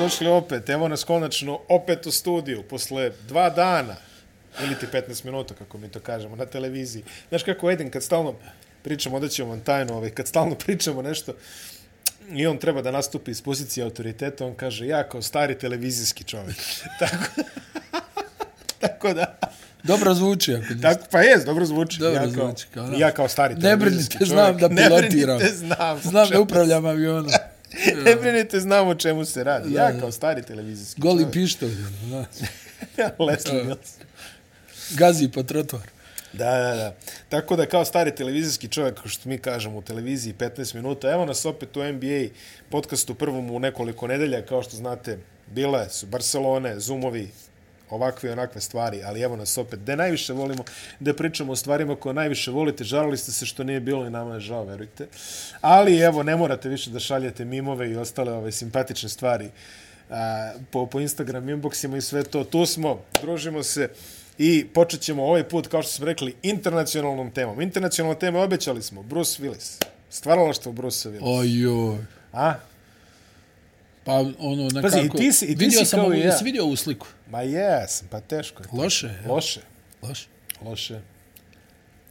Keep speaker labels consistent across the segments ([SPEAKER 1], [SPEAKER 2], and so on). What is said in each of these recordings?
[SPEAKER 1] došli opet. Evo nas konačno opet u studiju posle dva dana ili ti 15 minuta, kako mi to kažemo, na televiziji. Znaš kako Edin, kad stalno pričamo, odat ćemo vam tajnu, ovaj, kad stalno pričamo nešto i on treba da nastupi iz pozicije autoriteta, on kaže, ja kao stari televizijski čovjek. tako, tako da...
[SPEAKER 2] Dobro zvuči ako niste.
[SPEAKER 1] Tako, pa jes, dobro zvuči.
[SPEAKER 2] Dobro
[SPEAKER 1] ja kao,
[SPEAKER 2] zvuči, kao da.
[SPEAKER 1] ja kao stari
[SPEAKER 2] Ne
[SPEAKER 1] televizijski
[SPEAKER 2] brinite,
[SPEAKER 1] čovjek.
[SPEAKER 2] znam da pilotiram.
[SPEAKER 1] Ne brinite, znam.
[SPEAKER 2] Znam da upravljam avionom.
[SPEAKER 1] Ne brinite, znam o čemu se radi. Ja
[SPEAKER 2] Da.
[SPEAKER 1] kao stari televizijski
[SPEAKER 2] Goli
[SPEAKER 1] čovjek.
[SPEAKER 2] pištolj. ono, Da.
[SPEAKER 1] Leslie
[SPEAKER 2] Da.
[SPEAKER 1] Nielsen.
[SPEAKER 2] Gazi po trotoaru.
[SPEAKER 1] Da, da, da. Tako da kao stari televizijski čovjek, kao što mi kažemo u televiziji 15 minuta, evo nas opet u NBA podcastu prvom u nekoliko nedelja, kao što znate, bile su Barcelone, Zoomovi, ovakve i onakve stvari, ali evo nas opet, da najviše volimo, da pričamo o stvarima koje najviše volite, žalili ste se što nije bilo i nama je žao, verujte. Ali evo, ne morate više da šaljete mimove i ostale ove simpatične stvari a, po, po Instagram inboxima i sve to. Tu smo, družimo se i počet ćemo ovaj put, kao što smo rekli, internacionalnom temom. Internacionalna tema obećali smo, Bruce Willis. Stvaralaštvo Bruce Willis.
[SPEAKER 2] Ojoj.
[SPEAKER 1] A?
[SPEAKER 2] Pa ono nekako...
[SPEAKER 1] Pazi, i ti si- i ti
[SPEAKER 2] vidio
[SPEAKER 1] si
[SPEAKER 2] sam
[SPEAKER 1] kao
[SPEAKER 2] ovu,
[SPEAKER 1] i ja.
[SPEAKER 2] Jesi vidio ovu sliku?
[SPEAKER 1] Ma jes, pa teško je. to.
[SPEAKER 2] Loše je.
[SPEAKER 1] Loše.
[SPEAKER 2] Loše.
[SPEAKER 1] Loše.
[SPEAKER 2] Ne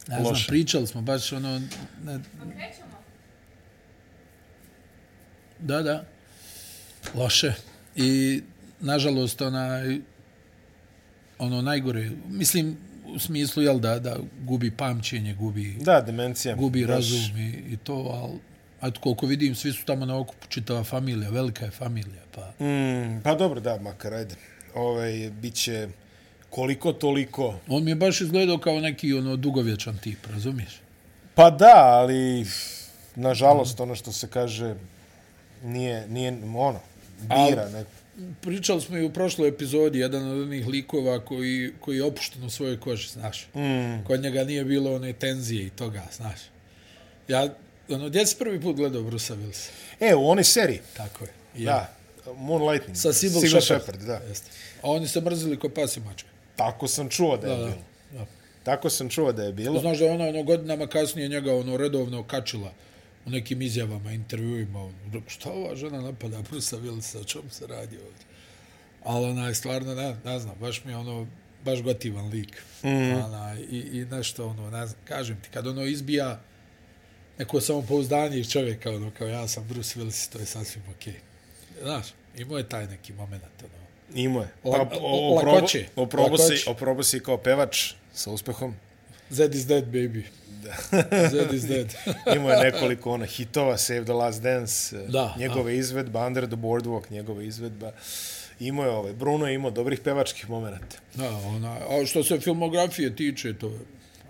[SPEAKER 2] znam,
[SPEAKER 1] Loše.
[SPEAKER 2] pričali smo baš ono... Ne, da, da. Loše. I, nažalost, onaj... Ono, najgore. Mislim, u smislu, jel da, da gubi pamćenje, gubi...
[SPEAKER 1] Da, demencija.
[SPEAKER 2] gubi
[SPEAKER 1] Baš-
[SPEAKER 2] razum i, i to, ali eto koliko vidim, svi su tamo na okupu, čitava familija, velika je familija, pa
[SPEAKER 1] Mm, pa dobro, da, makar, ajde. Ove, biće koliko toliko.
[SPEAKER 2] on mi je baš izgledao kao neki ono dugovječan tip, razumiješ?
[SPEAKER 1] Pa da, ali nažalost ono što se kaže nije, nije ono, bira. Ne.
[SPEAKER 2] Pričali smo i u prošloj epizodi, jedan od onih likova koji, koji je opušten u svojoj koži, znaš. Mm. Kod njega nije bilo one tenzije i toga, znaš. Ja, ono, gdje si prvi put gledao Brusa Willisa?
[SPEAKER 1] E, u onoj seriji,
[SPEAKER 2] Tako je.
[SPEAKER 1] da, Moonlightning.
[SPEAKER 2] Sa Sybil
[SPEAKER 1] Sybil
[SPEAKER 2] Shepherd.
[SPEAKER 1] Shepherd, da.
[SPEAKER 2] Jeste. A oni se mrzili ko pas i mačka.
[SPEAKER 1] Tako sam čuo da je
[SPEAKER 2] Da, da.
[SPEAKER 1] bilo.
[SPEAKER 2] da.
[SPEAKER 1] Tako sam čuo da je bilo.
[SPEAKER 2] Znaš da je ona ono godinama kasnije njega ono redovno kačila u nekim izjavama, intervjuima. Ono, rekao, šta ova žena napada Brusa Willisa, o čemu se radi ovdje? Ali ona je stvarno, ne, ne znam, baš mi je ono, baš gotivan lik. Mm. Ona, i, I nešto ono, ne znam, kažem ti, kad ono izbija neko samopouzdanje iz čovjeka, ono, kao ja sam Bruce Willis, to je sasvim okej. Okay. Znaš, imao je taj neki moment, ono.
[SPEAKER 1] Imao je.
[SPEAKER 2] La-
[SPEAKER 1] Pa, o- oprobo-
[SPEAKER 2] lakoće.
[SPEAKER 1] oprobo si-
[SPEAKER 2] Lakoće.
[SPEAKER 1] Oprobo si kao pevač sa uspehom.
[SPEAKER 2] Zed is dead, baby. Zed is dead.
[SPEAKER 1] Imao je nekoliko ono hitova, Save the Last Dance, eh,
[SPEAKER 2] Da,
[SPEAKER 1] njegove izvedba, Under the Boardwalk, njegova izvedba. Imao je ovaj, Bruno je imao dobrih pevačkih momenta.
[SPEAKER 2] Da, ona, a što se filmografije tiče, to je,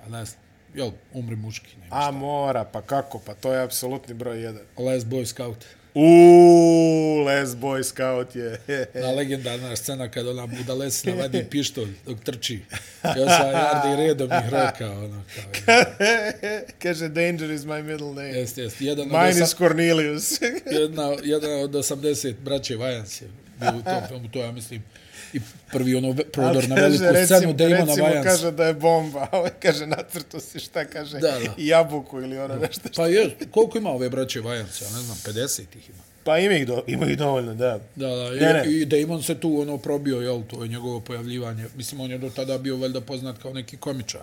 [SPEAKER 2] a ne znam, jel, umri muški, nema.
[SPEAKER 1] A mora, pa kako, pa to je apsolutni broj jedan.
[SPEAKER 2] Last Boy Scout.
[SPEAKER 1] Uuu, Les Boy Scout je. he, he.
[SPEAKER 2] Na legendarna scena kad ona budalesna vadi pištolj dok trči. I on sa Jardi redom ih rekao, ono, kao,
[SPEAKER 1] Kaže, danger is my middle name.
[SPEAKER 2] jest, jest, jedan od,
[SPEAKER 1] Mine
[SPEAKER 2] osam,
[SPEAKER 1] is Cornelius.
[SPEAKER 2] jedna, jedan od 80 braće Vajans je bio u tom filmu, to ja mislim, i prvi ono ve- prodor na veliku scenu Damona
[SPEAKER 1] recimo
[SPEAKER 2] Vajansa.
[SPEAKER 1] kaže da je bomba, a ovaj kaže nacrto si šta kaže,
[SPEAKER 2] Da, da.
[SPEAKER 1] jabuku ili ono nešto.
[SPEAKER 2] Pa je, koliko ima ove braće Vajansa, ja ne znam, 50 ih ima.
[SPEAKER 1] Pa ima ih, do, ima ih dovoljno, da.
[SPEAKER 2] Da, da, i,
[SPEAKER 1] Ne, ne.
[SPEAKER 2] i Damon se tu ono probio, jel, to je njegovo pojavljivanje. Mislim, on je do tada bio valjda poznat kao neki komičar.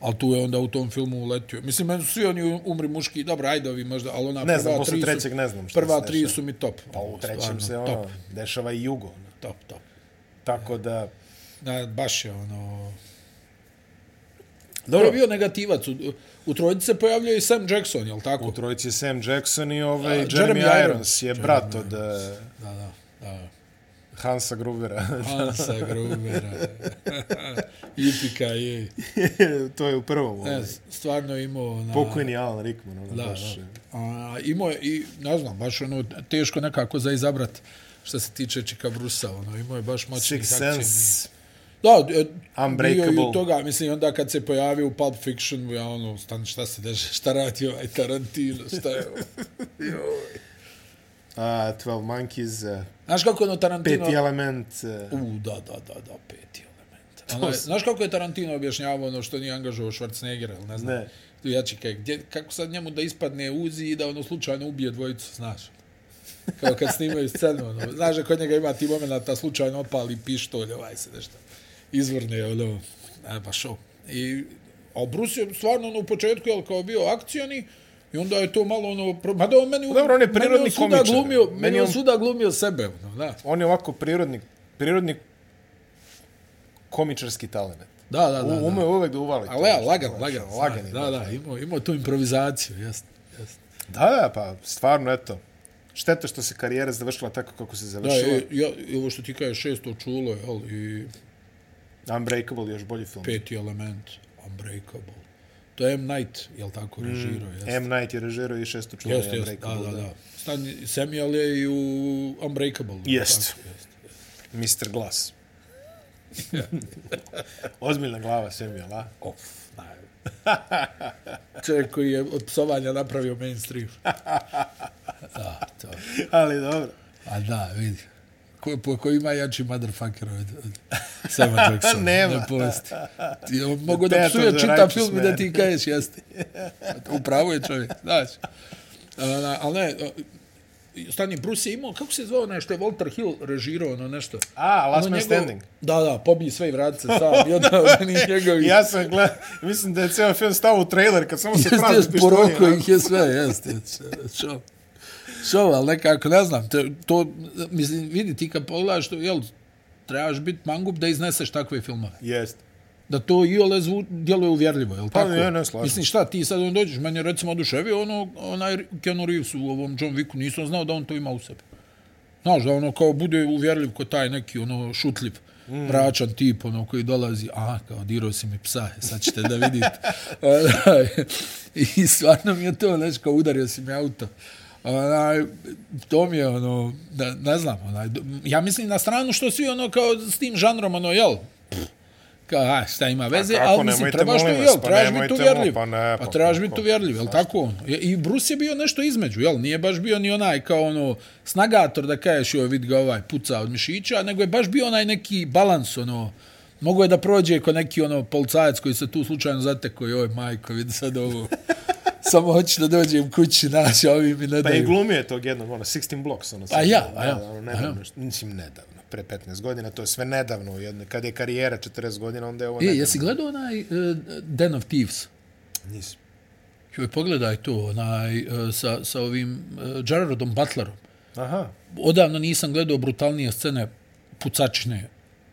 [SPEAKER 2] Ali tu je onda u tom filmu uletio. Mislim, meni su svi oni umri muški, dobro, ajde ovi možda, ali ona
[SPEAKER 1] Ne
[SPEAKER 2] prva
[SPEAKER 1] znam, posle
[SPEAKER 2] tri
[SPEAKER 1] trećeg
[SPEAKER 2] su,
[SPEAKER 1] ne znam šta
[SPEAKER 2] Prva
[SPEAKER 1] se
[SPEAKER 2] tri
[SPEAKER 1] dešava.
[SPEAKER 2] su mi top.
[SPEAKER 1] Pa u trećem se
[SPEAKER 2] Top,
[SPEAKER 1] ono, dešava i jugo. ono.
[SPEAKER 2] top, top.
[SPEAKER 1] Tako da,
[SPEAKER 2] Na, baš je ono... Dobro.
[SPEAKER 1] Dobro.
[SPEAKER 2] Je bio negativac. U, u trojici se pojavljao i Sam Jackson, jel tako?
[SPEAKER 1] u trojici je Sam Jackson i ovaj
[SPEAKER 2] A,
[SPEAKER 1] Jeremy,
[SPEAKER 2] Jeremy
[SPEAKER 1] Irons,
[SPEAKER 2] Irons.
[SPEAKER 1] je
[SPEAKER 2] Jeremy
[SPEAKER 1] brat od eh,
[SPEAKER 2] Da, da, da.
[SPEAKER 1] Hansa Grubera.
[SPEAKER 2] Hansa Grubera. Ipika je.
[SPEAKER 1] to je u prvom.
[SPEAKER 2] Ne,
[SPEAKER 1] Ovaj.
[SPEAKER 2] stvarno je imao... ono- Na...
[SPEAKER 1] Pokojni Alan Rickman. Ono,
[SPEAKER 2] Da,
[SPEAKER 1] baš,
[SPEAKER 2] da.
[SPEAKER 1] eh,
[SPEAKER 2] A, imao je, i, ne znam, baš ono, teško nekako za izabrat što se tiče Čika Brusa, ono, imao je baš moćnih
[SPEAKER 1] Six
[SPEAKER 2] akcija.
[SPEAKER 1] Sense.
[SPEAKER 2] Da, e, bio
[SPEAKER 1] Unbreakable.
[SPEAKER 2] je i toga, mislim, onda kad se pojavio u Pulp Fiction, ja ono, stan, šta se deša, šta radi ovaj Tarantino, šta je ovo?
[SPEAKER 1] A, 12 Monkeys, eh,
[SPEAKER 2] Znaš kako ono Tarantino...
[SPEAKER 1] peti element. eh,
[SPEAKER 2] U, da, da, da, da, peti element. Ono, je- znaš kako je Tarantino objašnjavao ono što nije angažovao Schwarzeneggera, ili ne znam?
[SPEAKER 1] Ne.
[SPEAKER 2] Ja čekaj, gdje, kako sad njemu da ispadne Uzi i da ono slučajno ubije dvojicu, znaš? Kao kad snimaju scenu, ono, znaš da kod njega ima ti momenta slučajno opali pištolj, ovaj se nešto izvrne, ono, a, baš ovo. I, a Bruce je stvarno ono, u početku, jel, kao bio akcioni, I onda je to malo ono, pro- mada on meni,
[SPEAKER 1] Dobro, on je
[SPEAKER 2] meni
[SPEAKER 1] prirodni
[SPEAKER 2] svuda
[SPEAKER 1] komičar.
[SPEAKER 2] Glumio,
[SPEAKER 1] Meni
[SPEAKER 2] meni on
[SPEAKER 1] on-
[SPEAKER 2] suda glumio sebe, ono, da.
[SPEAKER 1] On je ovako prirodni, prirodni komičarski talent.
[SPEAKER 2] Da, da, da.
[SPEAKER 1] U,
[SPEAKER 2] da.
[SPEAKER 1] ume uvek da uvali. to
[SPEAKER 2] Ali ja,
[SPEAKER 1] nešto,
[SPEAKER 2] Pa lagan,
[SPEAKER 1] znaš,
[SPEAKER 2] lagan.
[SPEAKER 1] Lagan je.
[SPEAKER 2] Da, da, imao, imao tu improvizaciju, jasno. jasno.
[SPEAKER 1] Da, da, pa stvarno, eto. Šteta što se karijera završila tako kako se
[SPEAKER 2] Da,
[SPEAKER 1] završila.
[SPEAKER 2] i, ja, i ovo što ti kažeš, šesto čulo, jel, i
[SPEAKER 1] Unbreakable je još bolji film.
[SPEAKER 2] peti element, Unbreakable. To je M. Night, jel tako, režirao, jasno.
[SPEAKER 1] M. Night je režirao i šesto čulo
[SPEAKER 2] Jeste,
[SPEAKER 1] je
[SPEAKER 2] jeste, da,
[SPEAKER 1] Unbreakable.
[SPEAKER 2] da, da. Stan Samuel je i u Unbreakable.
[SPEAKER 1] Jest.
[SPEAKER 2] tako, jest.
[SPEAKER 1] Mr. Glass. Ozbiljna glava Samuel, a?
[SPEAKER 2] Of, naj. Čovjek koji je od psovanja napravio mainstream. Da, to.
[SPEAKER 1] Ali dobro.
[SPEAKER 2] A da, vidi. Ko, po, ko ima jači motherfucker od, od Sama Jacksona?
[SPEAKER 1] Nema.
[SPEAKER 2] Ne posti. Ti, on mogu da
[SPEAKER 1] Death of
[SPEAKER 2] psuje
[SPEAKER 1] the
[SPEAKER 2] čita
[SPEAKER 1] righteous
[SPEAKER 2] film i
[SPEAKER 1] man.
[SPEAKER 2] da ti kažeš jeste. Upravo je čovjek, znaš. A, ali ne, a, stani, Bruce je imao, kako se zvao onaj što je Walter Hill režirao ono nešto?
[SPEAKER 1] A, Last
[SPEAKER 2] Ono
[SPEAKER 1] Man
[SPEAKER 2] njegov-
[SPEAKER 1] Standing.
[SPEAKER 2] Da, da, pobij sve i vrati se sam. I onda od onih njegovih...
[SPEAKER 1] Ja sam gledao, mislim da je ceo film stao u trailer kad samo se
[SPEAKER 2] Jeste,
[SPEAKER 1] pravi
[SPEAKER 2] jeste, poroko
[SPEAKER 1] pištolje.
[SPEAKER 2] ih je sve, jeste. Šo, šo, ali nekako, ne znam, to, to mislim, vidi, ti kad pogledaš, to, jel, trebaš biti mangup da izneseš takve filmove.
[SPEAKER 1] Jeste.
[SPEAKER 2] Da to i ole zvu, djeluje uvjerljivo, jel tako?
[SPEAKER 1] Pa ne, ne, slažem
[SPEAKER 2] Mislim,
[SPEAKER 1] se.
[SPEAKER 2] šta ti sad on dođeš, meni je recimo oduševio ono, onaj Keanu Reeves u ovom John Wicku, nisam znao da on to ima u sebi. Znaš, da ono kao bude uvjerljiv ko taj neki ono šutljiv, mm. mračan tip ono koji dolazi, a kao dirao si mi psa, e, sad ćete da vidite. Onaj, I stvarno mi je to nešto kao udario si mi auto. Onaj, to mi je ono, da, ne znam, onaj, do- ja mislim na stranu što svi ono kao s tim žanrom ono, jel, pff, kao, a, šta ima veze,
[SPEAKER 1] kako,
[SPEAKER 2] ali mislim,
[SPEAKER 1] nemojte,
[SPEAKER 2] trebaš to,
[SPEAKER 1] molim
[SPEAKER 2] jel,
[SPEAKER 1] vas, pa
[SPEAKER 2] trebaš
[SPEAKER 1] nemojte,
[SPEAKER 2] biti uvjerljiv,
[SPEAKER 1] pa ne,
[SPEAKER 2] pa
[SPEAKER 1] pa
[SPEAKER 2] trebaš
[SPEAKER 1] kako,
[SPEAKER 2] biti uvjerljiv, jel tako on? I Bruce je bio nešto između, jel, nije baš bio ni onaj kao ono, snagator da kažeš, joj, vid ga ovaj, puca od mišića, nego je baš bio onaj neki balans, ono, mogo je da prođe ko neki, ono, policajac koji se tu slučajno zateko, joj, majko, vidi sad ovo, samo hoću da dođem kući, naš, a ovi mi ne
[SPEAKER 1] Pa i
[SPEAKER 2] daju.
[SPEAKER 1] glumio je tog jednog, ono, 16 Blocks. Ono,
[SPEAKER 2] A ja, a ja,
[SPEAKER 1] Nedavno,
[SPEAKER 2] a ja.
[SPEAKER 1] nedavno, mislim, nedavno, pre 15 godina, to je sve nedavno u jednoj. Kad je karijera 40 godina, onda je ovo
[SPEAKER 2] E,
[SPEAKER 1] nedavno.
[SPEAKER 2] jesi gledao onaj uh, Den of Thieves?
[SPEAKER 1] Nisam.
[SPEAKER 2] Joj, pogledaj to, onaj, uh, sa, sa ovim uh, Gerardom Butlerom.
[SPEAKER 1] Aha.
[SPEAKER 2] odavno nisam gledao brutalnije scene pucačne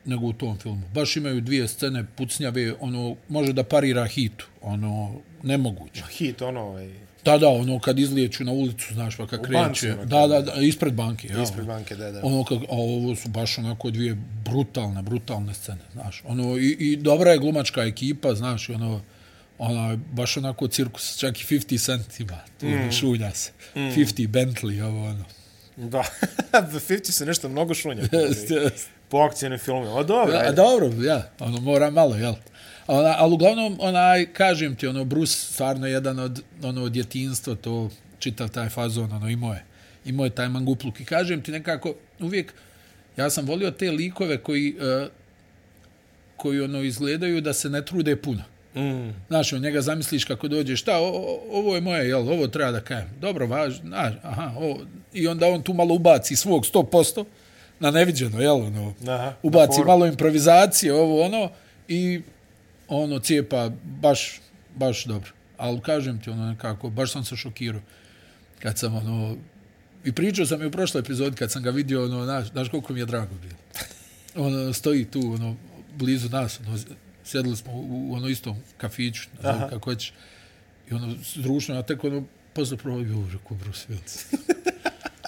[SPEAKER 2] nego u tom filmu. Baš imaju dvije scene pucnjave, ono, može da parira hitu, ono, nemoguće.
[SPEAKER 1] Hit, ono, ovaj,
[SPEAKER 2] Da, da, ono, kad izlijeću na ulicu, znaš, pa kad
[SPEAKER 1] banci,
[SPEAKER 2] kreće.
[SPEAKER 1] ono,
[SPEAKER 2] Da, da, da, ispred banke. ja,
[SPEAKER 1] ispred
[SPEAKER 2] ono.
[SPEAKER 1] banke, da, da.
[SPEAKER 2] Ono kak, a ovo su baš onako dvije brutalne, brutalne scene, znaš. Ono, i, i dobra je glumačka ekipa, znaš, i ono, ona, baš onako cirkus, čak i 50 cent ima, tu mm. šulja se. Mm. 50 Bentley, ovo ono.
[SPEAKER 1] Da, The 50 se nešto mnogo šunja.
[SPEAKER 2] Jeste, jeste.
[SPEAKER 1] po akcijnim filmima. A dobro,
[SPEAKER 2] Pa, A
[SPEAKER 1] ajde.
[SPEAKER 2] dobro, ja, ono mora malo, jel? A Ona, ali uglavnom, onaj, kažem ti, ono, Bruce stvarno jedan od, ono, od djetinstva, to čitav taj fazon, ono, imao je, imao je taj mangupluk. I kažem ti nekako, uvijek, ja sam volio te likove koji, uh, koji, ono, izgledaju da se ne trude puno.
[SPEAKER 1] Mm.
[SPEAKER 2] Znaš, od njega zamisliš kako dođe, šta, o, o, ovo je moje, jel, ovo treba da kajem. Dobro, važno, znaš, aha, ovo. I onda on tu malo ubaci svog 100%, na neviđeno, jel, ono,
[SPEAKER 1] Aha, na
[SPEAKER 2] ubaci
[SPEAKER 1] foru.
[SPEAKER 2] malo improvizacije, ovo, ono, i ono, cijepa baš, baš dobro. Ali kažem ti, ono, nekako, baš sam se šokirao kad sam, ono, i pričao sam i u prošloj epizodi kad sam ga vidio, ono, znaš, znaš koliko mi je drago bilo ono, stoji tu, ono, blizu nas, ono, sjedili smo u, u ono istom kafiću, ne znam kako hoćeš, i ono, društvo, ja tek ono, pozdrav prvo, jo, rekao, Bruce Willis.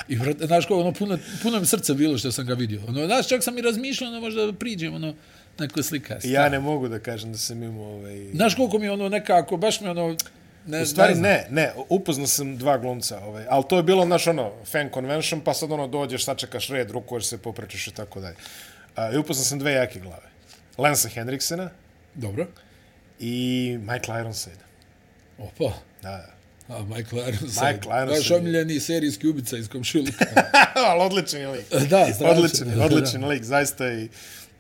[SPEAKER 2] I, vrat, znaš ko, ono, puno, puno mi srce bilo što sam ga vidio. Ono, znaš, čak sam i razmišljao, ono, možda priđem, ono, neko slika.
[SPEAKER 1] Ja ne mogu da kažem da sam imao ovaj...
[SPEAKER 2] Znaš koliko mi je ono nekako, baš mi ono, ne,
[SPEAKER 1] U stvari
[SPEAKER 2] znam.
[SPEAKER 1] ne, ne, upoznao sam dva glumca, ovaj, ali to je bilo, znaš, ono, fan convention, pa sad ono dođeš, sačekaš red, rukuješ se, poprečeš i tako dalje. A, I upoznao sam dve jake glave. Lensa Henriksena
[SPEAKER 2] Dobro.
[SPEAKER 1] i Michael Ironside.
[SPEAKER 2] Opa.
[SPEAKER 1] Da, da.
[SPEAKER 2] A, Michael Ironside.
[SPEAKER 1] Michael Ironside
[SPEAKER 2] Naš
[SPEAKER 1] je-
[SPEAKER 2] omiljeni serijski ubica iz komšiluka.
[SPEAKER 1] ali odličan je lik.
[SPEAKER 2] da, strašno.
[SPEAKER 1] Odličan, je, odličan lik, zaista i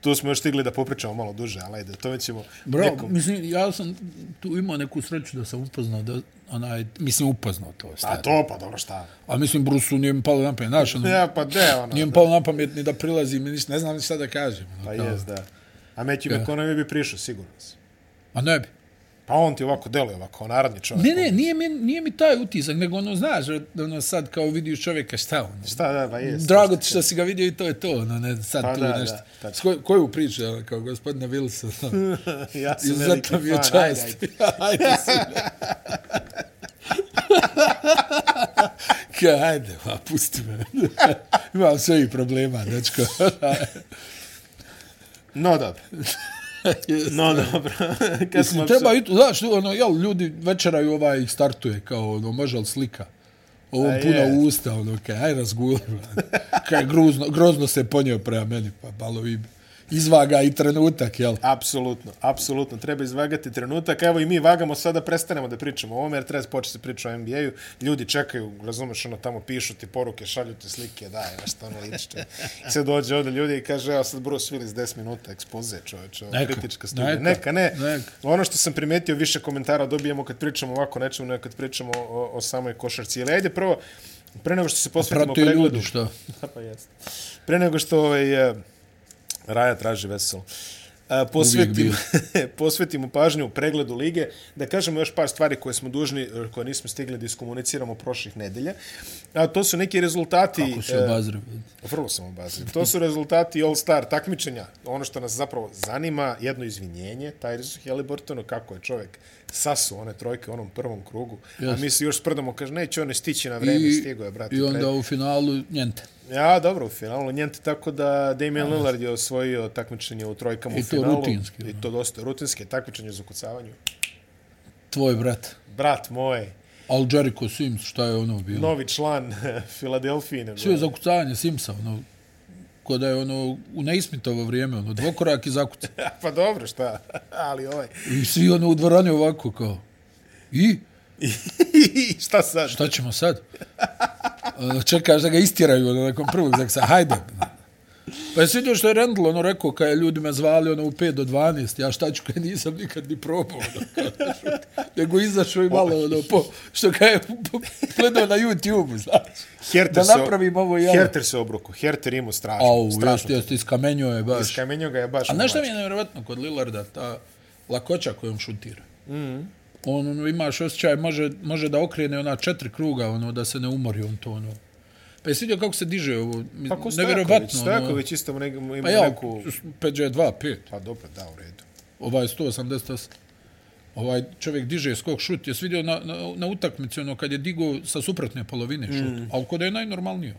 [SPEAKER 1] tu smo još stigli da popričamo malo duže, ali ajde, to ćemo
[SPEAKER 2] Bro, nekom... mislim, ja sam tu imao neku sreću da sam upoznao, da, onaj, mislim, upoznao to.
[SPEAKER 1] A
[SPEAKER 2] Stari.
[SPEAKER 1] to, pa dobro, šta?
[SPEAKER 2] A mislim, Brusu nije mi palo na pamet, znaš, ono,
[SPEAKER 1] Ja, pa de, ono.
[SPEAKER 2] nije mi palo na pamet ni da prilazim, ni ništa, ne znam ni šta da kažem. ono,
[SPEAKER 1] Pa
[SPEAKER 2] kao.
[SPEAKER 1] jes, da. A Matthew ja. McConaughey bi prišao, sigurno si.
[SPEAKER 2] A ne bi.
[SPEAKER 1] Pa on ti ovako deluje, ovako, naravni čovjek.
[SPEAKER 2] Ne, ne, nije mi, nije mi taj utisak, nego ono, znaš, ono, sad kao vidiš čovjeka, šta ono,
[SPEAKER 1] Šta, da, pa jes.
[SPEAKER 2] Drago ti što si ga vidio i to je to, ono, ne, sad
[SPEAKER 1] Pa
[SPEAKER 2] tu
[SPEAKER 1] da,
[SPEAKER 2] nešto.
[SPEAKER 1] da, tačno.
[SPEAKER 2] S koj, koju priču, ono, kao gospodina Wilson, ono,
[SPEAKER 1] ja sam veliki
[SPEAKER 2] izuzetno
[SPEAKER 1] fan.
[SPEAKER 2] mi je
[SPEAKER 1] ajde, ajde.
[SPEAKER 2] čast. Ajde, sine. Ka, ajde, pa, pusti me. Imam sve i problema, dečko.
[SPEAKER 1] No, dobro. No, dobro. Kad smo
[SPEAKER 2] Mislim, treba i to, znaš, ono, jel, ljudi večeraju ovaj ih startuje, kao, ono, može li slika? Ovo
[SPEAKER 1] A
[SPEAKER 2] puna
[SPEAKER 1] jest.
[SPEAKER 2] usta, ono, kaj, aj razguli, man. kaj, gruzno, grozno se ponio prema meni, pa malo i izvaga i trenutak, jel?
[SPEAKER 1] Apsolutno, apsolutno. Treba izvagati trenutak. Evo i mi vagamo sada, prestanemo da pričamo o ovome, jer treba početi se priča o NBA-u. Ljudi čekaju, razumeš, ono tamo pišu ti poruke, šalju ti slike, daj, nešto ono ličite. I sad dođe ovdje ljudi i kaže, evo sad Bruce Willis 10 minuta ekspoze, čoveče, ovo je
[SPEAKER 2] Neka,
[SPEAKER 1] kritička studija. Neka,
[SPEAKER 2] neka,
[SPEAKER 1] ne.
[SPEAKER 2] neka.
[SPEAKER 1] Ono što sam primetio, više komentara dobijemo kad pričamo ovako o nečemu, nego kad pričamo o, o samoj košarci. Ali ajde prvo, pre nego što se posvetimo
[SPEAKER 2] Prate
[SPEAKER 1] pregledu,
[SPEAKER 2] ljudi, što?
[SPEAKER 1] Da, pa jeste. Pre nego što ovaj, e, Raja traži veselo. E, Posvetimo, posvetimo pažnju u pregledu lige. Da kažemo još par stvari koje smo dužni, e, koje nismo stigli da iskomuniciramo prošlih nedelja. A to su neki rezultati...
[SPEAKER 2] Ako se
[SPEAKER 1] e,
[SPEAKER 2] obazrivi.
[SPEAKER 1] Vrlo sam obazir. To su rezultati All-Star takmičenja. Ono što nas zapravo zanima, jedno izvinjenje, Tyrese Halliburtonu, kako je čovjek sasu one trojke u onom prvom krugu. Yes. A mi se još sprdamo, kaže, neće one stići na vreme, I, stigo je, brate.
[SPEAKER 2] I
[SPEAKER 1] pre-
[SPEAKER 2] onda u finalu, njente.
[SPEAKER 1] Ja, dobro, u finalu Njente, tako da Damian Lillard je osvojio takmičenje u trojkama
[SPEAKER 2] I
[SPEAKER 1] u
[SPEAKER 2] to
[SPEAKER 1] finalu.
[SPEAKER 2] rutinski,
[SPEAKER 1] I to dosta rutinski, takmičenje za ukucavanju.
[SPEAKER 2] Tvoj brat.
[SPEAKER 1] Brat moj,
[SPEAKER 2] Al Jericho Sims, šta je ono bilo?
[SPEAKER 1] novi član Filadelfine.
[SPEAKER 2] Sve je zakucavanje Simsa, ono, ko da je ono u neismitovo vrijeme, ono, dvokorak i zakuca.
[SPEAKER 1] pa dobro, šta, ali ovaj.
[SPEAKER 2] I svi ono u dvorani ovako kao, i?
[SPEAKER 1] I šta sad?
[SPEAKER 2] Šta ćemo sad? Ono, čekaš da ga istiraju ono, nakon prvog zaksa. Hajde. Pa jesi vidio što je Rendl ono rekao kada je ljudi me zvali ono, u 5 do 12, ja šta ću kada nisam nikad ni probao. Ono, kao, znaš, nego izašao i malo ono, po, što kada je po- gledao na YouTube, znaš.
[SPEAKER 1] Herter
[SPEAKER 2] Da napravim ovo jelo.
[SPEAKER 1] Herter se obruko, Herter imao strašno.
[SPEAKER 2] Au,
[SPEAKER 1] strašno.
[SPEAKER 2] jeste, jeste, iskamenio je baš.
[SPEAKER 1] Iskamenio ga je baš.
[SPEAKER 2] A znaš šta mi
[SPEAKER 1] domaći.
[SPEAKER 2] je nevjerovatno kod Lillarda, ta lakoća kojom šutira? Mm On ono, imaš osjećaj, može, može da okrene ona četiri kruga, ono, da se ne umori on to, ono. Pa jesi vidio kako se diže ovo? Mi-
[SPEAKER 1] Pa ko Stojaković,
[SPEAKER 2] nevjerovatno, ono-
[SPEAKER 1] Stojaković isto ima neku...
[SPEAKER 2] Pa ja,
[SPEAKER 1] neku...
[SPEAKER 2] Peđa je 2-5,
[SPEAKER 1] Pa dobro, da, u redu.
[SPEAKER 2] ovaj 188. Ovaj čovjek diže skok šut, jesi vidio na, na, na utakmici, ono, kad je digao sa suprotne polovine šut, mm. ali kod je najnormalnije.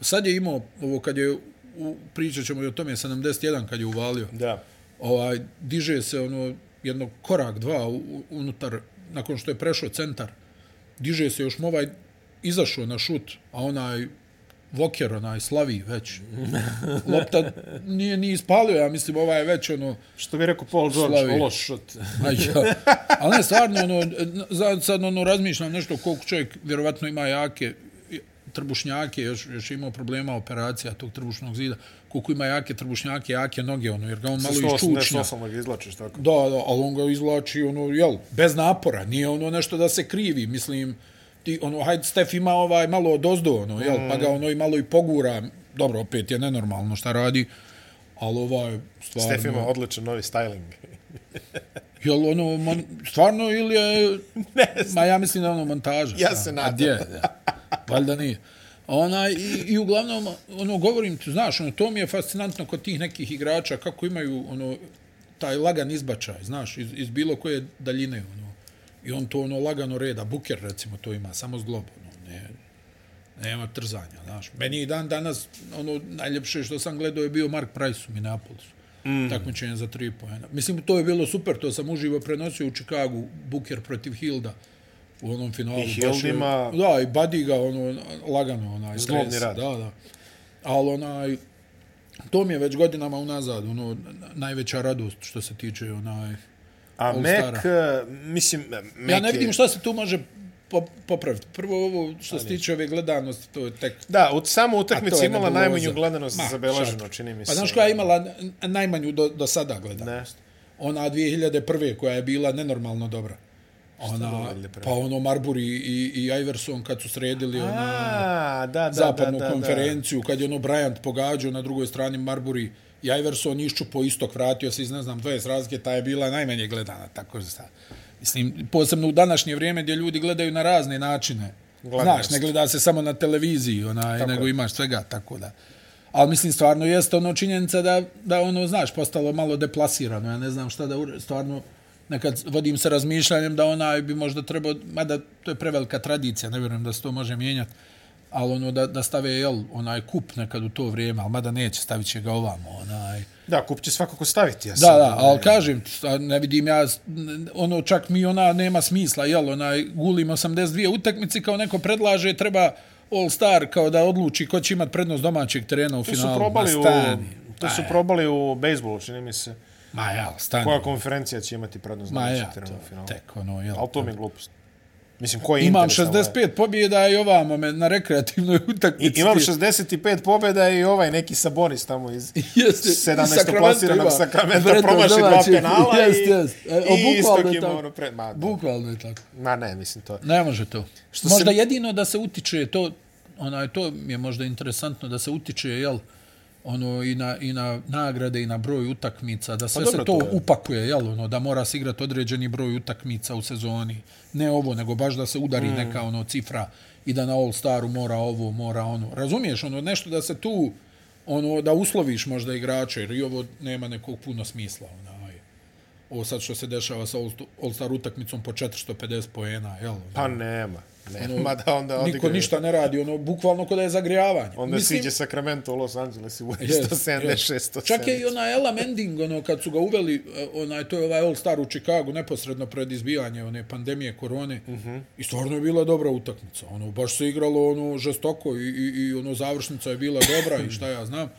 [SPEAKER 2] Sad je imao, ovo, kad je, u, pričat ćemo i o tome, 71 kad je uvalio
[SPEAKER 1] Da.
[SPEAKER 2] ovaj, diže se ono jedno korak, dva u- u- unutar, nakon što je prešao centar, diže se još mu ovaj izašao na šut, a onaj Voker, onaj slavi već. Lopta nije ni ispalio, ja mislim, ovaj je već ono,
[SPEAKER 1] Što bi rekao Paul George,
[SPEAKER 2] Slavi.
[SPEAKER 1] loš šut.
[SPEAKER 2] Aj, ja. Ali ne, stvarno, ono, za- sad ono, razmišljam nešto koliko čovjek vjerovatno ima jake i- trbušnjake, još, još je imao problema operacija tog trbušnog zida, koliko ima jake trbušnjake, jake noge, ono, jer ga on malo iščučnja.
[SPEAKER 1] 188 ga izlačiš tako.
[SPEAKER 2] Da, da, ali on ga izvlači, ono, jel, bez napora, nije ono nešto da se krivi, mislim, ti, ono, hajde, Stef ima ovaj malo odozdo, ono, jel, pa
[SPEAKER 1] Mm.
[SPEAKER 2] ga ono i malo i pogura, dobro, opet je nenormalno šta radi, ali ovaj, stvarno,
[SPEAKER 1] Stef ima odličan novi styling.
[SPEAKER 2] jel, ono, mon, stvarno ili je, ma ja mislim da je ono montaža.
[SPEAKER 1] Ja
[SPEAKER 2] a-
[SPEAKER 1] se
[SPEAKER 2] A
[SPEAKER 1] nadam.
[SPEAKER 2] gdje, da, valjda nije. A Ona, i, I uglavnom, ono, govorim ti, znaš, ono, to mi je fascinantno kod tih nekih igrača, kako imaju, ono, taj lagan izbačaj, znaš, iz, iz bilo koje daljine, ono. I on to, ono, lagano reda. Buker, recimo, to ima, samo zglob, ono, ne, nema trzanja, znaš. Meni i dan danas, ono, najljepše što sam gledao je bio Mark Price u Minneapolisu. Mm. Takmičenje za tri pojena. Mislim, to je bilo super, to sam uživo prenosio u Čikagu, Buker protiv Hilda u onom finalu.
[SPEAKER 1] I
[SPEAKER 2] baš
[SPEAKER 1] Hield
[SPEAKER 2] je-
[SPEAKER 1] ima-
[SPEAKER 2] Da, i badi ga ono, lagano, onaj,
[SPEAKER 1] Zglobni
[SPEAKER 2] stres.
[SPEAKER 1] rad.
[SPEAKER 2] Da, da. Ali onaj, to mi je već godinama unazad, ono, na- najveća radost što se tiče onaj...
[SPEAKER 1] A
[SPEAKER 2] All
[SPEAKER 1] Mac,
[SPEAKER 2] Stara.
[SPEAKER 1] e, mislim, Mac
[SPEAKER 2] Ja ne vidim šta se tu može po, popraviti. Prvo ovo što se tiče ove gledanosti, to je tek
[SPEAKER 1] Da, od samo
[SPEAKER 2] A to
[SPEAKER 1] utakmica
[SPEAKER 2] je
[SPEAKER 1] imala
[SPEAKER 2] nebuloza.
[SPEAKER 1] najmanju gledanost
[SPEAKER 2] Ma,
[SPEAKER 1] zabeleženo,
[SPEAKER 2] čak.
[SPEAKER 1] čini mi se.
[SPEAKER 2] Pa znaš koja je imala n- najmanju do, do sada
[SPEAKER 1] ono- Ne.
[SPEAKER 2] gledanost? Ona 2001. koja je bila nenormalno dobra. Ona,
[SPEAKER 1] radili prvo?
[SPEAKER 2] pa ono Marburi i, i Iverson kad su sredili ona
[SPEAKER 1] A, da, da,
[SPEAKER 2] zapadnu
[SPEAKER 1] da, da,
[SPEAKER 2] konferenciju, kad je ono Bryant pogađao na drugoj strani Marburi i Iverson iščupo istok, vratio se iz ne znam 20 razlike, ta je bila najmanje gledana, tako da sad. Mislim, posebno u današnje vrijeme gdje ljudi gledaju na razne načine.
[SPEAKER 1] Gledanost.
[SPEAKER 2] Znaš, ne gleda se samo na televiziji, onaj, nego imaš svega, tako da. Ali mislim, stvarno jeste ono činjenica da, da ono, znaš, postalo malo deplasirano. Ja ne znam šta da ure- stvarno nekad vodim se razmišljanjem da onaj bi možda trebao, mada to je prevelika tradicija, ne vjerujem da se to može mijenjati, ali ono da, da stave jel, onaj kup nekad u to vrijeme, ali mada neće, stavit će ga ovamo, onaj.
[SPEAKER 1] Da, kup će svakako staviti. Ja
[SPEAKER 2] Da, da,
[SPEAKER 1] e.
[SPEAKER 2] ali kažem, ti, a ne vidim ja, s- n- ono čak mi ona nema smisla, jel, onaj, gulim 82 utakmice, kao neko predlaže, treba All Star kao da odluči ko će imat prednost domaćeg terena u
[SPEAKER 1] To su
[SPEAKER 2] finalu.
[SPEAKER 1] probali
[SPEAKER 2] Ma
[SPEAKER 1] u...
[SPEAKER 2] stani. pa
[SPEAKER 1] To su probali u bejsbolu, čini mi se.
[SPEAKER 2] Ma ja, stani.
[SPEAKER 1] Koja konferencija će imati prednost
[SPEAKER 2] Ma ja,
[SPEAKER 1] domaćeg terena u
[SPEAKER 2] to,
[SPEAKER 1] finalu?
[SPEAKER 2] tek ono, jel.
[SPEAKER 1] Ali to mi je glupost. Mislim, koji je
[SPEAKER 2] Imam
[SPEAKER 1] interes na ovaj?
[SPEAKER 2] 65 pobjeda i ovamo me na rekreativnoj
[SPEAKER 1] I,
[SPEAKER 2] utakmici.
[SPEAKER 1] imam 65 pobjeda i ovaj neki Sabonis tamo iz
[SPEAKER 2] Jeste, i
[SPEAKER 1] 17.
[SPEAKER 2] Sacramento
[SPEAKER 1] plasiranog
[SPEAKER 2] ima
[SPEAKER 1] Sakramenta
[SPEAKER 2] prednost
[SPEAKER 1] promaši dva
[SPEAKER 2] domaćih.
[SPEAKER 1] penala
[SPEAKER 2] Jeste, jeste. E, o,
[SPEAKER 1] i, i
[SPEAKER 2] bukvalno
[SPEAKER 1] Istok
[SPEAKER 2] je
[SPEAKER 1] ima
[SPEAKER 2] tako.
[SPEAKER 1] ono pre... Ma, da.
[SPEAKER 2] Bukvalno je tako.
[SPEAKER 1] ma ne, mislim to.
[SPEAKER 2] Ne može to.
[SPEAKER 1] Što
[SPEAKER 2] Što možda
[SPEAKER 1] se-
[SPEAKER 2] se... jedino da se utiče to, onaj, to mi je možda interesantno da se utiče, jel, ono i na, i na nagrade i na broj utakmica, da sve pa se
[SPEAKER 1] dobro,
[SPEAKER 2] to
[SPEAKER 1] to je.
[SPEAKER 2] upakuje, jel, ono, da mora se igrati određeni broj utakmica u sezoni. Ne ovo, nego baš da se udari mm. neka ono cifra i da na All Staru mora ovo, mora ono. Razumiješ, ono, nešto da se tu, ono, da usloviš možda igrače, jer i ovo nema nekog puno smisla, onaj. Ovo sad što se dešava sa All- All Star utakmicom po 450 poena, jel? Ono,
[SPEAKER 1] Pa nema. Nema da onda odigraju.
[SPEAKER 2] Niko ništa ne radi, ono, bukvalno kod da je zagrijavanje.
[SPEAKER 1] Onda Mislim... siđe Sacramento u Los Angeles i bude
[SPEAKER 2] Jest,
[SPEAKER 1] 176,
[SPEAKER 2] jest.
[SPEAKER 1] 170.
[SPEAKER 2] Čak je i onaj Ella Mending, ono, kad su ga uveli, e, onaj, to je ovaj All Star u Chicagu, neposredno pred izbijanje one pandemije korone, uh
[SPEAKER 1] Mhm.
[SPEAKER 2] -huh. i stvarno je bila dobra utakmica. Ono, baš se igralo ono, žestoko i, i, i ono, završnica je bila dobra i šta ja znam.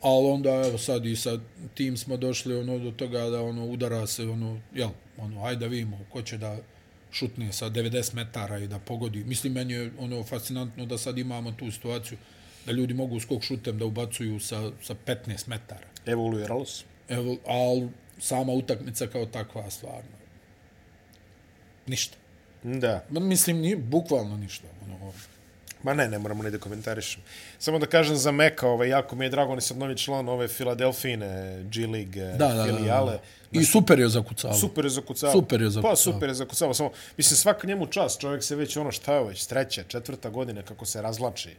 [SPEAKER 2] Ali onda, evo, sad i sa tim smo došli ono, do toga da ono, udara se, ono, jel, ono, ajde da vidimo ko će da šutne sa 90 metara i da pogodi. Mislim, meni je ono fascinantno da sad imamo tu situaciju da ljudi mogu skok šutem da ubacuju sa, sa 15 metara.
[SPEAKER 1] Evoluiralo se.
[SPEAKER 2] Evo, ali sama utakmica kao takva stvarno. Ništa.
[SPEAKER 1] Da.
[SPEAKER 2] Ma, Mislim, ni, bukvalno ništa. Ono,
[SPEAKER 1] Ma ne, ne moramo ni da komentarišem. Samo da kažem za Meka, ovaj, jako mi je drago, on je sad novi član ove Filadelfine G League eh,
[SPEAKER 2] da, da, da,
[SPEAKER 1] filijale.
[SPEAKER 2] da. I super je zakucao.
[SPEAKER 1] Super je zakucao.
[SPEAKER 2] Super je zakucao.
[SPEAKER 1] Pa super je zakucao. Samo, mislim, svaka njemu čast. Čovjek se već ono šta je već, treća, četvrta godina kako se razlači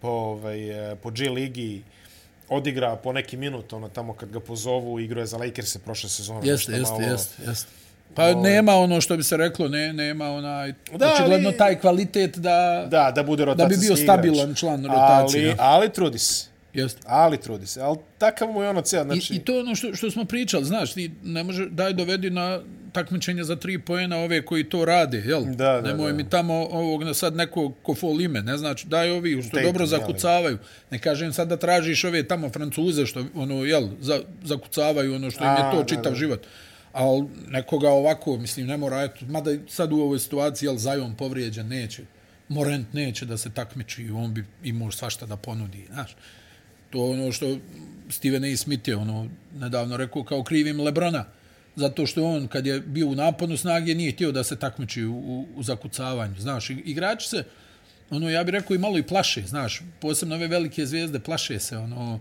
[SPEAKER 1] po, ovaj, eh, po G ligi odigra po neki minut, ono tamo kad ga pozovu, igrao je za Lakers prošle sezone.
[SPEAKER 2] Jeste,
[SPEAKER 1] nešto
[SPEAKER 2] jeste,
[SPEAKER 1] malo- ovaj-
[SPEAKER 2] jeste, jeste. Pa nema ono što bi se reklo, ne, nema onaj,
[SPEAKER 1] Da,
[SPEAKER 2] da, očigledno
[SPEAKER 1] ali-
[SPEAKER 2] taj kvalitet da, da,
[SPEAKER 1] Da, da bude
[SPEAKER 2] da
[SPEAKER 1] rotacijski
[SPEAKER 2] bi bio
[SPEAKER 1] igrač.
[SPEAKER 2] stabilan član rotacije.
[SPEAKER 1] Ali,
[SPEAKER 2] Ali,
[SPEAKER 1] ali trudi se.
[SPEAKER 2] jeste.
[SPEAKER 1] Ali trudi se. Ali takav mu je ono cijel, znači...
[SPEAKER 2] I, I to je ono što, što smo pričali, znaš, ti ne može, daj dovedi na takmičenje za tri poena ove koji to rade, jel?
[SPEAKER 1] Da, da,
[SPEAKER 2] Nemoj
[SPEAKER 1] da.
[SPEAKER 2] mi tamo ovog na sad nekog ko fol ime, ne znači, daj ovi što
[SPEAKER 1] Tatum,
[SPEAKER 2] dobro
[SPEAKER 1] jel?
[SPEAKER 2] zakucavaju. Ne kažem sad da tražiš ove tamo francuze što, ono, jel, za, zakucavaju ono što im je
[SPEAKER 1] A,
[SPEAKER 2] to
[SPEAKER 1] da,
[SPEAKER 2] čitav
[SPEAKER 1] da.
[SPEAKER 2] život. Ali nekoga ovako, mislim, ne mora, eto, mada i sad u ovoj situaciji, jel, Zion povrijeđen, neće. Morent neće da se takmiči, on bi imao svašta da ponudi, znaš. To je ono što Steven A. Smith je ono nedavno rekao kao krivim Lebrona. Zato što on kad je bio u naponu snage nije htio da se takmiči u, u, u zakucavanju. Znaš, i- igrači se, ono, ja bih rekao i malo i plaše, znaš, posebno ove velike zvijezde plaše se, ono,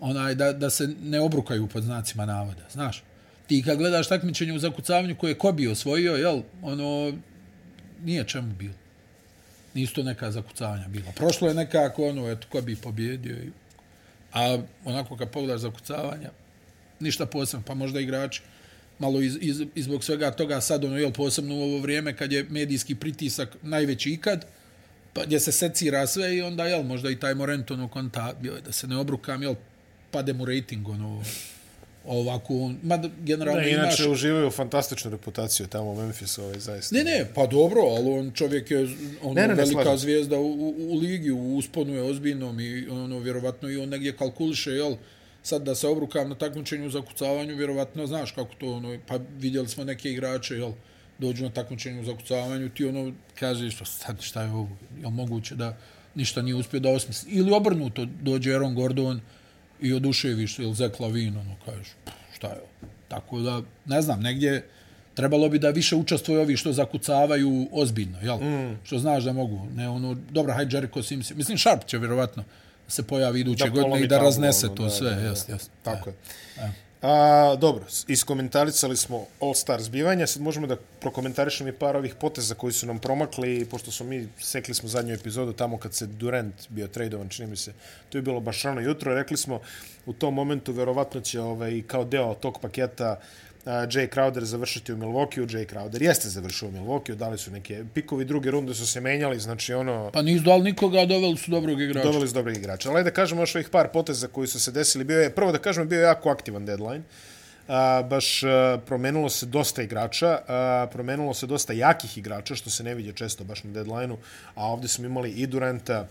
[SPEAKER 2] onaj, da, da se ne obrukaju pod znacima navoda, znaš. Ti kad gledaš takmičenje u zakucavanju koje je Kobi osvojio, jel, ono, nije čemu bilo. Nisu to neka zakucavanja bila. Prošlo je nekako ono, eto, ko bi pobjedio. i- A onako kad pogledaš zakucavanja, ništa posebno. Pa možda igrači malo iz, iz, iz zbog svega toga sad, ono, jel, posebno u ovo vrijeme kad je medijski pritisak najveći ikad, pa gdje se secira sve i onda, jel, možda i taj Morent, ono, konta, bio je da se ne obrukam, jel, pade mu rating, ono, ovako, on, mada generalno
[SPEAKER 1] Ne,
[SPEAKER 2] imaš...
[SPEAKER 1] inače uživaju fantastičnu reputaciju tamo u Memphisu, ovaj, zaista.
[SPEAKER 2] Ne, ne, pa dobro, ali on čovjek je on
[SPEAKER 1] Ne, ne, ne,
[SPEAKER 2] ne, ne, velika
[SPEAKER 1] slažem se.
[SPEAKER 2] zvijezda u, u, u ligi, u usponu je ozbiljnom i ono, vjerovatno i on negdje kalkuliše, jel, sad da se obrukam na takmičenju u zakucavanju, vjerovatno znaš kako to, ono, pa vidjeli smo neke igrače, jel, dođu na takmičenje u zakucavanju, ti ono kaže što sad šta je ovo, je moguće da ništa nije uspio da osmisli. Ili obrnuto, dođe Aaron Gordon i oduševi što ili Zach Lavin, ono kažeš, "Pff, šta je ovo. Tako da, ne znam, negdje trebalo bi da više učestvuju ovi što zakucavaju ozbiljno, jel? Mm. Što znaš da mogu. Ne, ono, dobra, hajde Jericho Sims. Mislim, Sharp će vjerovatno se pojavi iduće
[SPEAKER 1] Da
[SPEAKER 2] godine i
[SPEAKER 1] polomi
[SPEAKER 2] da
[SPEAKER 1] tablu,
[SPEAKER 2] raznese
[SPEAKER 1] ono,
[SPEAKER 2] to
[SPEAKER 1] da,
[SPEAKER 2] sve.
[SPEAKER 1] da, da.
[SPEAKER 2] Jasno, jasno.
[SPEAKER 1] Tako je. A, dobro, iskomentarisali smo All-Star zbivanja, sad možemo da prokomentarišemo i par ovih poteza koji su nam promakli, pošto smo mi, sekli smo zadnju epizodu tamo kad se Durant bio tradovan, čini mi se, to je bilo baš rano jutro, rekli smo u tom momentu verovatno će ovaj, kao deo tog paketa a, Jay Crowder završiti u Milwaukee, Jay Crowder jeste završio u Milwaukee, dali su neke pikovi, druge runde su se menjali, znači ono...
[SPEAKER 2] Pa nisu dali nikoga, a doveli su dobrog igrača.
[SPEAKER 1] Doveli su dobrih igrača. Ali ajde da kažemo još ovih par poteza koji su se desili. Bio je, prvo da kažemo, bio je jako aktivan deadline. A, baš a, promenilo se dosta igrača, a, promenilo se dosta jakih igrača, što se ne vidi često baš na deadline-u, a ovdje smo imali i Duranta,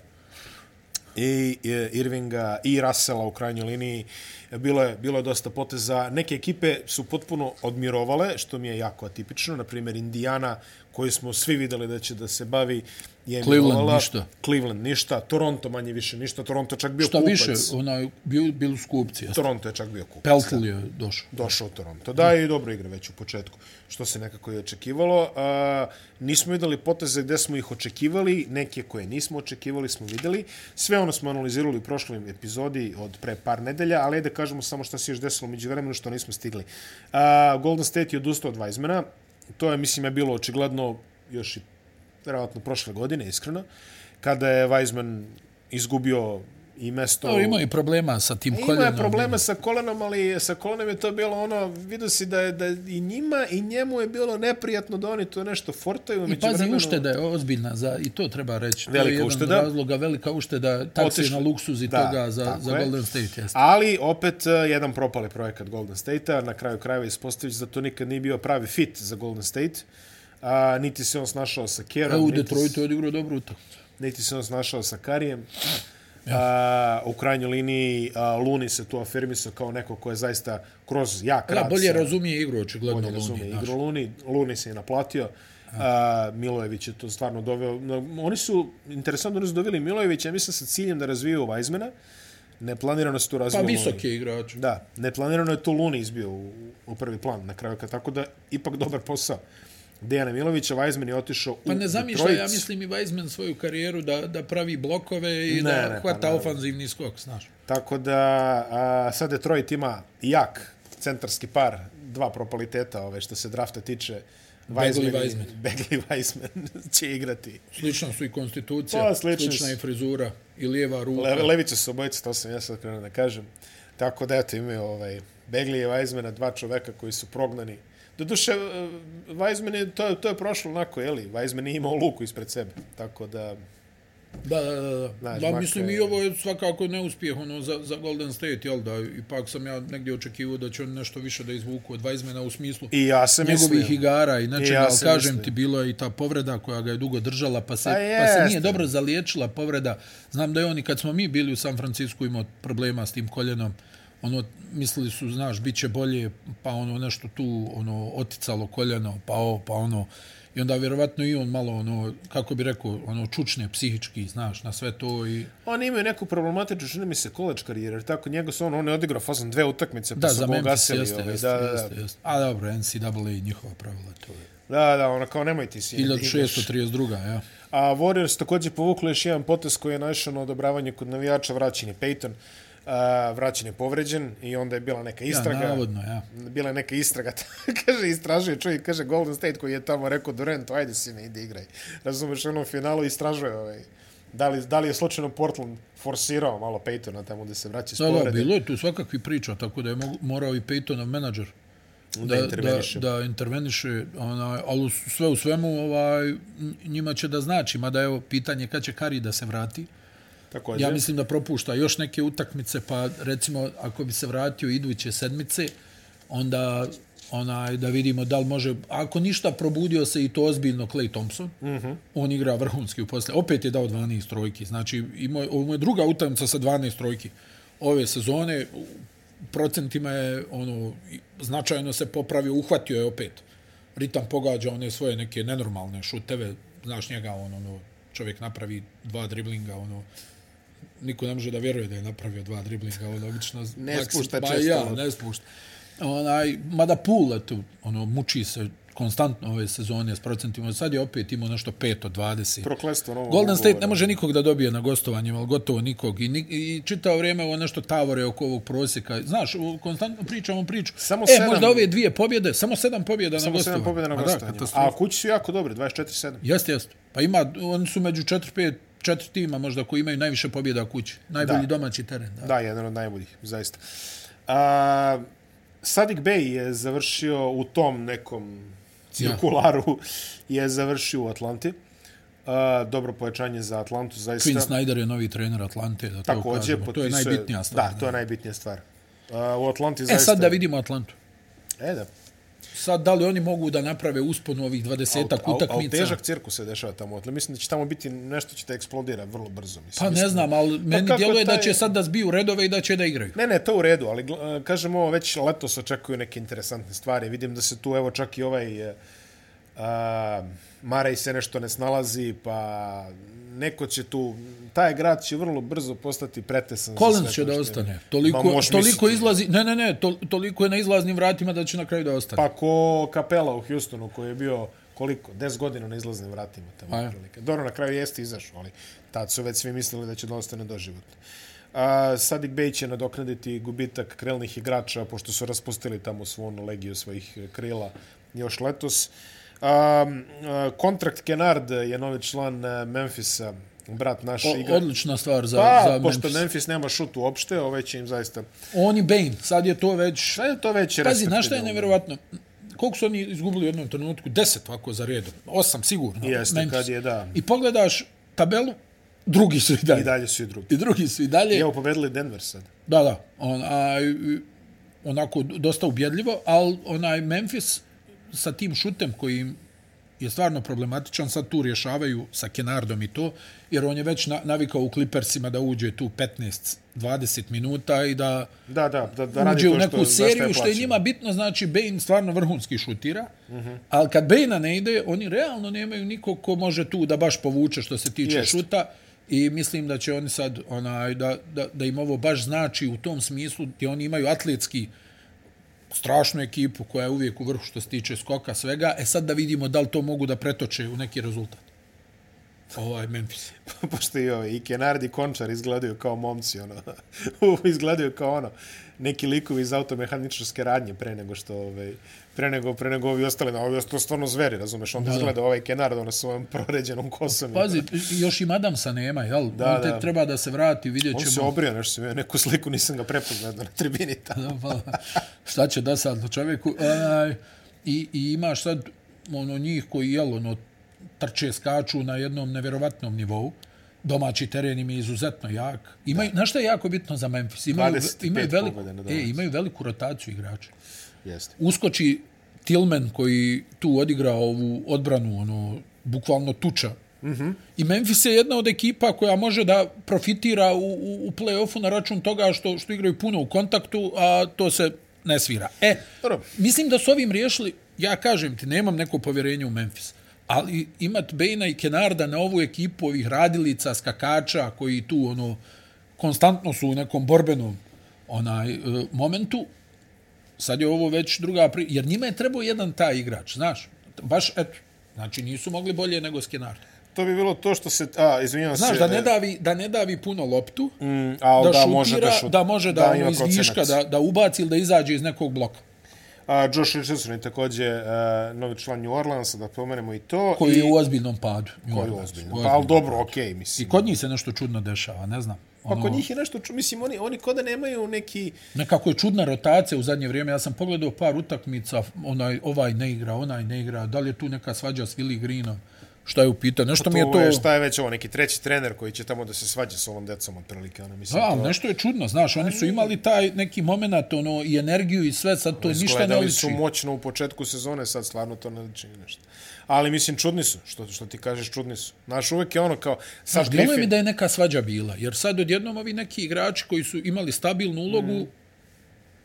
[SPEAKER 1] i e, Irvinga i Rasela u krajnjoj liniji. Bilo je, bilo je dosta poteza. Neke ekipe su potpuno odmirovale, što mi je jako atipično. Na primjer, Indiana, koju smo svi videli da će da se bavi, je
[SPEAKER 2] Cleveland
[SPEAKER 1] mirovala.
[SPEAKER 2] ništa.
[SPEAKER 1] Cleveland ništa, Toronto manje više ništa, Toronto je čak bio
[SPEAKER 2] Šta
[SPEAKER 1] kupac.
[SPEAKER 2] više, onaj, bil, bili su kupci. Jasno.
[SPEAKER 1] Toronto je čak bio kupac.
[SPEAKER 2] Peltel je došao.
[SPEAKER 1] Došao u Toronto. Da, i dobro igra već u početku, što se nekako i očekivalo. A, nismo videli poteze gde smo ih očekivali, neke koje nismo očekivali smo videli. Sve ono smo analizirali u prošloj epizodi od pre par nedelja, ali ajde da kažemo samo šta se još desilo među vremenu što nismo stigli. A, Golden State je odustao od Weizmana. To je, mislim, je bilo očigledno još i verovatno prošle godine, iskreno, kada je Weizman izgubio i mesto...
[SPEAKER 2] To ima i problema sa tim koljenom.
[SPEAKER 1] Ima je problema sa kolenom, ali sa kolenom je to bilo ono, vidio si da je da i njima i njemu je bilo neprijatno da oni to nešto fortaju.
[SPEAKER 2] I pazi, ušteda je ozbiljna, za, i to treba reći. to
[SPEAKER 1] Velika
[SPEAKER 2] je jedan
[SPEAKER 1] ušteda.
[SPEAKER 2] od razloga, velika ušteda, takse
[SPEAKER 1] Otišli-
[SPEAKER 2] na luksuz i
[SPEAKER 1] Da,
[SPEAKER 2] toga za,
[SPEAKER 1] tako
[SPEAKER 2] za
[SPEAKER 1] je.
[SPEAKER 2] Golden State. Jeste.
[SPEAKER 1] Ali opet eh, jedan propali projekat Golden State-a, na kraju krajeva ispostavići da to nikad nije bio pravi fit za Golden State. A, niti se on snašao sa
[SPEAKER 2] A
[SPEAKER 1] Kerom,
[SPEAKER 2] u
[SPEAKER 1] niti,
[SPEAKER 2] Detroitu je odigrao dobru utakmicu.
[SPEAKER 1] niti se on snašao sa Karijem. A, u krajnjoj liniji a, Luni se tu afirmisao kao neko ko je zaista kroz jak rad
[SPEAKER 2] Da, bolje
[SPEAKER 1] sa-
[SPEAKER 2] razumije igru, očigledno
[SPEAKER 1] bolje razume
[SPEAKER 2] Luni. znaš.
[SPEAKER 1] igru Luni. Luni se je naplatio. A, Milojević je to stvarno doveo. no, Oni su, interesantno, oni su doveli Milojevića, ja mislim sa ciljem da razviju Weizmana. Neplanirano se tu
[SPEAKER 2] Pa
[SPEAKER 1] razvio
[SPEAKER 2] visok
[SPEAKER 1] Luni.
[SPEAKER 2] je igrač.
[SPEAKER 1] Da, neplanirano je tu Luni izbio u, u prvi plan na kraju. kad- Tako da, ipak dobar posao. Dejana Milovića, Weizman je otišao u
[SPEAKER 2] Pa ne zamišlja, ja
[SPEAKER 1] Detroit.
[SPEAKER 2] mislim i Weizman svoju karijeru da, da pravi blokove
[SPEAKER 1] Ne,
[SPEAKER 2] i
[SPEAKER 1] ne,
[SPEAKER 2] da
[SPEAKER 1] pa
[SPEAKER 2] hvata
[SPEAKER 1] naravno.
[SPEAKER 2] ofanzivni skok, znaš.
[SPEAKER 1] Tako da, a, sad Detroit ima jak centarski par, dva propaliteta ove što se drafta tiče.
[SPEAKER 2] Begley i
[SPEAKER 1] Weizman i-
[SPEAKER 2] Weizman.
[SPEAKER 1] Begley i Weizman će igrati.
[SPEAKER 2] Slična su i konstitucija,
[SPEAKER 1] Pa, slični
[SPEAKER 2] slična
[SPEAKER 1] su.
[SPEAKER 2] je frizura i lijeva ruka.
[SPEAKER 1] Le, levice su obojice, to sam ja sad krenuo da kažem. Tako da, eto, imaju ovaj, Begley i Weizmana, dva čoveka koji su prognani. Doduše, eh, Weizman je, to, je- to je prošlo onako, jeli? Weizman nije imao luku ispred sebe. Tako da,
[SPEAKER 2] Da, da, da. da.
[SPEAKER 1] Znaš,
[SPEAKER 2] da
[SPEAKER 1] makar-
[SPEAKER 2] mislim i ovo je svakako neuspjeh ono, za, za Golden State, jel da? Ipak sam ja negdje očekivao da će on nešto više da izvuku od Weizmana u smislu
[SPEAKER 1] i ja sam
[SPEAKER 2] njegovih
[SPEAKER 1] mislio.
[SPEAKER 2] igara i
[SPEAKER 1] I
[SPEAKER 2] nečega,
[SPEAKER 1] ja
[SPEAKER 2] ali
[SPEAKER 1] se
[SPEAKER 2] kažem
[SPEAKER 1] mislim.
[SPEAKER 2] ti, bila je i ta povreda koja ga je dugo držala, pa se,
[SPEAKER 1] Pa
[SPEAKER 2] pa, pa se
[SPEAKER 1] jeste.
[SPEAKER 2] nije dobro zaliječila povreda. Znam da je on i kad smo mi bili u San Francisku imao problema s tim koljenom, ono, mislili su, znaš, bit će bolje, pa ono, nešto tu, ono, oticalo koljeno, pa ovo, pa ono, i onda vjerovatno i on malo, ono, kako bi rekao, ono, čučne psihički, znaš, na sve to i...
[SPEAKER 1] On imaju neku problematičnu, čini mi se, koleč karijer, jer tako njega su on, on je odigrao fazom dve utakmice, pa
[SPEAKER 2] Da,
[SPEAKER 1] su
[SPEAKER 2] za
[SPEAKER 1] ga
[SPEAKER 2] Memphis,
[SPEAKER 1] ugasili.
[SPEAKER 2] jeste,
[SPEAKER 1] ovaj,
[SPEAKER 2] jeste,
[SPEAKER 1] da, da, da.
[SPEAKER 2] jeste, jeste. A dobro, NCAA i njihova pravila, to je.
[SPEAKER 1] Da, da, ono kao nemoj ti si.
[SPEAKER 2] 1632, ja.
[SPEAKER 1] A Warriors također povukli još jedan potez koji je našao na odobravanje kod navijača, vraćen je Peyton, a, vraćen je povređen i onda je bila neka istraga.
[SPEAKER 2] Ja, navodno, ja.
[SPEAKER 1] bila je neka istraga, kaže, istražuje čovjek, kaže Golden State koji je tamo rekao Durantu, ajde sine, ide igraj. Razumeš, ono, u onom finalu istražuje ovaj, da li, da li je slučajno Portland forsirao malo Peytona tamo gdje se vraća s
[SPEAKER 2] Da, da,
[SPEAKER 1] povrede.
[SPEAKER 2] bilo je tu svakakvi priča, tako da je mo- morao i Peytonov menadžer da, da,
[SPEAKER 1] interveniše.
[SPEAKER 2] da interveniše, onaj, ali u s- sve u svemu ovaj, n- njima će da znači, mada evo pitanje kad će Kari da se vrati.
[SPEAKER 1] Također.
[SPEAKER 2] Ja mislim da propušta još neke utakmice, pa recimo ako bi se vratio iduće sedmice, onda onaj, da vidimo da li može, ako ništa probudio se i to ozbiljno Clay Thompson, mm -hmm. on igra vrhunski u posle, opet je dao 12 trojki, znači ima, ovo mu je druga utakmica sa 12 trojki ove sezone, u procentima je ono, i- značajno se popravio, uhvatio je opet ritam pogađa one svoje neke nenormalne šuteve, znaš njega, on, ono, čovjek napravi dva driblinga, ono, niko ne može da vjeruje da je napravio dva driblinga, on obično...
[SPEAKER 1] Ne spušta
[SPEAKER 2] ba,
[SPEAKER 1] često.
[SPEAKER 2] Ja, ne spušta. Onaj, mada Pule tu, ono, muči se konstantno ove sezone s procentima. Sad je opet imao nešto 5 od 20.
[SPEAKER 1] Proklestvo novo.
[SPEAKER 2] Golden State ne može nikog da dobije na gostovanjima, ali gotovo nikog. I, ni- i čitao vrijeme ovo nešto tavore oko ovog prosjeka. Znaš, u- konstantno pričamo priču.
[SPEAKER 1] Samo
[SPEAKER 2] e,
[SPEAKER 1] sedam-
[SPEAKER 2] možda ove dije pobjede, samo sedam pobjeda na
[SPEAKER 1] Samo
[SPEAKER 2] gostovanju.
[SPEAKER 1] 7 pobjeda na
[SPEAKER 2] Pa da,
[SPEAKER 1] gostovanju.
[SPEAKER 2] katastrofa.
[SPEAKER 1] A kući su jako dobri, 24-7.
[SPEAKER 2] Jeste, jeste. Pa ima, oni su među 4-5 četiri tima možda koji imaju najviše pobjeda kući. Najbolji
[SPEAKER 1] Da.
[SPEAKER 2] domaći teren. Da.
[SPEAKER 1] Da, jedan od najboljih, zaista. A, Sadik Bey je završio u tom nekom cirkularu, je završio u Atlanti. A, dobro pojačanje za Atlantu, zaista.
[SPEAKER 2] Quinn Snyder je novi trener Atlante, da to
[SPEAKER 1] Također,
[SPEAKER 2] kažemo. To je
[SPEAKER 1] potpisao
[SPEAKER 2] najbitnija stvar.
[SPEAKER 1] Da, to je najbitnija stvar. A, u Atlanti
[SPEAKER 2] E
[SPEAKER 1] zaista...
[SPEAKER 2] sad da vidimo Atlantu.
[SPEAKER 1] E, da.
[SPEAKER 2] Sad, da li oni mogu da naprave usponu ovih
[SPEAKER 1] Al,
[SPEAKER 2] 20-ak
[SPEAKER 1] al, al
[SPEAKER 2] utakmica?
[SPEAKER 1] težak cirkus se dešava tamo. u Atlanti. Mislim da će tamo biti nešto će te eksplodira vrlo brzo. Mislim.
[SPEAKER 2] Pa ne
[SPEAKER 1] Mislim-
[SPEAKER 2] znam, ali meni
[SPEAKER 1] kako
[SPEAKER 2] djeluje da
[SPEAKER 1] taj-
[SPEAKER 2] će sad da zbiju redove i da će da igraju.
[SPEAKER 1] Ne, ne, to u redu, ali gl- e, kažem ovo, već letos očekuju neke interesantne stvari. Vidim da se tu, evo, čak i ovaj e, a, Marej se nešto ne snalazi, pa neko će tu, taj grad će vrlo brzo postati pretesan. za
[SPEAKER 2] Collins
[SPEAKER 1] sve to
[SPEAKER 2] će da
[SPEAKER 1] što ima.
[SPEAKER 2] ostane.
[SPEAKER 1] Ma,
[SPEAKER 2] Toliko,
[SPEAKER 1] možeš
[SPEAKER 2] toliko
[SPEAKER 1] misliti.
[SPEAKER 2] izlazi, ne, ne, ne, to, toliko je na izlaznim vratima da će na kraju da ostane.
[SPEAKER 1] Pa ko Kapela u Houstonu koji je bio koliko? 10 godina na izlaznim vratima tamo.
[SPEAKER 2] Pa je.
[SPEAKER 1] otprilike. Dobro, na kraju jeste izašao, ali tad su već svi mislili da će da ostane doživotno. A, Sadik Bey će nadoknaditi gubitak krelnih igrača, pošto su raspustili tamo svu onu legiju svojih e, krila još letos. A, m, a, kontrakt Kenard je novi član e, Memfisa, brat naš
[SPEAKER 2] O,
[SPEAKER 1] igra.
[SPEAKER 2] odlična stvar za,
[SPEAKER 1] Pa,
[SPEAKER 2] za
[SPEAKER 1] pošto
[SPEAKER 2] Memphis.
[SPEAKER 1] Memphis nema šut uopšte, ovaj će im zaista...
[SPEAKER 2] Oni Bane, sad je to već...
[SPEAKER 1] Šta je to već?
[SPEAKER 2] Pazi, znaš šta je
[SPEAKER 1] respektabilno?
[SPEAKER 2] nevjerovatno? Koliko su oni izgubili u jednom trenutku? Deset ovako za redom. Osam sigurno.
[SPEAKER 1] Jeste,
[SPEAKER 2] Memphis.
[SPEAKER 1] kad je, da.
[SPEAKER 2] I pogledaš tabelu, drugi su i dalje.
[SPEAKER 1] I dalje su i drugi.
[SPEAKER 2] I drugi su i dalje.
[SPEAKER 1] I evo pobedili Denver sad.
[SPEAKER 2] Da, da. On, a, onako dosta ubjedljivo, ali onaj Memphis sa tim šutem koji im je stvarno problematičan, sad tu rješavaju sa Kenardom i to, jer on je već na, navikao u Clippersima da uđe tu 15-20 minuta i da
[SPEAKER 1] Da, da, da, da
[SPEAKER 2] da
[SPEAKER 1] radi
[SPEAKER 2] uđe
[SPEAKER 1] to
[SPEAKER 2] u
[SPEAKER 1] što,
[SPEAKER 2] neku
[SPEAKER 1] za
[SPEAKER 2] seriju što je
[SPEAKER 1] plaćen.
[SPEAKER 2] njima bitno, znači Bane stvarno vrhunski šutira, ali kad Bane ne ide, oni realno nemaju niko ko može tu da baš povuče što se tiče
[SPEAKER 1] Jest.
[SPEAKER 2] šuta i mislim da će oni sad, onaj, da, da, da im ovo baš znači u tom smislu gdje oni imaju atletski strašnu ekipu koja je uvijek u vrhu što se tiče skoka svega, e sad da vidimo da li to mogu da pretoče u neki rezultat. Ovaj Memphis.
[SPEAKER 1] Pošto i ovi, i Kenardi i Končar izgledaju kao momci, ono. U, izgledaju kao ono, neki likovi iz automehaničarske radnje pre nego što, ovaj, pre nego, pre nego ovi ostali, na ovi ostali stvarno zveri, razumeš? Onda izgleda ovaj Kenard, ono, svojom proređenom kosom. i-
[SPEAKER 2] Pazi, još i Adamsa nema, jel? Da, On te
[SPEAKER 1] da.
[SPEAKER 2] treba da se vrati, vidjet
[SPEAKER 1] On
[SPEAKER 2] ćemo.
[SPEAKER 1] se obrio, nešto sam ja neku sliku, nisam ga prepoznao na tribini tamo.
[SPEAKER 2] Da, pa, šta će da sad čovjeku? Onaj, i, I imaš sad ono, njih koji jel, ono, trče, skaču na jednom nevjerovatnom nivou. Domaći teren im je izuzetno jak. Imaju, znaš šta je jako bitno za Memphis? Imaju,
[SPEAKER 1] 25
[SPEAKER 2] imaju, veliku,
[SPEAKER 1] pobjeda na
[SPEAKER 2] e,
[SPEAKER 1] domaćem.
[SPEAKER 2] imaju veliku rotaciju igrača.
[SPEAKER 1] Jeste.
[SPEAKER 2] Uskoči Tillman koji tu odigra ovu odbranu, ono, bukvalno tuča. Mm -hmm. I Memphis je jedna od ekipa koja može da profitira u, u, u play-offu na račun toga što, što igraju puno u kontaktu, a to se ne svira. E,
[SPEAKER 1] Dobro.
[SPEAKER 2] mislim da su ovim riješili, ja kažem ti, nemam neko povjerenje u Memphis, ali imat Bejna i Kenarda na ovu ekipu ovih radilica, skakača koji tu ono konstantno su u nekom borbenom onaj e, momentu, sad je ovo već druga pri... jer njima je trebao jedan taj igrač, znaš, baš eto, znači nisu mogli bolje nego s Kenardom.
[SPEAKER 1] To bi bilo to što se... A, izvinjavam se.
[SPEAKER 2] Znaš, da ne davi, da ne davi puno loptu,
[SPEAKER 1] Mm, a,
[SPEAKER 2] da,
[SPEAKER 1] da,
[SPEAKER 2] šutira,
[SPEAKER 1] može da šut.
[SPEAKER 2] da može da, da
[SPEAKER 1] ima
[SPEAKER 2] ono, iz viška,
[SPEAKER 1] procenat.
[SPEAKER 2] da, da ubaci ili da izađe iz nekog bloka.
[SPEAKER 1] A, Josh Richardson je takođe uh, novi član New Orleansa, da pomenemo i to.
[SPEAKER 2] koji
[SPEAKER 1] I,
[SPEAKER 2] je znači, u ozbiljnom padu.
[SPEAKER 1] koji je ozbiljno. Pa, ali dobro, okej, okay, mislim.
[SPEAKER 2] I kod njih se nešto čudno dešava, ne znam.
[SPEAKER 1] Pa
[SPEAKER 2] Ono,
[SPEAKER 1] kod njih je nešto, ču- mislim, oni, oni kod da nemaju neki...
[SPEAKER 2] Nekako je čudna rotacija u zadnje vrijeme. Ja sam pogledao par utakmica, onaj, ovaj ne igra, onaj ne igra. Da li je tu neka svađa s Willi Greenom? Šta je upitao? Nešto mi je
[SPEAKER 1] Pa To
[SPEAKER 2] to...
[SPEAKER 1] je, šta je već ovo, neki treći trener koji će tamo da se svađa s ovom decom, otprilike, ono, mislim,
[SPEAKER 2] Da, ali
[SPEAKER 1] to...
[SPEAKER 2] nešto je čudno, znaš,
[SPEAKER 1] Pa
[SPEAKER 2] oni su imali taj neki moment, ono, i energiju i sve, sad to ništa ne
[SPEAKER 1] Izgledali
[SPEAKER 2] liči.
[SPEAKER 1] su moćno u početku sezone, sad stvarno to ne liči ni nešto. Ali mislim, čudni su, što, što ti kažeš, čudni su. Znaš, uvek je ono kao, sad
[SPEAKER 2] Znaš, djeluje mi
[SPEAKER 1] Griffin,
[SPEAKER 2] da je neka svađa bila, jer sad odjednom ovi neki igrači koji su imali stabilnu ulogu, mm.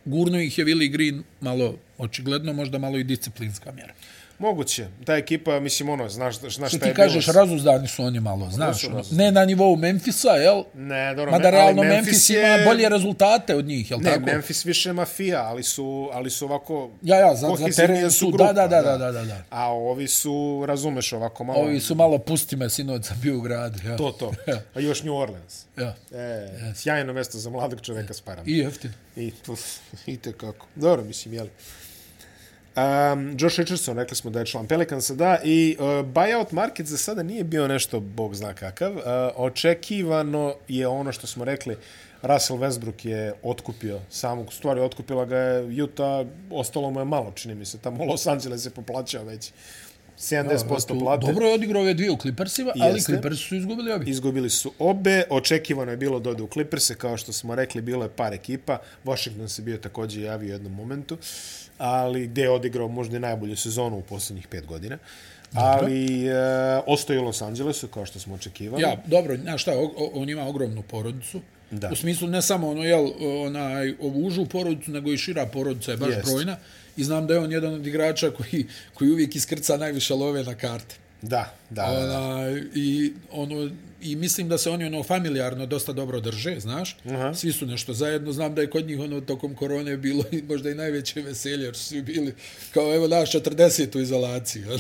[SPEAKER 2] gurno ih je Willi Green malo, očigledno, možda malo i disciplinska mjera.
[SPEAKER 1] Moguće. Ta ekipa, mislim, ono, znaš, znaš
[SPEAKER 2] Što
[SPEAKER 1] šta
[SPEAKER 2] ti
[SPEAKER 1] je bilo
[SPEAKER 2] kažeš,
[SPEAKER 1] sa-
[SPEAKER 2] razuzdani su oni malo, znaš.
[SPEAKER 1] su
[SPEAKER 2] Ono,
[SPEAKER 1] razuzdani.
[SPEAKER 2] ne na nivou Memfisa, jel?
[SPEAKER 1] Ne, dobro,
[SPEAKER 2] Mada
[SPEAKER 1] me- ali
[SPEAKER 2] realno Memphis ima
[SPEAKER 1] je-
[SPEAKER 2] bolje rezultate od njih, jel
[SPEAKER 1] Ne,
[SPEAKER 2] tako?
[SPEAKER 1] Memphis više mafija, ali su, ali su ovako...
[SPEAKER 2] Ja, ja, za, za
[SPEAKER 1] kohezivnija
[SPEAKER 2] teren su,
[SPEAKER 1] grupa,
[SPEAKER 2] da, da, da, da, da, da, da.
[SPEAKER 1] A ovi su, razumeš, ovako malo...
[SPEAKER 2] Ovi su malo pusti me sinoć sam bio u gradu. Ja.
[SPEAKER 1] To, to. A još New Orleans.
[SPEAKER 2] Ja.
[SPEAKER 1] E, sjajno mesto za mladog čoveka s parama.
[SPEAKER 2] I jeftino.
[SPEAKER 1] I, uf, i te kako. Dobro, mislim, jeli. Um, Josh Richardson, rekli smo da je član Pelicansa, da, i uh, buyout market za sada nije bio nešto, bog zna kakav. Uh, očekivano je ono što smo rekli, Russell Westbrook je otkupio samog, u stvari otkupila ga je Utah, ostalo mu je malo, čini mi se, tamo Los Angeles je poplaćao već 70% plate.
[SPEAKER 2] Dobro je odigrao ove dvije u Clippersima, ali
[SPEAKER 1] Jeste.
[SPEAKER 2] Clippers su izgubili obi.
[SPEAKER 1] Izgubili su obe, očekivano je bilo da ode u Clippers, kao što smo rekli, bilo je par ekipa, Washington se bio takođe javio u jednom momentu, ali gde je odigrao možda i najbolju sezonu u posljednjih pet godina. Ali e, ostao je u Los Angelesu, kao što smo očekivali.
[SPEAKER 2] Ja, dobro, znaš šta, o- o- on ima ogromnu porodicu.
[SPEAKER 1] Da.
[SPEAKER 2] U smislu ne samo ono, jel, onaj, ovu užu porodicu, nego i šira porodica je baš
[SPEAKER 1] Jest.
[SPEAKER 2] brojna. I znam da je on jedan od igrača koji, koji uvijek iskrca najviše love na karte.
[SPEAKER 1] Da, da, da, da.
[SPEAKER 2] Ona, i, ono, I mislim da se oni ono familijarno dosta dobro drže, znaš. Aha. Svi su nešto zajedno. Znam da je kod njih ono tokom korone bilo i možda i najveće veselje, jer su svi bili kao evo naš 40 u izolaciji. ono.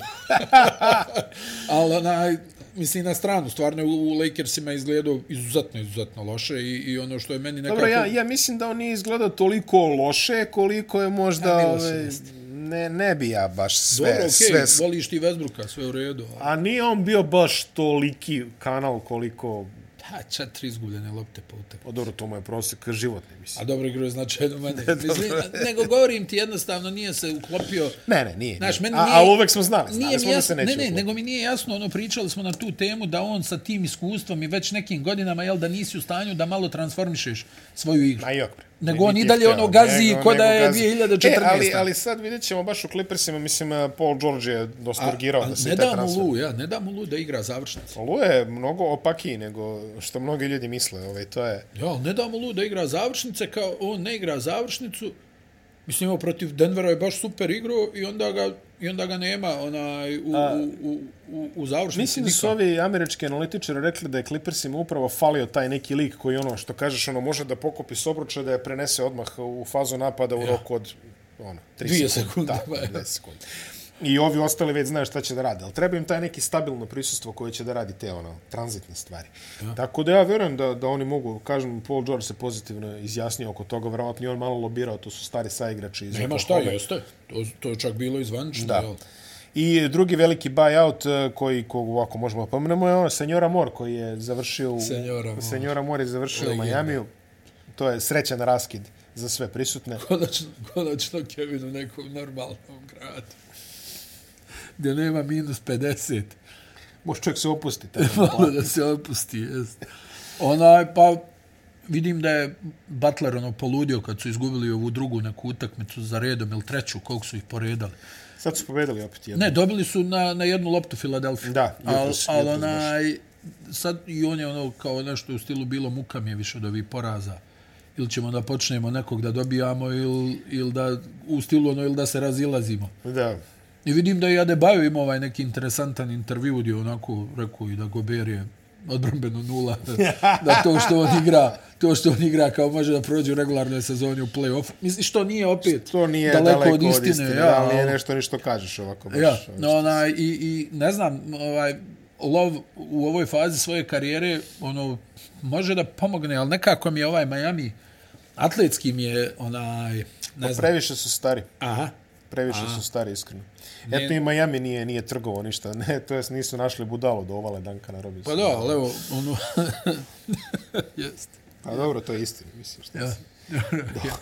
[SPEAKER 2] Ali onaj, mislim na stranu, stvarno je u, u Lakersima izgledao izuzetno, izuzetno loše i, i ono što je meni nekako...
[SPEAKER 1] Dobro, ja, ja mislim da on nije izgledao toliko loše koliko je možda...
[SPEAKER 2] A, Miloš je
[SPEAKER 1] ove,
[SPEAKER 2] jeste.
[SPEAKER 1] ne, ne bi ja baš sve,
[SPEAKER 2] Dobro,
[SPEAKER 1] sve,
[SPEAKER 2] okej,
[SPEAKER 1] sve
[SPEAKER 2] voliš ti Vesbruka, sve u redu. ali-
[SPEAKER 1] A nije on bio baš toliki kanal koliko...
[SPEAKER 2] Da, četiri izgubljene lopte po utakmici.
[SPEAKER 1] O, dobro, to mu je prosjek životni, mislim.
[SPEAKER 2] A dobro igrao je značajno manje. Mislim, nego govorim ti jednostavno nije se uklopio.
[SPEAKER 1] Ne, ne, nije.
[SPEAKER 2] Znaš,
[SPEAKER 1] nije.
[SPEAKER 2] meni
[SPEAKER 1] A,
[SPEAKER 2] nije-
[SPEAKER 1] a uvek smo znali, znali
[SPEAKER 2] Nije mi
[SPEAKER 1] smo da se
[SPEAKER 2] jasno,
[SPEAKER 1] neće
[SPEAKER 2] ne, ne,
[SPEAKER 1] uklopiti.
[SPEAKER 2] nego mi nije jasno, ono pričali smo na tu temu da on sa tim iskustvom i već nekim godinama, jel da nisi u stanju da malo transformišeš svoju igru.
[SPEAKER 1] Ma jok, bre.
[SPEAKER 2] Nego
[SPEAKER 1] Niti
[SPEAKER 2] on i
[SPEAKER 1] je
[SPEAKER 2] dalje
[SPEAKER 1] hteo,
[SPEAKER 2] ono gazi
[SPEAKER 1] nego-
[SPEAKER 2] ko da
[SPEAKER 1] nego
[SPEAKER 2] je
[SPEAKER 1] gazi.
[SPEAKER 2] 2014..
[SPEAKER 1] E, ali, ali sad vidjet ćemo baš u Clippersima, mislim, eh, Paul George je dosta urgirao da
[SPEAKER 2] A
[SPEAKER 1] se
[SPEAKER 2] ne
[SPEAKER 1] taj
[SPEAKER 2] da mu
[SPEAKER 1] transfer...
[SPEAKER 2] lu, ja, ne da mu lu da igra završnicu.
[SPEAKER 1] Lu je mnogo opakiji nego što mnogi ljudi misle. Ovaj, to je...
[SPEAKER 2] Ja, ali ne da mu lu da igra završnice, kao on ne igra završnicu. Mislim, evo, protiv Denvera je baš super igrao i onda ga, i onda ga nema onaj, u, u, u, u, u završnici.
[SPEAKER 1] Mislim da su
[SPEAKER 2] nikako.
[SPEAKER 1] ovi američki analitičari rekli da je Clippersima upravo falio taj neki lik koji ono što kažeš ono može da pokopi s obruča da je prenese odmah u fazu napada u roku od ono 3
[SPEAKER 2] Dvije sekunde, pa
[SPEAKER 1] Da,
[SPEAKER 2] ba.
[SPEAKER 1] 10 sekundi. I ovi ostali već znaju šta će da rade, ali treba im taj neki stabilno prisustvo koje će da radi te ono tranzitne stvari. Ja. Tako da ja vjerujem da, da oni mogu, kažem, Paul George se pozitivno izjasnio oko toga, vjerovatno i on malo lobirao, to su stari saigrači iz
[SPEAKER 2] Nema šta,
[SPEAKER 1] Oklahoma.
[SPEAKER 2] jeste. To, to je čak bilo izvanično.
[SPEAKER 1] Da.
[SPEAKER 2] jel?
[SPEAKER 1] I drugi veliki buyout e, koji kog ovako možemo pomenemo je ono Senjora Mor koji je završio u
[SPEAKER 2] Senjora Moore.
[SPEAKER 1] Senjora Mor je završio u
[SPEAKER 2] Legenda.
[SPEAKER 1] Majamiju. To je srećan raskid za sve prisutne.
[SPEAKER 2] Konačno, konačno Kevin u nekom normalnom gradu. Gdje nema minus 50.
[SPEAKER 1] Može čovjek se opusti. Taj,
[SPEAKER 2] Malo da se opusti, jeste. Onaj, pa vidim da je Butler ono poludio kad su izgubili ovu drugu neku utakmicu za redom ili treću, koliko su ih poredali.
[SPEAKER 1] Sad su pobedali opet jedno.
[SPEAKER 2] Ne, dobili su na, na jednu loptu Filadelfiju.
[SPEAKER 1] Da,
[SPEAKER 2] ali
[SPEAKER 1] jutros,
[SPEAKER 2] al,
[SPEAKER 1] jutros baš.
[SPEAKER 2] onaj, sad i on je ono kao nešto u stilu bilo muka mi je više od ovih poraza. Ili ćemo da počnemo nekog da dobijamo ili, ili da u stilu ono ili da se razilazimo.
[SPEAKER 1] Da.
[SPEAKER 2] I vidim da je Adebayo imao ovaj neki interesantan intervju gdje je onako rekao i da Gober je odbrombeno nula, da to što on igra, to što on igra kao može da prođe u regularnoj sezoni u play-off. Mislim, što nije opet
[SPEAKER 1] To nije
[SPEAKER 2] daleko, od istine. ja,
[SPEAKER 1] ali je
[SPEAKER 2] ali-
[SPEAKER 1] nešto ništo kažeš ovako. Baš,
[SPEAKER 2] Ja,
[SPEAKER 1] ono
[SPEAKER 2] no,
[SPEAKER 1] što-
[SPEAKER 2] onaj, i, i ne znam, ovaj, Lov u ovoj fazi svoje karijere ono, može da pomogne, ali nekako mi je ovaj Miami, atletski mi je onaj, ne znam.
[SPEAKER 1] Pa Previše su stari.
[SPEAKER 2] Aha.
[SPEAKER 1] Previše su stari, iskreno. Eto i Miami nije, nije trgovo ništa. Ne, to jest nisu našli budalo do ovale Dankana
[SPEAKER 2] Pa
[SPEAKER 1] Robinsona.
[SPEAKER 2] da, ali evo, ono, jeste.
[SPEAKER 1] Pa dobro, to je istina. Mislim, šta
[SPEAKER 2] Ja.
[SPEAKER 1] se-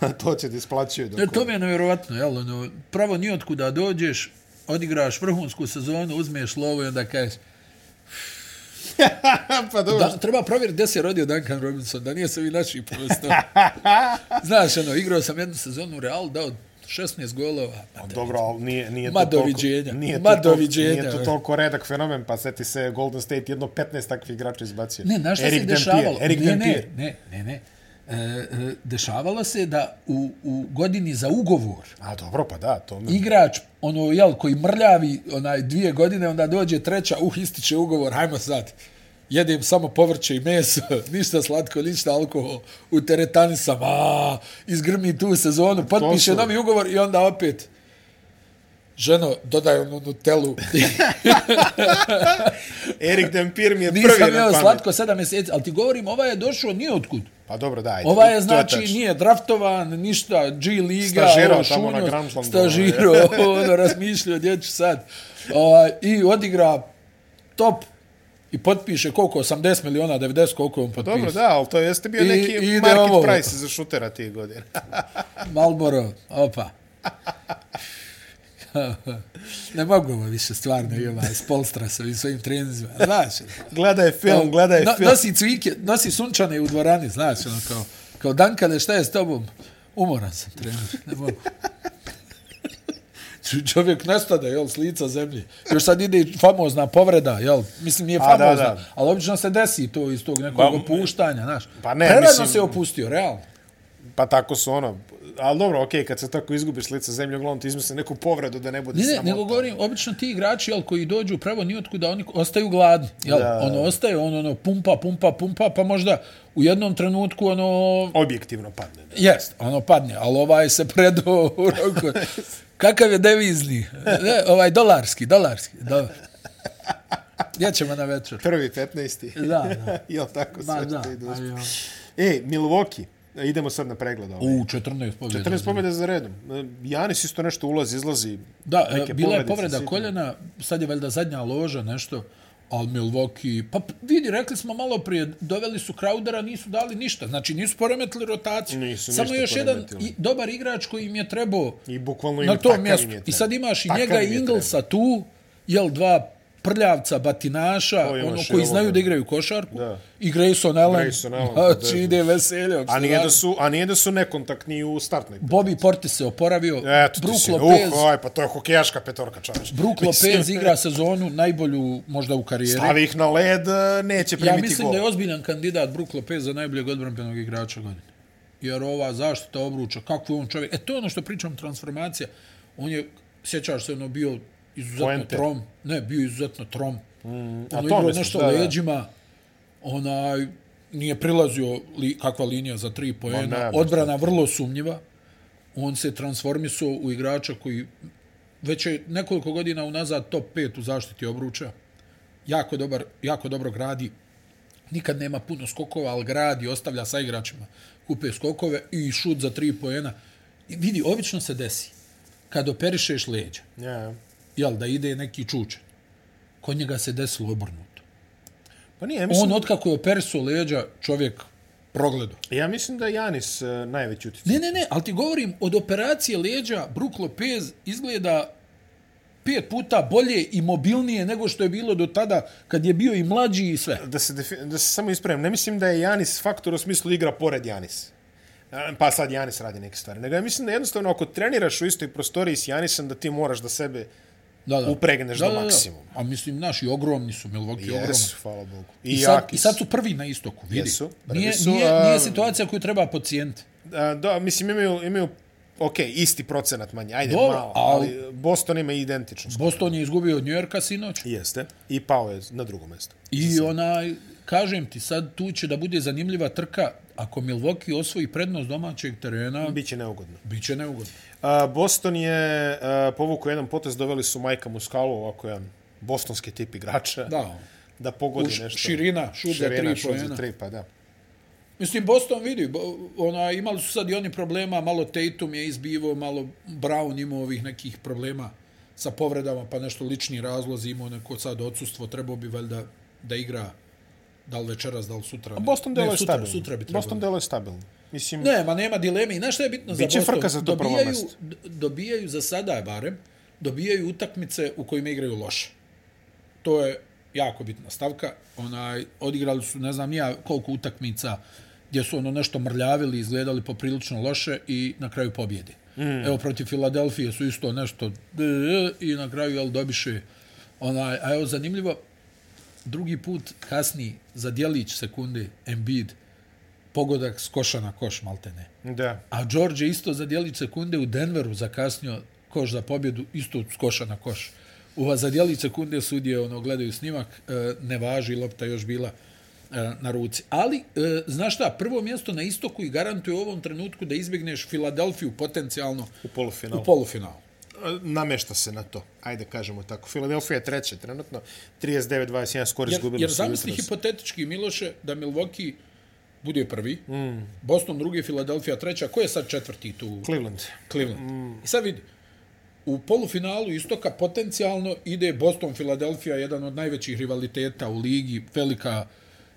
[SPEAKER 1] Da, to će da isplaćaju. dok
[SPEAKER 2] Ne, to mi je nevjerovatno, jel, ono, pravo nijotku da dođeš, odigraš vrhunsku sezonu, uzmeš lovo i onda kažeš,
[SPEAKER 1] pa dobro.
[SPEAKER 2] Da, treba provjeriti gdje se rodio Duncan Robinson, da nije se vi naših prostor. Znaš, ono, igrao sam jednu sezonu u Real, dao 16 golova. Ma, da,
[SPEAKER 1] Dobro, ali nije, nije
[SPEAKER 2] Ma
[SPEAKER 1] to toliko...
[SPEAKER 2] doviđenja.
[SPEAKER 1] Nije
[SPEAKER 2] Ma
[SPEAKER 1] to, toliko,
[SPEAKER 2] doviđenja.
[SPEAKER 1] nije to toliko redak fenomen, pa seti se Golden State jedno 15 takvih igrača izbacio.
[SPEAKER 2] ne, znaš šta
[SPEAKER 1] Eric
[SPEAKER 2] se
[SPEAKER 1] Dampier,
[SPEAKER 2] dešavalo?
[SPEAKER 1] Eric
[SPEAKER 2] ne,
[SPEAKER 1] Dampier.
[SPEAKER 2] ne, ne, ne, ne. e, e, dešavalo se da u, u godini za ugovor
[SPEAKER 1] A dobro, pa da, to mi...
[SPEAKER 2] igrač ono jel koji mrljavi onaj dvije godine onda dođe treća uh ističe ugovor hajmo sad jedem samo povrće i meso, ništa slatko, ništa alkohol, u teretani sam, a, izgrmi tu sezonu, potpiše
[SPEAKER 1] su-
[SPEAKER 2] novi ugovor i onda opet, ženo, dodaj onu nutelu,
[SPEAKER 1] Erik Dempir mi je prvi
[SPEAKER 2] nisam
[SPEAKER 1] na
[SPEAKER 2] jeo
[SPEAKER 1] pamet.
[SPEAKER 2] slatko sedam mjeseci, ali ti govorim, ovaj je došao nije otkud.
[SPEAKER 1] Pa dobro, daj.
[SPEAKER 2] Ova je
[SPEAKER 1] to
[SPEAKER 2] znači
[SPEAKER 1] tačno.
[SPEAKER 2] nije draftovan, ništa, G liga,
[SPEAKER 1] Stažirao
[SPEAKER 2] ovo,
[SPEAKER 1] tamo na
[SPEAKER 2] šunjo,
[SPEAKER 1] Grand Slam,
[SPEAKER 2] stažirao, ono razmišljao gdje ću sad. Ovaj, I odigra top i potpiše koliko 80 miliona, 90 koliko je on potpisao.
[SPEAKER 1] Pa Dobro, da, ali to jeste bio
[SPEAKER 2] I-
[SPEAKER 1] neki
[SPEAKER 2] i ide
[SPEAKER 1] market
[SPEAKER 2] ovo.
[SPEAKER 1] price za šutera tih godina.
[SPEAKER 2] Malboro, opa. ne mogu ovo više stvarno i ovaj spolstra sa ovim svojim trenizima. Znaš,
[SPEAKER 1] Gledaj film, gledaj
[SPEAKER 2] no,
[SPEAKER 1] film.
[SPEAKER 2] nosi cvike, nosi sunčane u dvorani, znaš, ono kao, kao Dankale, šta je s tobom? Umoran sam, trener, ne mogu. Ču- Čovjek nestade, jel, s lica zemlje. Još sad ide i famozna povreda, jel? Mislim, nije
[SPEAKER 1] A, da,
[SPEAKER 2] famozna, A, da, da.
[SPEAKER 1] da.
[SPEAKER 2] ali obično se desi to iz tog nekog
[SPEAKER 1] Pa,
[SPEAKER 2] opuštanja, znaš.
[SPEAKER 1] pa ne,
[SPEAKER 2] Prerano
[SPEAKER 1] mislim-
[SPEAKER 2] se opustio, realno.
[SPEAKER 1] Pa tako su ono. Ali dobro, okej, kad se tako izgubiš lica zemlje, uglavnom ti izmisli neku povredu da ne bude
[SPEAKER 2] Ne, ne,
[SPEAKER 1] sramota.
[SPEAKER 2] nego govorim, obično ti igrači jel, koji dođu pravo nijotkuda, oni ostaju gladni. Jel?
[SPEAKER 1] Da.
[SPEAKER 2] Da. Ono ostaje, ono, ono, pumpa, pumpa, pumpa, pa možda u jednom trenutku ono...
[SPEAKER 1] Objektivno padne. ne.
[SPEAKER 2] Jest, ono padne, ali ovaj se predo u roku. Kakav je devizni? Ne, ovaj dolarski, dolarski. Dobro. Ja ćemo na večer.
[SPEAKER 1] Prvi 15.
[SPEAKER 2] Da, da.
[SPEAKER 1] Jel tako
[SPEAKER 2] Ba,
[SPEAKER 1] sve
[SPEAKER 2] da.
[SPEAKER 1] što ide
[SPEAKER 2] ali,
[SPEAKER 1] uspjeh.
[SPEAKER 2] ono.
[SPEAKER 1] E, Milwaukee, E, idemo sad na pregled ovaj.
[SPEAKER 2] U, 14 pobjeda.
[SPEAKER 1] 14 pobjeda za redom. E, Janis isto nešto ulazi, izlazi.
[SPEAKER 2] Da,
[SPEAKER 1] Neke
[SPEAKER 2] e, bila je
[SPEAKER 1] povredice
[SPEAKER 2] povreda
[SPEAKER 1] sitne.
[SPEAKER 2] koljena, sad je valjda zadnja loža, nešto, ali Milwaukee, pa p- vidi, rekli smo malo prije, doveli su Crowdera, nisu dali ništa, znači nisu poremetili rotaciju,
[SPEAKER 1] Nisu
[SPEAKER 2] samo
[SPEAKER 1] ništa
[SPEAKER 2] još jedan
[SPEAKER 1] poremetili.
[SPEAKER 2] i, dobar igrač koji im je trebao
[SPEAKER 1] I bukvalno im
[SPEAKER 2] na
[SPEAKER 1] je
[SPEAKER 2] tom
[SPEAKER 1] takav im
[SPEAKER 2] mjestu.
[SPEAKER 1] je
[SPEAKER 2] I
[SPEAKER 1] trebao.
[SPEAKER 2] sad imaš i
[SPEAKER 1] Takav
[SPEAKER 2] njega
[SPEAKER 1] im
[SPEAKER 2] i
[SPEAKER 1] je
[SPEAKER 2] Inglesa tu, jel dva prljavca, batinaša,
[SPEAKER 1] Koji
[SPEAKER 2] ono,
[SPEAKER 1] imaš i
[SPEAKER 2] koji
[SPEAKER 1] ovoga.
[SPEAKER 2] znaju da igraju košarku,
[SPEAKER 1] Da.
[SPEAKER 2] i Grayson Allen,
[SPEAKER 1] Grayson Allen,
[SPEAKER 2] znači
[SPEAKER 1] bezno.
[SPEAKER 2] ide veselje. ako
[SPEAKER 1] A
[SPEAKER 2] se
[SPEAKER 1] nije,
[SPEAKER 2] da-
[SPEAKER 1] da su, a nije da su nekontaktni u startnoj.
[SPEAKER 2] Bobby Portis se oporavio,
[SPEAKER 1] Eto, ti
[SPEAKER 2] Brook
[SPEAKER 1] si,
[SPEAKER 2] Lopez,
[SPEAKER 1] uh, oj, pa to je hokejaška petorka, čovječ.
[SPEAKER 2] Brook Lopez igra sezonu najbolju možda u karijeri.
[SPEAKER 1] Stavi ih na led, e, neće
[SPEAKER 2] ja
[SPEAKER 1] primiti
[SPEAKER 2] mislim
[SPEAKER 1] gol.
[SPEAKER 2] da je ozbiljan kandidat Brook Lopez za najboljeg odbranbenog igrača godine. Jer ova zaštita obruča, kako je on čovjek. E to je ono što pričam transformacija. On je, sjećaš se, ono bio izuzetno
[SPEAKER 1] Poenter.
[SPEAKER 2] trom. Ne, bio izuzetno trom. Mm, ono
[SPEAKER 1] to
[SPEAKER 2] igrao
[SPEAKER 1] misliš,
[SPEAKER 2] nešto
[SPEAKER 1] da, da.
[SPEAKER 2] leđima. Onaj, nije prilazio li, kakva linija za tri
[SPEAKER 1] Ma,
[SPEAKER 2] poena.
[SPEAKER 1] nema
[SPEAKER 2] Odbrana vrlo sumnjiva. On se transformisao u igrača koji već je nekoliko godina unazad top 5 u zaštiti obruča. Jako, dobar, jako dobro gradi. Nikad nema puno skokova, ali gradi, ostavlja sa igračima. Kupe skokove i šut za tri poena. I vidi, obično se desi. Kad operišeš leđa,
[SPEAKER 1] Ja.
[SPEAKER 2] jel, da ide neki čučen. Kod njega se desilo obrnuto.
[SPEAKER 1] Pa nije, ja
[SPEAKER 2] On,
[SPEAKER 1] mislim,
[SPEAKER 2] otkako je operisao leđa, čovjek progledao.
[SPEAKER 1] ja mislim da je Janis e, najveći utjecaj.
[SPEAKER 2] Ne, ne, ne, ali ti govorim, od operacije leđa Brook Lopez izgleda pet puta bolje i mobilnije nego što je bilo do tada kad je bio i mlađi i sve.
[SPEAKER 1] Da se, defi, da se samo ispravim, ne mislim da je Janis faktor u smislu igra pored Janis. E, Pa sad Janis radi neke stvari. Nego ja mislim da jednostavno ako treniraš u istoj prostoriji s Janisom da ti moraš da sebe...
[SPEAKER 2] Da, da.
[SPEAKER 1] Upregneš do maksimuma.
[SPEAKER 2] A mislim, naši ogromni su, Milwaukee yes. ogromni.
[SPEAKER 1] Jesu, hvala Bogu. I,
[SPEAKER 2] I sad,
[SPEAKER 1] jaki
[SPEAKER 2] I sad su prvi na istoku, vidi.
[SPEAKER 1] Jesu, prvi
[SPEAKER 2] nije,
[SPEAKER 1] su,
[SPEAKER 2] nije,
[SPEAKER 1] a-
[SPEAKER 2] nije situacija koju treba pacijent.
[SPEAKER 1] A, da, E, mislim, imaju, imaju ok, isti procenat manje, ajde,
[SPEAKER 2] Dobro,
[SPEAKER 1] malo,
[SPEAKER 2] ali-
[SPEAKER 1] ali Boston ima identično.
[SPEAKER 2] Boston je izgubio od Njujorka sinoć
[SPEAKER 1] Jeste. I pao je na drugo mesto.
[SPEAKER 2] i onaj, kažem ti, sad tu će da bude zanimljiva trka. Ako Milwaukee osvoji prednost domaćeg terena,
[SPEAKER 1] Biće neugodno.
[SPEAKER 2] biće neugodno.
[SPEAKER 1] A, Boston je a, povukao jedan potez, doveli su Majka Muskalu, ovako jedan bostonski tip igrača,
[SPEAKER 2] Da,
[SPEAKER 1] Pa da pogodi
[SPEAKER 2] Uš-
[SPEAKER 1] nešto.
[SPEAKER 2] širina, šut za
[SPEAKER 1] Širina,
[SPEAKER 2] tri
[SPEAKER 1] šut za
[SPEAKER 2] poena.
[SPEAKER 1] tri, pa da.
[SPEAKER 2] Mislim, Boston vidi, bo- ona, imali su sad i oni problema, malo Tatum je izbivao, malo Brown imao ovih nekih problema sa povredama, pa nešto lični razlozi imao neko sad odsustvo, trebao bi valjda da igra da li večeras, da li sutra. ne.
[SPEAKER 1] Boston
[SPEAKER 2] ne,
[SPEAKER 1] deluje
[SPEAKER 2] sutra,
[SPEAKER 1] stabilno.
[SPEAKER 2] Sutra bi trebalo.
[SPEAKER 1] Boston deluje stabilno. Mislim,
[SPEAKER 2] Ne, ma nema dileme. I znaš šta je bitno
[SPEAKER 1] Biće
[SPEAKER 2] za Boston?
[SPEAKER 1] frka za to prvo
[SPEAKER 2] dobijaju,
[SPEAKER 1] mesto.
[SPEAKER 2] d- dobijaju za sada, barem, dobijaju utakmice u kojima igraju loše. To je jako bitna stavka. Onaj, odigrali su, ne znam ni ja koliko utakmica gdje su ono nešto mrljavili, izgledali poprilično loše i na kraju pobjede. Mm. Evo, protiv Filadelfije su isto nešto d- d- i na kraju, jel, dobiše onaj, a evo, zanimljivo, drugi put kasni za dijelić sekunde Embiid pogodak s koša na koš, maltene.
[SPEAKER 1] Da.
[SPEAKER 2] A George je isto za dijelić sekunde u Denveru zakasnio koš za pobjedu, isto s koša na koš. Uva za dijelić sekunde sudije, ono, gledaju snimak, e, ne važi, lopta još bila e, na ruci. Ali, e, znaš šta, prvo mjesto na istoku i garantuje u ovom trenutku da izbjegneš Filadelfiju potencijalno
[SPEAKER 1] U polufinalu.
[SPEAKER 2] u polufinalu.
[SPEAKER 1] namešta se na to. Ajde kažemo tako. Filadelfija je treća trenutno. 39-21 skoro
[SPEAKER 2] Jer,
[SPEAKER 1] izgubili
[SPEAKER 2] jer
[SPEAKER 1] su
[SPEAKER 2] zamisli
[SPEAKER 1] jutros.
[SPEAKER 2] hipotetički, Miloše, da Milwaukee bude prvi, mm. Boston drugi, Filadelfija treća, ko je sad četvrti tu?
[SPEAKER 1] Cleveland.
[SPEAKER 2] Cleveland. Mm. I sad vidi, u polufinalu istoka potencijalno ide Boston, Filadelfija, jedan od najvećih rivaliteta u ligi, velika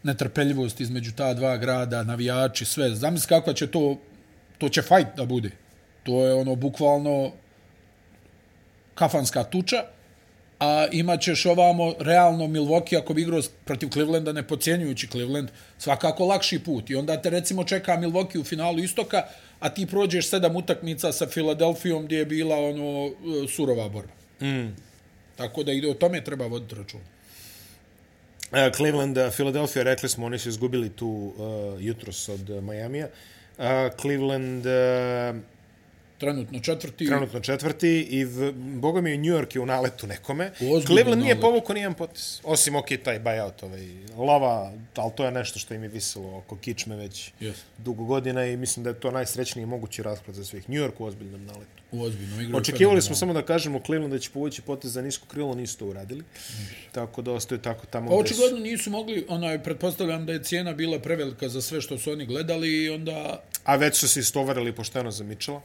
[SPEAKER 2] netrpeljivost između ta dva grada, navijači, sve. Zamisli kakva će to, to će fight da bude. To je ono bukvalno kafanska tuča, a imaćeš ovamo realno Milwaukee ako bi igrao protiv Clevelanda ne pocijenjujući Cleveland, svakako lakši put. I onda te recimo čeka Milwaukee u finalu istoka, a ti prođeš sedam utakmica sa Filadelfijom gdje je bila ono e, surova borba. Mm. Tako da ide o tome treba voditi račun.
[SPEAKER 1] E, Cleveland, e, Philadelphia, rekli smo, oni su izgubili tu uh, jutros od uh, Majamija. Uh, Cleveland uh,
[SPEAKER 2] Trenutno četvrti.
[SPEAKER 1] trenutno četvrti i v, boga mi New York je u naletu nekome.
[SPEAKER 2] Ozbiljno
[SPEAKER 1] Cleveland nije
[SPEAKER 2] naletu.
[SPEAKER 1] povukao nijedan potis. Osim, ok, taj buyout, ovaj, lava, ali to je nešto što im je visilo oko kičme već
[SPEAKER 2] Yes.
[SPEAKER 1] dugo godina i mislim da je to najsrećniji mogući raspad za svih. New York u ozbiljnom naletu.
[SPEAKER 2] U ozbiljnom igru.
[SPEAKER 1] Očekivali smo samo da kažemo Cleveland da će povući potez za nisko krilo, nisu to uradili. Tako da ostaju tako tamo
[SPEAKER 2] Pa
[SPEAKER 1] gde su.
[SPEAKER 2] očigledno nisu mogli, onaj, pretpostavljam da je cijena bila prevelika za sve što su oni gledali i onda
[SPEAKER 1] A već su se istovarili pošteno za Mitchella.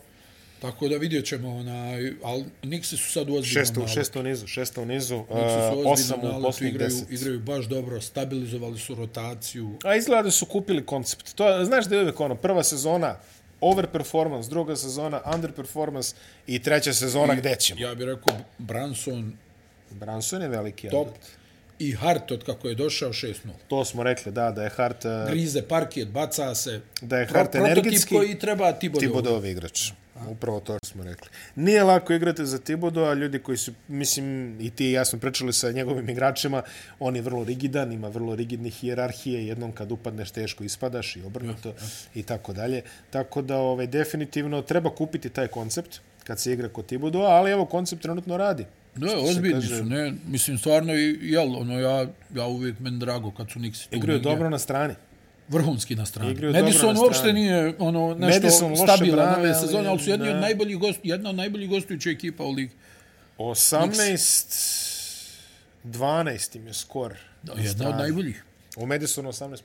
[SPEAKER 2] Tako da vidjet ćemo, onaj, ali Nixi su sad u ozbiljnom
[SPEAKER 1] Šesto,
[SPEAKER 2] naletu.
[SPEAKER 1] šesto u nizu, šesto u nizu, uh,
[SPEAKER 2] Nixi su u
[SPEAKER 1] osam
[SPEAKER 2] ozbiljnom
[SPEAKER 1] u
[SPEAKER 2] naletu,
[SPEAKER 1] posljednjih
[SPEAKER 2] igraju,
[SPEAKER 1] deset.
[SPEAKER 2] igraju baš dobro, stabilizovali su rotaciju.
[SPEAKER 1] A izgleda da su kupili koncept. To, je- znaš da je uvijek ono, prva sezona overperformance, druga sezona underperformance i treća sezona gde ćemo.
[SPEAKER 2] Ja bih rekao, Branson
[SPEAKER 1] Branson je veliki
[SPEAKER 2] top
[SPEAKER 1] adat.
[SPEAKER 2] i Hart od kako je došao 6-0.
[SPEAKER 1] To smo rekli, da, da je Hart, uh,
[SPEAKER 2] Grize parkijet, baca se.
[SPEAKER 1] da je
[SPEAKER 2] Pro-
[SPEAKER 1] Hart energetski.
[SPEAKER 2] Prototip koji treba Tibodovu.
[SPEAKER 1] Tibodov igrač. Upravo to smo rekli. Nije lako igrati za Tibodo, a ljudi koji su, mislim, i ti i ja smo pričali sa njegovim igračima, on je vrlo rigidan, ima vrlo rigidne hijerarhije, jednom kad upadneš teško ispadaš i obrnuto i tako dalje. Tako da, ovaj, definitivno treba kupiti taj koncept kad se igra kod Tibodo, ali evo, koncept trenutno radi.
[SPEAKER 2] Ne,
[SPEAKER 1] Što se
[SPEAKER 2] ozbiljni
[SPEAKER 1] kaže,
[SPEAKER 2] su, ne. Mislim, stvarno, i, jel, ono, ja, ja uvijek men drago kad su Nixi tu.
[SPEAKER 1] Igraju
[SPEAKER 2] negdje.
[SPEAKER 1] dobro na strani.
[SPEAKER 2] Vrhunski na strani.
[SPEAKER 1] Igraju dobro
[SPEAKER 2] Madison
[SPEAKER 1] na
[SPEAKER 2] uopšte
[SPEAKER 1] strani.
[SPEAKER 2] nije ono nešto
[SPEAKER 1] Madison loše
[SPEAKER 2] stabilan
[SPEAKER 1] brane,
[SPEAKER 2] ove
[SPEAKER 1] ali
[SPEAKER 2] sezone, ali su jedni od
[SPEAKER 1] ne.
[SPEAKER 2] najboljih gost, jedna od najboljih gostujućih ekipa u ligi.
[SPEAKER 1] 18... 12 im je skor. na
[SPEAKER 2] Jedna od
[SPEAKER 1] strani.
[SPEAKER 2] najboljih.
[SPEAKER 1] U Madisonu 18-15.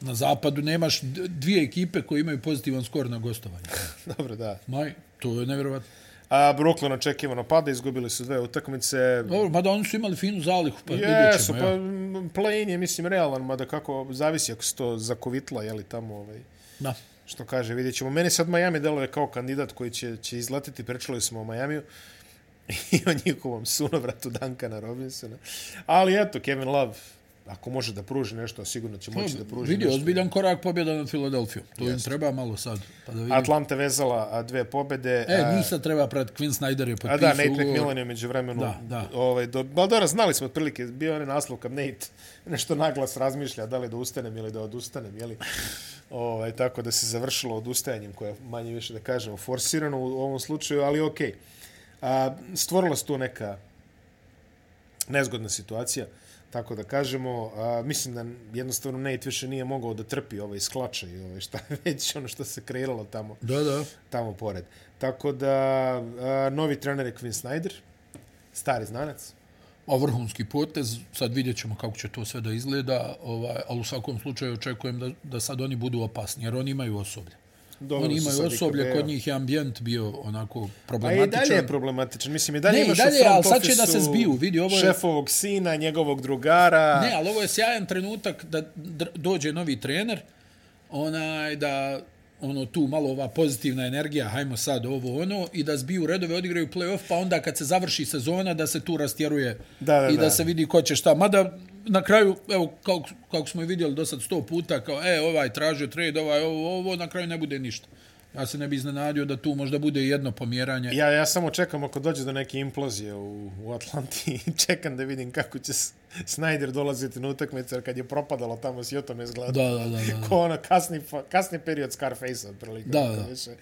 [SPEAKER 2] Na zapadu nemaš d- dvije ekipe koje imaju pozitivan skor na gostovanju.
[SPEAKER 1] Dobro, da.
[SPEAKER 2] Maj, to je nevjerovatno.
[SPEAKER 1] A Brooklyn očekivano pada, izgubili su dve utakmice.
[SPEAKER 2] Dobro, mada oni su imali finu zalihu, pa vidjet
[SPEAKER 1] Jesu,
[SPEAKER 2] ćemo.
[SPEAKER 1] pa
[SPEAKER 2] Pa...
[SPEAKER 1] play-in je, mislim, realan, mada kako, zavisi ako se to zakovitla, jeli tamo, ovaj,
[SPEAKER 2] Da.
[SPEAKER 1] što kaže, vidjet ćemo. Meni sad Miami deluje kao kandidat koji će, će izletiti, pričali smo o Majamiju i o njihovom sunovratu Duncana Robinsona. Ali eto, Kevin Love, ako može da pruži nešto, a sigurno će moći da pruži
[SPEAKER 2] Vidi,
[SPEAKER 1] nešto.
[SPEAKER 2] ozbiljan korak pobjeda nad Filadelfijom. To im treba malo sad. Pa da vidim.
[SPEAKER 1] Atlanta vezala a, dve pobede.
[SPEAKER 2] E,
[SPEAKER 1] a-
[SPEAKER 2] njih sad treba pred Quinn Snyder je
[SPEAKER 1] A da,
[SPEAKER 2] potpisao
[SPEAKER 1] Nate
[SPEAKER 2] ugovor.
[SPEAKER 1] McMillan je među vremenu.
[SPEAKER 2] Pa Da, da.
[SPEAKER 1] Ovaj, do, ba, dobro, znali smo otprilike, bio je onaj naslov kad Nate nešto naglas razmišlja da li da ustanem ili da odustanem, jeli? Ovaj, tako da se završilo odustajanjem koje je manje više da kažemo forsirano u ovom slučaju, ali okej. Okay. Stvorila se tu neka nezgodna situacija, tako da kažemo. A, mislim da jednostavno Nate više nije mogao da trpi ovaj sklačaj, ovaj, šta već ono što se kreiralo tamo
[SPEAKER 2] Da, da.
[SPEAKER 1] tamo pored. Tako da, a, novi trener je Quinn Snyder, stari znanac.
[SPEAKER 2] A vrhunski potez, sad vidjet ćemo kako će to sve da izgleda, ovaj, ali u svakom slučaju očekujem da, da sad oni budu opasni, jer oni imaju osoblje.
[SPEAKER 1] Dobro
[SPEAKER 2] oni
[SPEAKER 1] su
[SPEAKER 2] imaju
[SPEAKER 1] sad i
[SPEAKER 2] osoblje,
[SPEAKER 1] Kabeo.
[SPEAKER 2] kod njih je ambijent bio onako
[SPEAKER 1] A i
[SPEAKER 2] problematičan.
[SPEAKER 1] dalje je problematičan. Mislim, i dalje
[SPEAKER 2] Ne, i
[SPEAKER 1] imaš
[SPEAKER 2] dalje,
[SPEAKER 1] u
[SPEAKER 2] ali
[SPEAKER 1] front
[SPEAKER 2] sad će da se
[SPEAKER 1] officeu
[SPEAKER 2] zbiju, vidi, ovo je-
[SPEAKER 1] Šefovog sina, njegovog drugara.
[SPEAKER 2] Ne, ali ovo je sjajan trenutak da dr- dođe novi trener, onaj da ono tu malo ova pozitivna energija, hajmo sad ovo ono, i da zbiju redove, odigraju play-off, pa onda kad se završi sezona da se tu rastjeruje
[SPEAKER 1] Da, da,
[SPEAKER 2] i da,
[SPEAKER 1] da.
[SPEAKER 2] se vidi ko će šta. Mada na kraju, evo, kako, kako smo i vidjeli do sad sto puta, kao, e, ovaj tražio trade, ovaj ovo, ovo, na kraju ne bude ništa. Ja se ne bi iznenadio da tu možda bude jedno pomjeranje.
[SPEAKER 1] Ja, ja samo čekam ako dođe do neke implozije u, u Atlanti. Čekam da vidim kako će, s- Snyder dolaziti na utakmice, jer kad je propadalo tamo si Joto ne izgleda.
[SPEAKER 2] Da, da, da, da.
[SPEAKER 1] Ko ono kasni, fa- kasni period Scarface-a, otprilike.
[SPEAKER 2] Da,
[SPEAKER 1] ono
[SPEAKER 2] da.
[SPEAKER 1] Više, ne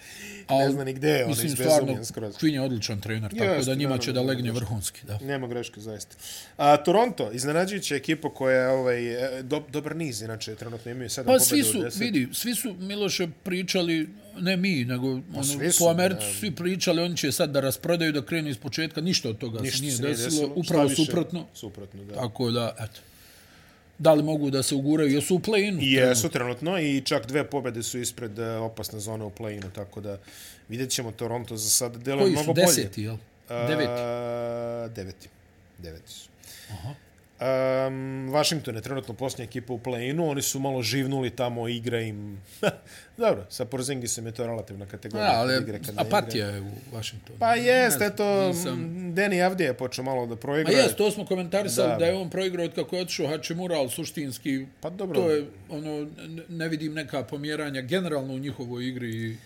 [SPEAKER 2] Al,
[SPEAKER 1] zna ni gde je, on
[SPEAKER 2] Mislim,
[SPEAKER 1] izbezumljen
[SPEAKER 2] stvarno,
[SPEAKER 1] skroz.
[SPEAKER 2] Queen je odličan trener, tako
[SPEAKER 1] Jeste,
[SPEAKER 2] da njima
[SPEAKER 1] naravno,
[SPEAKER 2] će da
[SPEAKER 1] nema
[SPEAKER 2] legne
[SPEAKER 1] greške.
[SPEAKER 2] vrhunski. Da.
[SPEAKER 1] Nema greške, zaista. A, Toronto, iznenađujuća ekipa koja je ovaj, e, do, dobar niz, inače, trenutno imaju 7
[SPEAKER 2] Pa
[SPEAKER 1] pobjeda
[SPEAKER 2] svi
[SPEAKER 1] u
[SPEAKER 2] su,
[SPEAKER 1] 10.
[SPEAKER 2] vidi, svi su Miloše pričali, ne mi, nego ono,
[SPEAKER 1] Pa svi su,
[SPEAKER 2] po Americu
[SPEAKER 1] ne.
[SPEAKER 2] svi pričali, oni će sad da rasprodaju, da krenu iz početka, ništa od toga
[SPEAKER 1] Ništa
[SPEAKER 2] se nije
[SPEAKER 1] pa se
[SPEAKER 2] desilo,
[SPEAKER 1] Šta
[SPEAKER 2] upravo
[SPEAKER 1] više?
[SPEAKER 2] suprotno.
[SPEAKER 1] Suprotno, da.
[SPEAKER 2] Tako da, eto. Da li mogu da se uguraju? Jesu u play-inu?
[SPEAKER 1] I Jesu trenutno i čak dve pobjede su ispred e, opasne zone u play-inu, tako da vidjet ćemo Toronto za sada deluje
[SPEAKER 2] Koji su
[SPEAKER 1] mnogo bolje.
[SPEAKER 2] deseti, jel? Deveti.
[SPEAKER 1] A, deveti. Deveti su. Aha. Um, Washington je trenutno posljednja ekipa u play-inu, oni su malo živnuli tamo, igra im... Dobro, sa Porzingisom je to relativna kategorija.
[SPEAKER 2] Da,
[SPEAKER 1] kad
[SPEAKER 2] ali
[SPEAKER 1] igra, kad ne igra.
[SPEAKER 2] apatija je u Washingtonu.
[SPEAKER 1] Pa jest,
[SPEAKER 2] Ne znam,
[SPEAKER 1] eto,
[SPEAKER 2] nisam-
[SPEAKER 1] Deni Avdija je počeo malo da
[SPEAKER 2] Ma
[SPEAKER 1] proigra.
[SPEAKER 2] jest, to smo komentarisali
[SPEAKER 1] Da.
[SPEAKER 2] da, da je on proigrao od kako je otišao Hachimura, ali suštinski
[SPEAKER 1] Pa dobro.
[SPEAKER 2] to je, ono, ne- ne vidim neka pomjeranja generalno u njihovoj igri i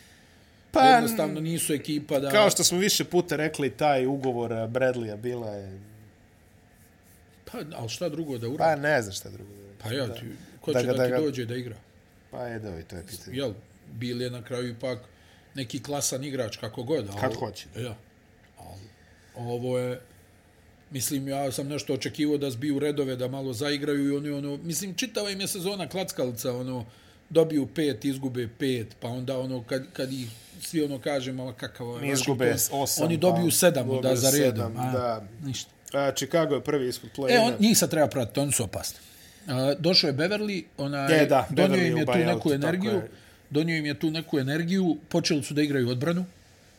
[SPEAKER 1] pa,
[SPEAKER 2] jednostavno nisu ekipa da...
[SPEAKER 1] Kao što smo više puta rekli, taj ugovor eh, Bradleya bila je...
[SPEAKER 2] Pa, ali šta drugo da
[SPEAKER 1] Pa
[SPEAKER 2] uradi?
[SPEAKER 1] ne znam šta drugo. da je.
[SPEAKER 2] Pa, ja, ti, ko
[SPEAKER 1] Da
[SPEAKER 2] će
[SPEAKER 1] ga-
[SPEAKER 2] da,
[SPEAKER 1] da
[SPEAKER 2] ti
[SPEAKER 1] ga-
[SPEAKER 2] dođe da igra?
[SPEAKER 1] Pa je, da, ovaj, to je pitanje.
[SPEAKER 2] Jel, Bil je na kraju ipak neki klasan igrač, kako god. Ali,
[SPEAKER 1] Kad hoće.
[SPEAKER 2] Ja. Ali, ovo je, mislim, ja sam nešto očekivao da zbiju redove, da malo zaigraju i oni, ono, mislim, čitava im je sezona klackalica, ono, dobiju pet, izgube pet, pa onda ono, kad, kad ih svi ono kažemo, ma kakav je
[SPEAKER 1] Mi izgube
[SPEAKER 2] Washington,
[SPEAKER 1] osam,
[SPEAKER 2] oni
[SPEAKER 1] pa
[SPEAKER 2] dobiju sedam,
[SPEAKER 1] dobiju
[SPEAKER 2] da, za redom.
[SPEAKER 1] sedam,
[SPEAKER 2] a,
[SPEAKER 1] da.
[SPEAKER 2] Ništa.
[SPEAKER 1] A, Chicago Pa je prvi ispod play-ina.
[SPEAKER 2] E, on, njih sad treba pratiti, oni su opasni. A, došao je Beverly, onaj,
[SPEAKER 1] E, da,
[SPEAKER 2] donio
[SPEAKER 1] Beverly
[SPEAKER 2] im
[SPEAKER 1] u
[SPEAKER 2] je tu
[SPEAKER 1] buyoutu,
[SPEAKER 2] neku
[SPEAKER 1] tako
[SPEAKER 2] energiju,
[SPEAKER 1] je.
[SPEAKER 2] donio im je tu neku energiju, počeli su da igraju odbranu,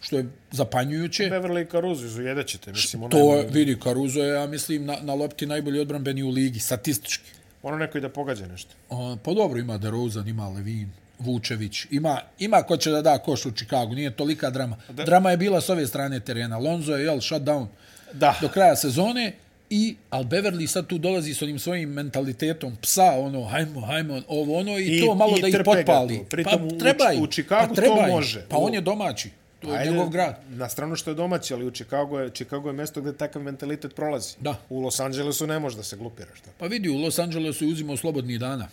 [SPEAKER 2] što je zapanjujuće.
[SPEAKER 1] Beverly Caruso izujedat ćete, mislim, ono,
[SPEAKER 2] To je,
[SPEAKER 1] je,
[SPEAKER 2] vidi, Caruso je, ja mislim, na, na lopti najbolji odbranbeni u ligi, statistički.
[SPEAKER 1] ono neko i da pogađa nešto.
[SPEAKER 2] A, pa dobro, ima DeRozan, ima Levin, Vučević, ima, ima ko će da da koš u Čikagu, nije tolika drama.
[SPEAKER 1] Da-
[SPEAKER 2] Drama je bila s ove strane terena. Lonzo je, jel, shutdown
[SPEAKER 1] Da.
[SPEAKER 2] Ah. do kraja sezone i al Beverly sad tu dolazi s onim svojim mentalitetom psa, ono, hajmo, hajmo, ovo, ono, i,
[SPEAKER 1] I-
[SPEAKER 2] to malo
[SPEAKER 1] i
[SPEAKER 2] da ih
[SPEAKER 1] trpe ga
[SPEAKER 2] potpali.
[SPEAKER 1] to. Pritom u-
[SPEAKER 2] pa treba
[SPEAKER 1] u
[SPEAKER 2] im,
[SPEAKER 1] Chicagu
[SPEAKER 2] pa
[SPEAKER 1] to
[SPEAKER 2] treba im.
[SPEAKER 1] može.
[SPEAKER 2] Pa
[SPEAKER 1] U-
[SPEAKER 2] on je domaći, to je
[SPEAKER 1] Ajde,
[SPEAKER 2] njegov grad.
[SPEAKER 1] Na stranu što je domaći, ali u Chicago je, Chicago je mesto gde takav mentalitet prolazi.
[SPEAKER 2] Da.
[SPEAKER 1] U Los Angelesu ne može da se glupiraš. Da.
[SPEAKER 2] Pa vidi, u Los Angelesu je uzimao slobodni dana.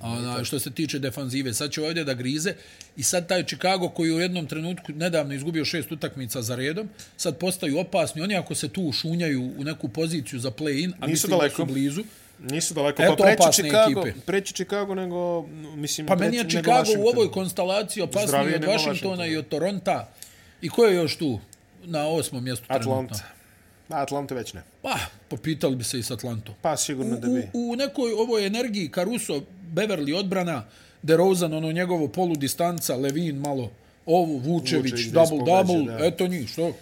[SPEAKER 2] A, Ona, što se tiče defanzive, sad će ovdje da grize i sad taj Chicago koji je u jednom trenutku nedavno izgubio šest utakmica za redom, sad postaju opasni. Oni ako se tu ušunjaju u neku poziciju za play-in, a mislim
[SPEAKER 1] daleko.
[SPEAKER 2] da su blizu,
[SPEAKER 1] Nisu daleko.
[SPEAKER 2] Eto
[SPEAKER 1] pa preći
[SPEAKER 2] opasne
[SPEAKER 1] Chicago,
[SPEAKER 2] ekipe.
[SPEAKER 1] preći Chicago nego, m, mislim,
[SPEAKER 2] pa
[SPEAKER 1] preći
[SPEAKER 2] meni je
[SPEAKER 1] nego
[SPEAKER 2] Chicago u ovoj
[SPEAKER 1] Washington.
[SPEAKER 2] konstalaciji opasniji
[SPEAKER 1] Zdravije
[SPEAKER 2] od
[SPEAKER 1] nego
[SPEAKER 2] Washingtona
[SPEAKER 1] Washington.
[SPEAKER 2] i od Toronta. I ko je još tu na osmom mjestu
[SPEAKER 1] Atlanta.
[SPEAKER 2] trenutno?
[SPEAKER 1] Da, Atlanta već ne.
[SPEAKER 2] Pa, popitali bi se i s Atlantom.
[SPEAKER 1] Pa sigurno da
[SPEAKER 2] u,
[SPEAKER 1] bi.
[SPEAKER 2] u nekoj ovoj energiji Caruso, Beverly odbrana, DeRozan, ono njegovo polu distanca, Levin malo, ovu, Vučević,
[SPEAKER 1] Vučević da ispogađa,
[SPEAKER 2] double-double,
[SPEAKER 1] da.
[SPEAKER 2] eto njih, što?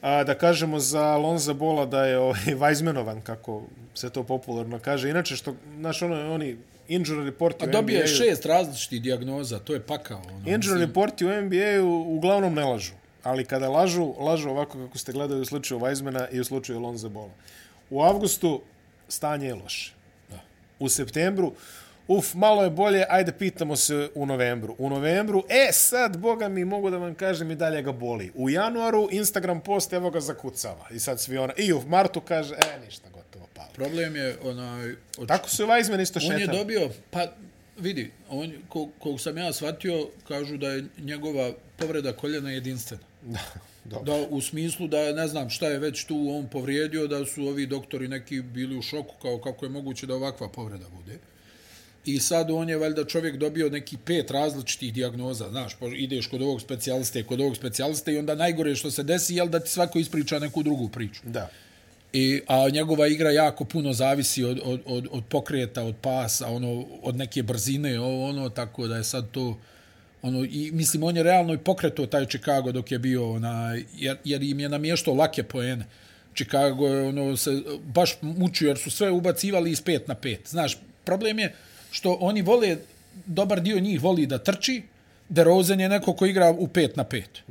[SPEAKER 1] A, da kažemo za Lonza Bola da je ovaj, Weizmanovan, kako se to popularno kaže. Inače, što, znaš, ono, oni injury reporti u
[SPEAKER 2] Pa Dobije
[SPEAKER 1] NBA-u.
[SPEAKER 2] šest različitih dijagnoza, to je pakao. Ono.
[SPEAKER 1] Injury reporti u NBA-u uglavnom ne lažu. Ali kada lažu, lažu ovako kako ste gledali u slučaju Weizmana i u slučaju Lonza Bola. U avgustu stanje je loše. U septembru, uf, malo je bolje, ajde pitamo se u novembru. U novembru, e sad, boga mi, mogu da vam kažem i dalje ga boli. U januaru Instagram post, evo ga zakucava. I sad svi ona, i u martu kaže, e, ništa, gotovo, pali.
[SPEAKER 2] Problem je, onaj, oč-
[SPEAKER 1] Tako se Weizman isto
[SPEAKER 2] on je
[SPEAKER 1] šeta.
[SPEAKER 2] dobio, pa vidi, on, kog, kog sam ja shvatio, kažu da je njegova povreda koljena jedinstvena.
[SPEAKER 1] Dobro.
[SPEAKER 2] Da, u smislu da ne znam šta je već tu on povrijedio, da su ovi doktori neki bili u šoku kao kako je moguće da ovakva povreda bude. I sad on je valjda čovjek dobio neki pet različitih dijagnoza, znaš, po- ideš kod ovog specijaliste, kod ovog specijaliste i onda najgore što se desi je da ti svako ispriča neku drugu priču.
[SPEAKER 1] Da.
[SPEAKER 2] I, a njegova igra jako puno zavisi od, od, od, od pokreta, od pasa, ono, od neke brzine, ovo, ono, tako da je sad to... Ono, i, mislim, on je realno i pokretao taj Chicago dok je bio, ona, jer, jer im je namještao lake poene. Chicago je, ono, se baš mučio jer su sve ubacivali iz pet na pet. Znaš, problem je što oni vole, dobar dio njih voli da trči, DeRozan je neko ko igra u pet na pet.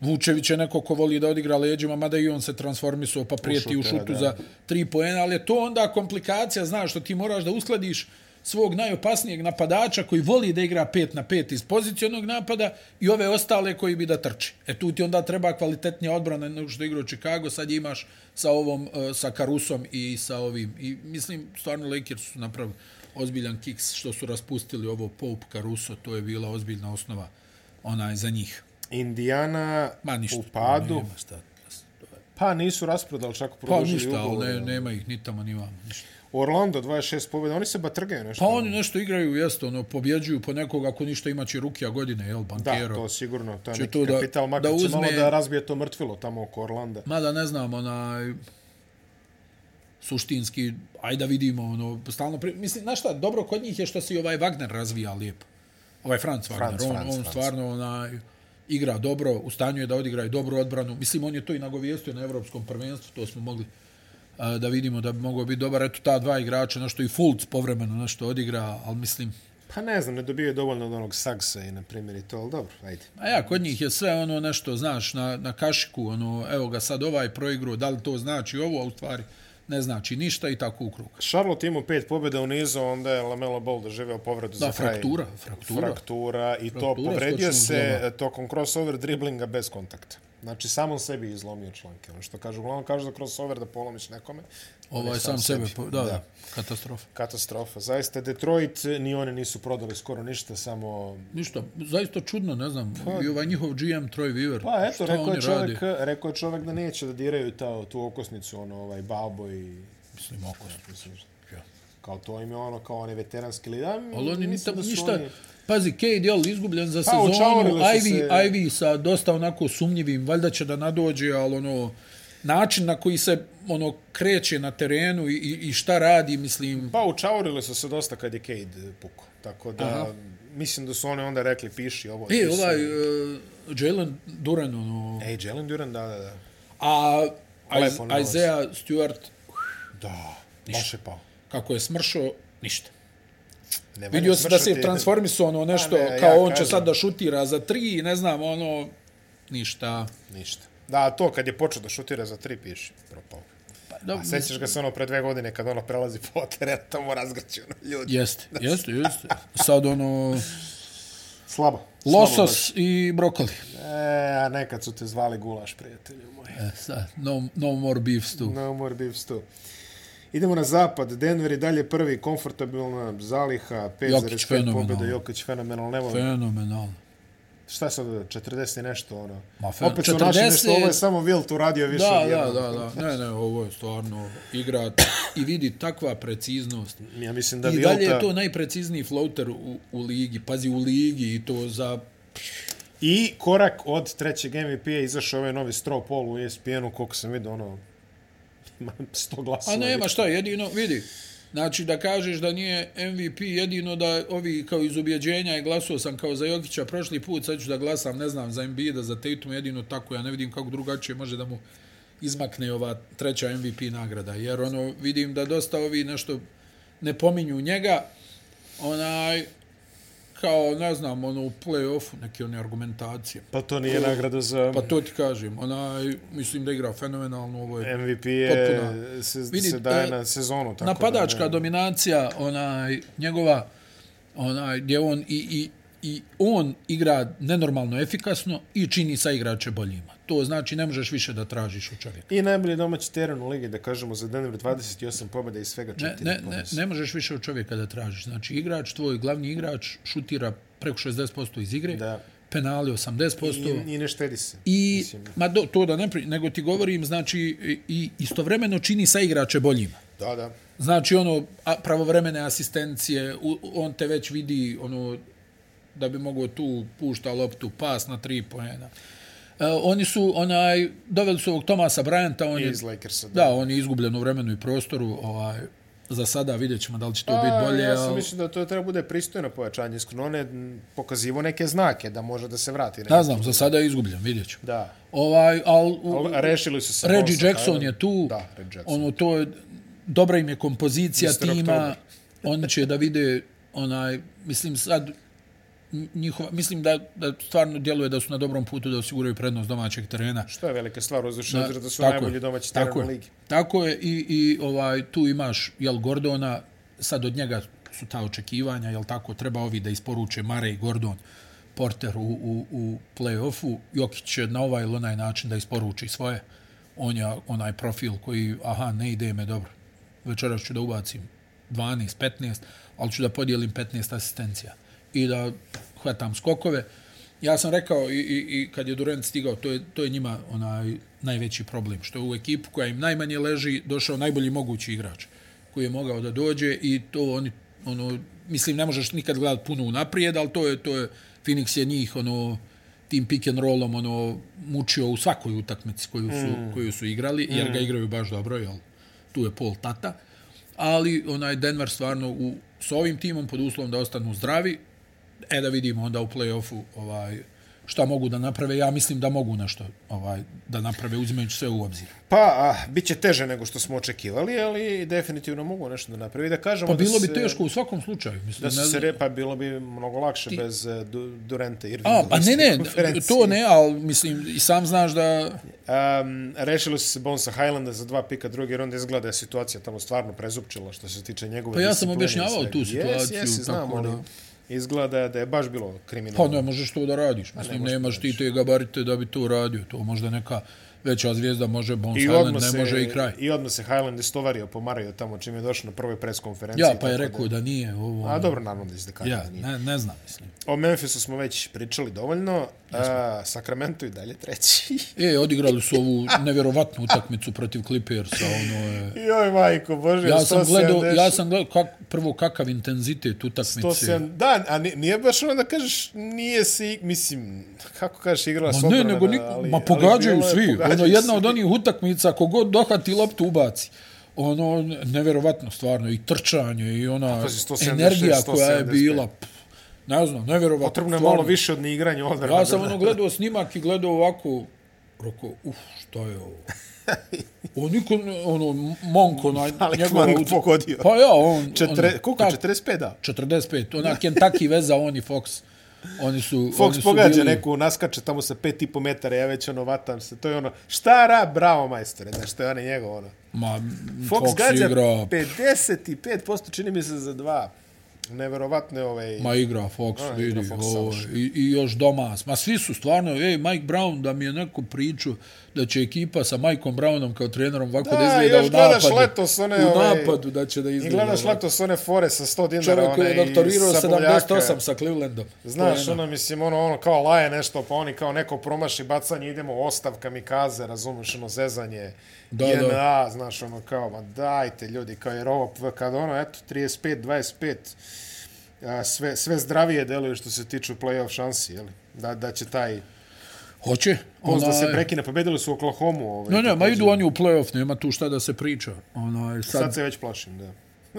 [SPEAKER 2] Vučević je neko ko voli da odigra leđima, mada i on se transformisao pa prijeti u
[SPEAKER 1] šutera,
[SPEAKER 2] šutu
[SPEAKER 1] da.
[SPEAKER 2] za tri poena, ali je to onda komplikacija, znaš, što ti moraš da uskladiš svog najopasnijeg napadača koji voli da igra 5 na 5 iz pozicionog napada i ove ostale koji bi da trči. E tu ti onda treba kvalitetnija odbrana nego što igra u Chicago, sad je imaš sa ovom e, sa Carusom i sa ovim. I mislim stvarno Lakers su napravili ozbiljan kiks što su raspustili ovo Pope Caruso, to je bila ozbiljna osnova onaj za njih.
[SPEAKER 1] Indiana
[SPEAKER 2] Ma ništa.
[SPEAKER 1] u padu.
[SPEAKER 2] Nema šta.
[SPEAKER 1] Pa nisu rasprodali čak
[SPEAKER 2] Pa
[SPEAKER 1] produžili
[SPEAKER 2] ništa, ali
[SPEAKER 1] ugovore.
[SPEAKER 2] ne, nema ih ni tamo ni vamo. Ništa.
[SPEAKER 1] Orlando 26 pobjeda, oni se batrgaju nešto.
[SPEAKER 2] Pa oni nešto igraju, jeste, ono, pobjeđuju po nekog, ako ništa imaće rukija godine, jel,
[SPEAKER 1] Da,
[SPEAKER 2] bankero.
[SPEAKER 1] to sigurno, to je
[SPEAKER 2] Će
[SPEAKER 1] neki
[SPEAKER 2] to da-
[SPEAKER 1] kapital, makar
[SPEAKER 2] da
[SPEAKER 1] će
[SPEAKER 2] uzme-
[SPEAKER 1] malo da razbije to mrtvilo tamo oko Orlanda.
[SPEAKER 2] Mada ne znam, onaj, suštinski, ajde da vidimo, ono, stalno, pri... mislim, znaš šta, dobro kod njih je što se i ovaj Wagner razvija lijepo. Ovaj Franz Wagner,
[SPEAKER 1] Franz,
[SPEAKER 2] on,
[SPEAKER 1] Franz,
[SPEAKER 2] on
[SPEAKER 1] Franz.
[SPEAKER 2] stvarno, onaj, igra dobro, u stanju je da odigra i dobru odbranu. Mislim, on je to i nagovijestio na evropskom prvenstvu, to smo mogli a, da vidimo da bi mogao biti dobar. Eto, ta dva igrača, nešto i Fultz povremeno nešto odigra, ali mislim,
[SPEAKER 1] Pa ne znam, ne dobijaju dovoljno od onog Sagsa i, na primjer, i to, ali dobro, ajde.
[SPEAKER 2] A ja, kod njih je sve ono nešto, znaš, na, na kašiku, ono, evo ga sad ovaj proigru, da li to znači ovo, a u stvari ne znači ništa i tako u krug.
[SPEAKER 1] Charlotte imao pet pobjeda u nizu, onda je Lamelo Ball doživeo povredu
[SPEAKER 2] Da,
[SPEAKER 1] za kraj.
[SPEAKER 2] fraktura, fraktura.
[SPEAKER 1] Fraktura i to
[SPEAKER 2] Fraktura
[SPEAKER 1] povredio
[SPEAKER 2] stočnog
[SPEAKER 1] se
[SPEAKER 2] zloba.
[SPEAKER 1] tokom crossover driblinga bez kontakta. Znači, samo sebi je izlomio članke. Ono što kažu, uglavnom kažu za crossover da polomiš nekome. on
[SPEAKER 2] Ovo
[SPEAKER 1] je
[SPEAKER 2] je Ovaj, sam sebe, po- da,
[SPEAKER 1] da.
[SPEAKER 2] da, katastrofa.
[SPEAKER 1] Katastrofa. Zaista, Detroit, ni oni nisu prodali skoro ništa, samo...
[SPEAKER 2] Ništa, zaista čudno, ne znam, i ovaj njihov GM Troy Weaver,
[SPEAKER 1] Pa eto,
[SPEAKER 2] šta
[SPEAKER 1] rekao
[SPEAKER 2] oni
[SPEAKER 1] je,
[SPEAKER 2] rade?
[SPEAKER 1] čovjek, rekao je čovjek da neće da diraju ta, tu okosnicu, ono, ovaj, Babo i...
[SPEAKER 2] Mislim, oko. Ja.
[SPEAKER 1] Kao to im je ono, kao one veteranski lidan.
[SPEAKER 2] Ali oni ni
[SPEAKER 1] mislim
[SPEAKER 2] tamo
[SPEAKER 1] da su
[SPEAKER 2] ništa,
[SPEAKER 1] oni-
[SPEAKER 2] pazi, Cade, jel, izgubljen za sezonu,
[SPEAKER 1] učaurili Pa, su
[SPEAKER 2] Ivy,
[SPEAKER 1] se.
[SPEAKER 2] Ivy sa dosta onako sumnjivim, valjda će da nadođe, ali ono, način na koji se ono kreće na terenu i, i i šta radi, mislim,
[SPEAKER 1] Pa učaurile su se dosta kad je Cade pukao. Tako da, Aha. mislim da su oni onda rekli piši ovo.
[SPEAKER 2] E,
[SPEAKER 1] piši.
[SPEAKER 2] ovaj, uh, Jalen Duran, ono,
[SPEAKER 1] Ej, Jalen Duran, da, da, da.
[SPEAKER 2] a
[SPEAKER 1] Lepo
[SPEAKER 2] Iz-
[SPEAKER 1] nalaz.
[SPEAKER 2] Isaiah Stewart,
[SPEAKER 1] Da, baš je pao.
[SPEAKER 2] kako je smršao, ništa.
[SPEAKER 1] Ne valja
[SPEAKER 2] Vidio se da se
[SPEAKER 1] smršati.
[SPEAKER 2] transformisao ono nešto,
[SPEAKER 1] ne, ja
[SPEAKER 2] ne, kao on će
[SPEAKER 1] kažem.
[SPEAKER 2] sad da šutira za tri, i ne znam, ono, ništa.
[SPEAKER 1] Ništa. Da, to kad je počeo da šutira za tri, piši. Propao.
[SPEAKER 2] Pa, da,
[SPEAKER 1] A sećaš ga se ono pre dve godine kad ono prelazi po terenu, tamo razgrću na ljudi.
[SPEAKER 2] Jeste, jeste, jeste. Sad ono,
[SPEAKER 1] Slabo. Slabo baš.
[SPEAKER 2] losos i brokoli.
[SPEAKER 1] E, a nekad su te zvali gulaš, prijatelju moj.
[SPEAKER 2] E, sad, no, no more beef stew.
[SPEAKER 1] No more beef stew. Idemo na zapad. Denver je dalje prvi, komfortabilna zaliha,
[SPEAKER 2] Jokić
[SPEAKER 1] 5,5
[SPEAKER 2] fenomenalno.
[SPEAKER 1] pobjeda, Jokić fenomenal, nemoj.
[SPEAKER 2] Fenomenalno.
[SPEAKER 1] šta sad, 40 i nešto, ono.
[SPEAKER 2] Ma, fe-
[SPEAKER 1] Opet su naši
[SPEAKER 2] 40
[SPEAKER 1] nešto, ovo je samo Wilt uradio više
[SPEAKER 2] Da,
[SPEAKER 1] od
[SPEAKER 2] da,
[SPEAKER 1] jednog.
[SPEAKER 2] da, da. Ne, ne, ovo je stvarno igra i vidi takva preciznost.
[SPEAKER 1] Ja mislim da
[SPEAKER 2] I dalje
[SPEAKER 1] Vilta...
[SPEAKER 2] je to najprecizniji floater u, u ligi. Pazi, u ligi i to za...
[SPEAKER 1] I korak od trećeg MVP-a izašao ovaj novi straw poll u ESPN-u, koliko sam vidio, ono, ima 100 glasova.
[SPEAKER 2] A nema šta, jedino, vidi, znači da kažeš da nije MVP, jedino da ovi kao iz ubjeđenja i glasao sam kao za Jokića prošli put, sad ću da glasam, ne znam, za Embiida, za Tatum, jedino tako, ja ne vidim kako drugačije može da mu izmakne ova treća MVP nagrada, jer ono, vidim da dosta ovi nešto ne pominju njega, onaj, kao, ne znam, ono, u play-offu, neke one argumentacije.
[SPEAKER 1] Pa to nije nagrada za...
[SPEAKER 2] Pa to ti kažem, onaj, mislim da igra fenomenalno, ovo je
[SPEAKER 1] MVP je,
[SPEAKER 2] Potpuno.
[SPEAKER 1] se,
[SPEAKER 2] Vidi,
[SPEAKER 1] se daje
[SPEAKER 2] e,
[SPEAKER 1] na sezonu. E, Tako
[SPEAKER 2] napadačka
[SPEAKER 1] da ne-
[SPEAKER 2] dominacija, onaj, njegova, onaj, gdje on i, i, i on igra nenormalno efikasno i čini sa igrače boljima. To znači ne možeš više da tražiš od čovjeka.
[SPEAKER 1] I najbolji domaći teren u ligi, da kažemo, za Denver 28 pobjeda i svega 4
[SPEAKER 2] Ne, ne, ne, ne možeš više od čovjeka da tražiš. Znači, igrač, tvoj glavni igrač, šutira preko 60% iz igre,
[SPEAKER 1] Da.
[SPEAKER 2] penali 80%.
[SPEAKER 1] I, I ne štedi se.
[SPEAKER 2] I,
[SPEAKER 1] Mislim,
[SPEAKER 2] ma do, to da ne pri, nego ti govorim, znači, i- i istovremeno čini sa igrače boljima.
[SPEAKER 1] da, da.
[SPEAKER 2] Znači, ono, a, pravovremene asistencije, u, on te već vidi, ono, da bi mogao tu pušta loptu, pas na tri pojena. E, oni su, onaj, doveli su ovog Tomasa Bryanta, on je,
[SPEAKER 1] Iz Lakersa.
[SPEAKER 2] da, on je izgubljen u vremenu i prostoru, ovaj, za sada vidjet ćemo da li će to biti
[SPEAKER 1] Pa,
[SPEAKER 2] bolje.
[SPEAKER 1] Ja sam
[SPEAKER 2] al-
[SPEAKER 1] mislio da to treba bude pristojno pojačanje, iskreno. On je m, pokazivo neke znake da može da se vrati.
[SPEAKER 2] Ne znam, za sada je izgubljen, vidjet ćemo.
[SPEAKER 1] Da.
[SPEAKER 2] Ovaj, al, u-
[SPEAKER 1] Ali rešili su se.
[SPEAKER 2] Reggie
[SPEAKER 1] Bonsa,
[SPEAKER 2] Jackson
[SPEAKER 1] ajde.
[SPEAKER 2] je tu.
[SPEAKER 1] Da, Reggie Jackson.
[SPEAKER 2] Ono, to je, dobra im je kompozicija
[SPEAKER 1] Mr. Oktober.
[SPEAKER 2] tima. Oni će da vide, onaj, mislim sad, nj- njihova, mislim da, da stvarno djeluje da su na dobrom putu da osiguraju prednost domaćeg terena.
[SPEAKER 1] To je velika stvar, uzviš obzira da su
[SPEAKER 2] Tako je,
[SPEAKER 1] najbolji domaći teren
[SPEAKER 2] tako
[SPEAKER 1] u
[SPEAKER 2] je.
[SPEAKER 1] ligi.
[SPEAKER 2] Tako je i, i ovaj, tu imaš, jel, Gordona, sad od njega su ta očekivanja, jel tako, treba ovi da isporuče Mare i Gordon Porter u, u, u play-offu, Jokić će na ovaj ili onaj način da isporuči svoje, on je onaj profil koji, aha, ne ide me dobro, večeras ću da ubacim 12, 15, ali ću da podijelim 15 asistencija i da hvatam skokove. Ja sam rekao i, i, i kad je Durant stigao, to je, to je njima onaj najveći problem, što je u ekipu koja im najmanje leži došao najbolji mogući igrač koji je mogao da dođe i to oni, ono, mislim, ne možeš nikad gledati puno unaprijed, ali to je, to je, Phoenix je njih, ono, tim pick and rollom, ono, mučio u svakoj utakmici koju su, mm. koju su igrali, jer mm. ga igraju baš dobro, jel, tu je Paul Tata, ali onaj Denver stvarno u, s ovim timom, pod uslovom da ostanu zdravi, e da vidimo onda u play-offu ovaj, šta mogu da naprave. Ja mislim da mogu nešto ovaj, da naprave, uzimajući sve u obzir.
[SPEAKER 1] Pa, a, bit će teže nego što smo očekivali, ali definitivno mogu nešto da napravi. Da kažemo
[SPEAKER 2] Pa bilo
[SPEAKER 1] da
[SPEAKER 2] bi
[SPEAKER 1] se,
[SPEAKER 2] teško u svakom slučaju. Mislim,
[SPEAKER 1] Da
[SPEAKER 2] ne
[SPEAKER 1] su se
[SPEAKER 2] znam-
[SPEAKER 1] repa, bilo bi mnogo lakše Ti... bez eh, Du- Durenta i Irvinga.
[SPEAKER 2] A,
[SPEAKER 1] u
[SPEAKER 2] pa ne, ne,
[SPEAKER 1] konferenciji.
[SPEAKER 2] to ne, ali mislim, i sam znaš da...
[SPEAKER 1] Um, rešili su se Bonesa Highlanda za dva pika druge runde, izgleda da je situacija tamo stvarno prezupčila što se tiče njegove
[SPEAKER 2] Pa ja sam
[SPEAKER 1] discipline i
[SPEAKER 2] objašnjavao
[SPEAKER 1] svega.
[SPEAKER 2] tu situaciju,
[SPEAKER 1] Jesi, jesi, znam,
[SPEAKER 2] tako ono.
[SPEAKER 1] ali izgleda da je baš bilo
[SPEAKER 2] Pa
[SPEAKER 1] kriminalno.
[SPEAKER 2] ne možeš to da
[SPEAKER 1] Pa
[SPEAKER 2] radiš. Mislim, nemaš ti te gabarite da bi to uradio. To možda neka veća zvijezda može, Bones
[SPEAKER 1] I
[SPEAKER 2] Island
[SPEAKER 1] odmah
[SPEAKER 2] ne
[SPEAKER 1] se,
[SPEAKER 2] može i kraj.
[SPEAKER 1] I odmah se Highland istovario, pomario tamo čim je došao na prvoj preskonferenciji.
[SPEAKER 2] Ja, pa je
[SPEAKER 1] tako
[SPEAKER 2] rekao da nije ovo...
[SPEAKER 1] Da, a dobro, naravno da izdekanje.
[SPEAKER 2] Ono- Ja,
[SPEAKER 1] Ja, nije.
[SPEAKER 2] ne, ne znam, mislim.
[SPEAKER 1] O Memphisu smo već pričali dovoljno. A, Sacramento i dalje treći.
[SPEAKER 2] E, odigrali su ovu nevjerovatnu utakmicu protiv Clippersa, ono je...
[SPEAKER 1] Joj, majko, bože,
[SPEAKER 2] Ja sam
[SPEAKER 1] 170
[SPEAKER 2] gledao, ja sam gledao kak, prvo kakav intenzitet
[SPEAKER 1] To
[SPEAKER 2] utakmice.
[SPEAKER 1] se, da, a ni- nije baš ono da kažeš, nije se, ig- mislim, kako kažeš, igrala se
[SPEAKER 2] Ma ne,
[SPEAKER 1] odbrana,
[SPEAKER 2] nego niko,
[SPEAKER 1] ali,
[SPEAKER 2] ma
[SPEAKER 1] ali
[SPEAKER 2] pogađaju
[SPEAKER 1] bilo je,
[SPEAKER 2] svi.
[SPEAKER 1] pogađaju
[SPEAKER 2] Ono, jedna od
[SPEAKER 1] svi.
[SPEAKER 2] onih utakmica, kogod dohati loptu ubaci. Ono, neverovatno stvarno, i trčanje, i ona
[SPEAKER 1] Pazi, 176,
[SPEAKER 2] energija koja je
[SPEAKER 1] 175.
[SPEAKER 2] bila, pff, ne znam, neverovatno.
[SPEAKER 1] Potrebno je
[SPEAKER 2] stvarno.
[SPEAKER 1] malo više od neigranja odbrana.
[SPEAKER 2] Ja sam ono gledao snimak i gledao ovako, roko, uf, šta je ovo? On niko, ne- ono, Monko, na,
[SPEAKER 1] Ali
[SPEAKER 2] njegova...
[SPEAKER 1] Kmank
[SPEAKER 2] ut-
[SPEAKER 1] pogodio.
[SPEAKER 2] Pa ja, on...
[SPEAKER 1] Četre,
[SPEAKER 2] ono,
[SPEAKER 1] koliko?
[SPEAKER 2] tak-
[SPEAKER 1] 45, da.
[SPEAKER 2] 45, ona Kentucky veza, on i Fox. Oni su, oni
[SPEAKER 1] Fox
[SPEAKER 2] su
[SPEAKER 1] pogađa
[SPEAKER 2] bili...
[SPEAKER 1] neku, naskače tamo sa 5,5 metara, ja već ono vatam se, to je ono, šta ra, bravo majstore, znaš, to je ono njegov ono.
[SPEAKER 2] Ma,
[SPEAKER 1] Fox, Fox gađa
[SPEAKER 2] igra,
[SPEAKER 1] 55%, čini mi se za dva. Neverovatno je ovaj...
[SPEAKER 2] ma igra Fox,
[SPEAKER 1] A,
[SPEAKER 2] vidi,
[SPEAKER 1] igra Fox
[SPEAKER 2] ovo,
[SPEAKER 1] savršeno.
[SPEAKER 2] i, i još Domas. Ma svi su stvarno, ej, Mike Brown, da mi je neko pričao da će ekipa sa Mikeom Brownom kao trenerom ovako da,
[SPEAKER 1] Da,
[SPEAKER 2] izgleda
[SPEAKER 1] još
[SPEAKER 2] u
[SPEAKER 1] gledaš
[SPEAKER 2] napadu.
[SPEAKER 1] letos one,
[SPEAKER 2] u
[SPEAKER 1] ovaj,
[SPEAKER 2] napadu da će da
[SPEAKER 1] I
[SPEAKER 2] izgleda.
[SPEAKER 1] gledaš
[SPEAKER 2] ovako.
[SPEAKER 1] letos one fore sa 100 dinara,
[SPEAKER 2] Čovjek koji
[SPEAKER 1] one
[SPEAKER 2] je
[SPEAKER 1] i
[SPEAKER 2] doktorirao
[SPEAKER 1] sa boljaka.
[SPEAKER 2] 78 sa Clevelandom.
[SPEAKER 1] Znaš,
[SPEAKER 2] Poena.
[SPEAKER 1] ono, mislim, ono, ono, kao laje nešto, pa oni kao neko promaši bacanje, idemo ostavka mi kaze, razumeš, ono, zezanje,
[SPEAKER 2] Da,
[SPEAKER 1] da,
[SPEAKER 2] da.
[SPEAKER 1] JNA, da. znaš, ono, kao, ma dajte, ljudi, kao, jer ovo, kad ono, eto, 35, 25, a, sve, sve zdravije deluje što se tiče play-off šansi, jeli? Da, da će taj
[SPEAKER 2] Hoće.
[SPEAKER 1] post da se
[SPEAKER 2] onaj-
[SPEAKER 1] prekine, pobedili su Oklahoma. Ovaj,
[SPEAKER 2] Ne, ne, Ovaj. ma
[SPEAKER 1] također.
[SPEAKER 2] idu oni u play-off, nema tu šta da se priča. Onaj, sad,
[SPEAKER 1] Sad se već plašim, da.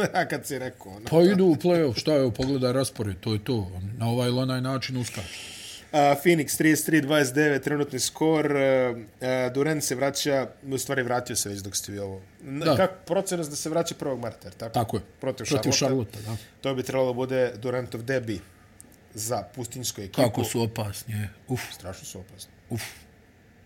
[SPEAKER 1] A kad si rekao, ono.
[SPEAKER 2] Pa idu u play-off, šta je, pogledaj raspored, to je to. Na ovaj ili onaj način uskače.
[SPEAKER 1] A, Phoenix 33-29, trenutni skor. e, e, Durant se vraća, u stvari vratio se već dok ste vi ovo.
[SPEAKER 2] Da.
[SPEAKER 1] Da. Kako procenas da se vraća 1. marta, jer tako?
[SPEAKER 2] Tako je.
[SPEAKER 1] Protiv,
[SPEAKER 2] Protiv
[SPEAKER 1] Charlotte.
[SPEAKER 2] Charlotte, da.
[SPEAKER 1] To bi trebalo da bude Durantov debi za pustinjsku ekipu.
[SPEAKER 2] Kako su opasni, je. Uf,
[SPEAKER 1] Strašno su opasni.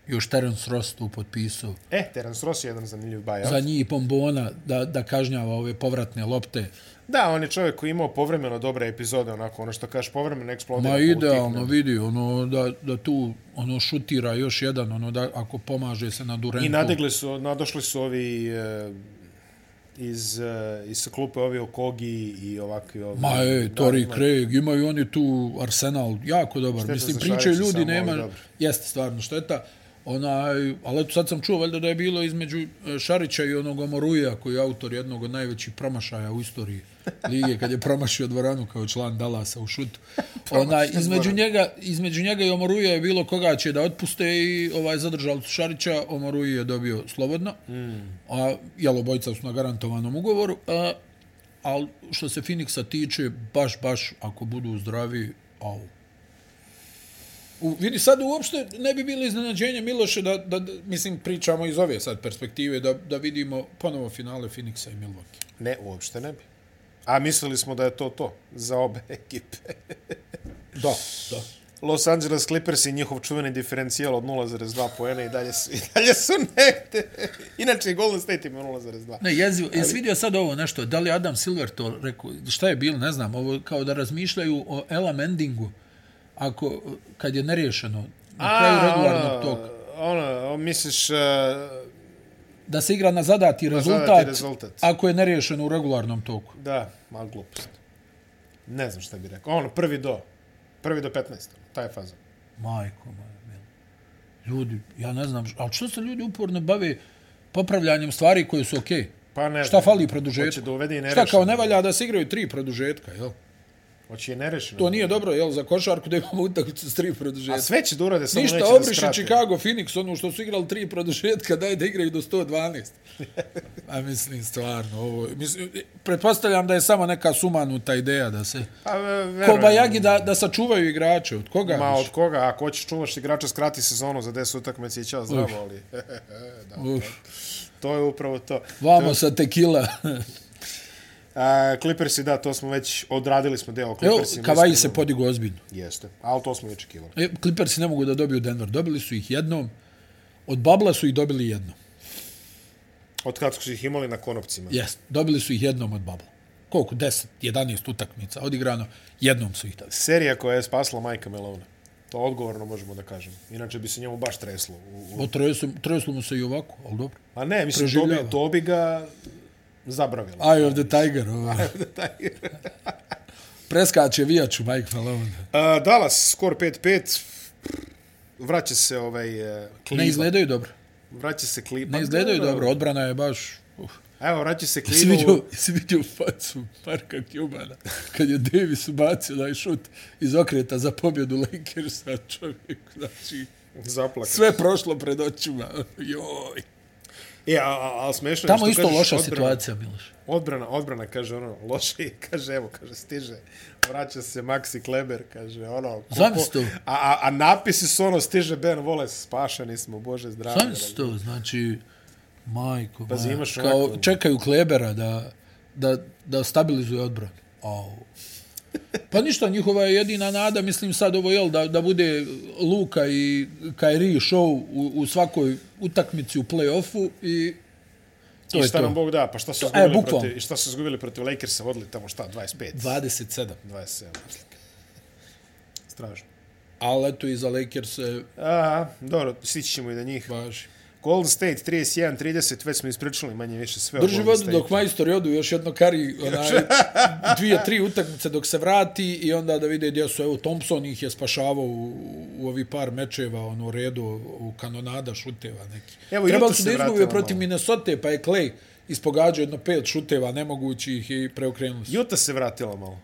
[SPEAKER 2] još Terence Ross tu potpisao.
[SPEAKER 1] E, Terence Ross je jedan zanimljiv buyout.
[SPEAKER 2] Za njih i Bombona da, da kažnjava ove povratne lopte.
[SPEAKER 1] Da, on je čovjek koji je imao povremeno dobre epizode, onako, ono što kažeš, povremeno eksplodira.
[SPEAKER 2] Ma
[SPEAKER 1] pa
[SPEAKER 2] idealno
[SPEAKER 1] utihne.
[SPEAKER 2] vidi, ono, da, da tu ono šutira još jedan, ono da ako pomaže se na Durentu.
[SPEAKER 1] I nadegli su, nadošli su ovi e, iz, e, iz klupe ovi Okogi i ovakvi ovi.
[SPEAKER 2] Ma e, Tori
[SPEAKER 1] ima-
[SPEAKER 2] Craig, imaju oni tu arsenal, jako dobar.
[SPEAKER 1] Šteta
[SPEAKER 2] Mislim,
[SPEAKER 1] za
[SPEAKER 2] pričaju
[SPEAKER 1] Šarića
[SPEAKER 2] ljudi,
[SPEAKER 1] samo, ali
[SPEAKER 2] nema,
[SPEAKER 1] dobro.
[SPEAKER 2] jeste stvarno šteta. Onaj, ali eto, sad sam čuo valjda da je bilo između e, Šarića i onog Omoruja, koji je autor jednog od najvećih promašaja u istoriji lige, kad je promašio dvoranu kao član Dalasa u šutu. Ona, između, njega, između njega i Omoruja je bilo koga će da otpuste i ovaj zadržali su Šarića, Omoruji je dobio slobodno, mm. a jel obojica su na garantovanom ugovoru. A, ali što se Phoenixa tiče, baš, baš, ako budu zdravi, au. U, vidi, sad uopšte ne bi bilo iznenađenje Miloše da, da, da, mislim, pričamo iz ove sad perspektive, da, da vidimo ponovo finale Phoenixa i Milwaukee.
[SPEAKER 1] Ne, uopšte ne bi. A mislili smo da je to to za obe ekipe.
[SPEAKER 2] Da, da.
[SPEAKER 1] Los Angeles Clippers i njihov čuveni diferencijal od 0,2 poena i dalje su, i dalje su negde. Inače, Golden State ima 0,2.
[SPEAKER 2] Ne, jezivo. Jesi vidio sad ovo nešto? Da li Adam Silver to rekao? Šta je bilo? Ne znam. Ovo kao da razmišljaju o Elam endingu. Ako, kad je nerješeno. Na kraju regularnog toka.
[SPEAKER 1] Ono, misliš, uh,
[SPEAKER 2] Da se igra na zadati rezultat,
[SPEAKER 1] zadati rezultat.
[SPEAKER 2] ako je nerješeno u regularnom toku.
[SPEAKER 1] da, ma glupost. Ne znam šta bi rekao. Ono, prvi do, prvi do 15. Taj je faza.
[SPEAKER 2] Majko moja, mila. Ljudi, ja ne znam, ali što se ljudi uporno bave popravljanjem stvari koje su okej?
[SPEAKER 1] Pa ne
[SPEAKER 2] Šta
[SPEAKER 1] znam,
[SPEAKER 2] fali produžetka?
[SPEAKER 1] Hoće da uvede i
[SPEAKER 2] Šta
[SPEAKER 1] nerešeno.
[SPEAKER 2] kao ne valja da se igraju tri produžetka, jel?
[SPEAKER 1] Hoće i nerešeno.
[SPEAKER 2] To nije dobro, jel, za košarku da imamo utakmicu s tri
[SPEAKER 1] A
[SPEAKER 2] produžetka.
[SPEAKER 1] sve će da urade, samo
[SPEAKER 2] Ništa,
[SPEAKER 1] neće da
[SPEAKER 2] obriše
[SPEAKER 1] skrate.
[SPEAKER 2] Chicago, Phoenix, ono što su igrali tri produžetka, daj da igraju do 112. A mislim, stvarno, ovo, mislim, pretpostavljam da je samo neka sumanuta ideja da se...
[SPEAKER 1] Pa, e, verujem.
[SPEAKER 2] Kobajagi da, da sačuvaju igrače, od koga?
[SPEAKER 1] Ma od koga, ako hoćeš čuvaš igrača, skrati sezonu za 10 utakmica i ćao zdravo, ali
[SPEAKER 2] Uf,
[SPEAKER 1] to je upravo to.
[SPEAKER 2] vamo sa tekila.
[SPEAKER 1] A, Clippersi, da, to smo već, odradili smo deo o
[SPEAKER 2] Evo,
[SPEAKER 1] Clippersima.
[SPEAKER 2] Kavaji se
[SPEAKER 1] iskreno.
[SPEAKER 2] podigo ozbiljno.
[SPEAKER 1] Jeste, ali to smo i očekivali.
[SPEAKER 2] E, Clippersi ne mogu da dobiju Denver. Dobili su ih jednom. Od Babla su ih dobili jednom.
[SPEAKER 1] Od kad su ih imali na konopcima.
[SPEAKER 2] Yes, dobili su ih jednom od Babla. Koliko? 10, 11 utakmica odigrano. Jednom su ih dobili.
[SPEAKER 1] Serija koja je spasla Majka Melona. To odgovorno možemo da kažemo. Inače bi se njemu baš treslo. U, u...
[SPEAKER 2] O, tresu, treslo mu se i ovako, ali dobro.
[SPEAKER 1] A ne, mislim, to bi,
[SPEAKER 2] Preživljava.
[SPEAKER 1] to bi ga zabravilo.
[SPEAKER 2] Eye of the Tiger. Ovo.
[SPEAKER 1] Taj-
[SPEAKER 2] Preskače vijaču Mike Malone.
[SPEAKER 1] A, Dallas, skor 5-5. Vraća se ovaj... e, Cleveland.
[SPEAKER 2] Ne izgledaju dobro.
[SPEAKER 1] Vraća se Cleveland.
[SPEAKER 2] Ne izgledaju Pa dobro. Odbrana je baš... Uf.
[SPEAKER 1] Evo, vraća se
[SPEAKER 2] Jesi
[SPEAKER 1] Cleveland.
[SPEAKER 2] vidio, jesi vidio facu Parka Cubana kad je Davis ubacio onaj šut iz okreta za pobjedu Lakersa čovjek, znači
[SPEAKER 1] Zaplaka.
[SPEAKER 2] sve prošlo pred očima. Joj.
[SPEAKER 1] E, a, a, ali smešno je
[SPEAKER 2] Tamo
[SPEAKER 1] što
[SPEAKER 2] isto
[SPEAKER 1] kažeš
[SPEAKER 2] loša
[SPEAKER 1] odbrana.
[SPEAKER 2] situacija, Miloš.
[SPEAKER 1] Odbrana, odbrana, kaže ono, loše i kaže, evo, kaže, stiže, vraća se Maxi Kleber, kaže, ono,
[SPEAKER 2] Zamisli to.
[SPEAKER 1] a, a, a napisi su ono, stiže Ben Wallace, spašeni smo, bože zdravlje.
[SPEAKER 2] Sam se to, znači, majko,
[SPEAKER 1] Pazi,
[SPEAKER 2] moja,
[SPEAKER 1] imaš
[SPEAKER 2] kao
[SPEAKER 1] ovako-
[SPEAKER 2] čekaju Klebera da, da, da stabilizuje odbranu. Au. Pa ništa, njihova je jedina nada, mislim sad ovo, jel, da, da bude Luka i Kairi show u, u svakoj utakmici u play-offu i to
[SPEAKER 1] I
[SPEAKER 2] je
[SPEAKER 1] šta nam
[SPEAKER 2] to.
[SPEAKER 1] Bog da, pa šta su
[SPEAKER 2] To- e,
[SPEAKER 1] izgubili
[SPEAKER 2] bukvalno.
[SPEAKER 1] protiv, i šta su izgubili protiv Lakersa, vodili tamo šta, 25,
[SPEAKER 2] 27.
[SPEAKER 1] 27. Strašno.
[SPEAKER 2] Ali eto i za Lakers se
[SPEAKER 1] A, dobro, stići ćemo i do njih.
[SPEAKER 2] važi.
[SPEAKER 1] Golden State 31-30, već smo ispričali manje više sve. o
[SPEAKER 2] Drži
[SPEAKER 1] Golden
[SPEAKER 2] vodu
[SPEAKER 1] State-u.
[SPEAKER 2] dok majstori odu još jedno kari, onaj, dvije, tri utakmice dok se vrati i onda da vide gdje su. Evo, Thompson ih je spašavao u, u ovi par mečeva, ono redu, u kanonada šuteva neki.
[SPEAKER 1] Evo,
[SPEAKER 2] Evo, Trebali
[SPEAKER 1] jutros
[SPEAKER 2] su
[SPEAKER 1] se
[SPEAKER 2] da izgube
[SPEAKER 1] vratila
[SPEAKER 2] protiv
[SPEAKER 1] malo.
[SPEAKER 2] Minnesota, pa je Clay ispogađao jedno pet šuteva nemogućih i preokrenuli su.
[SPEAKER 1] Juta se vratila malo.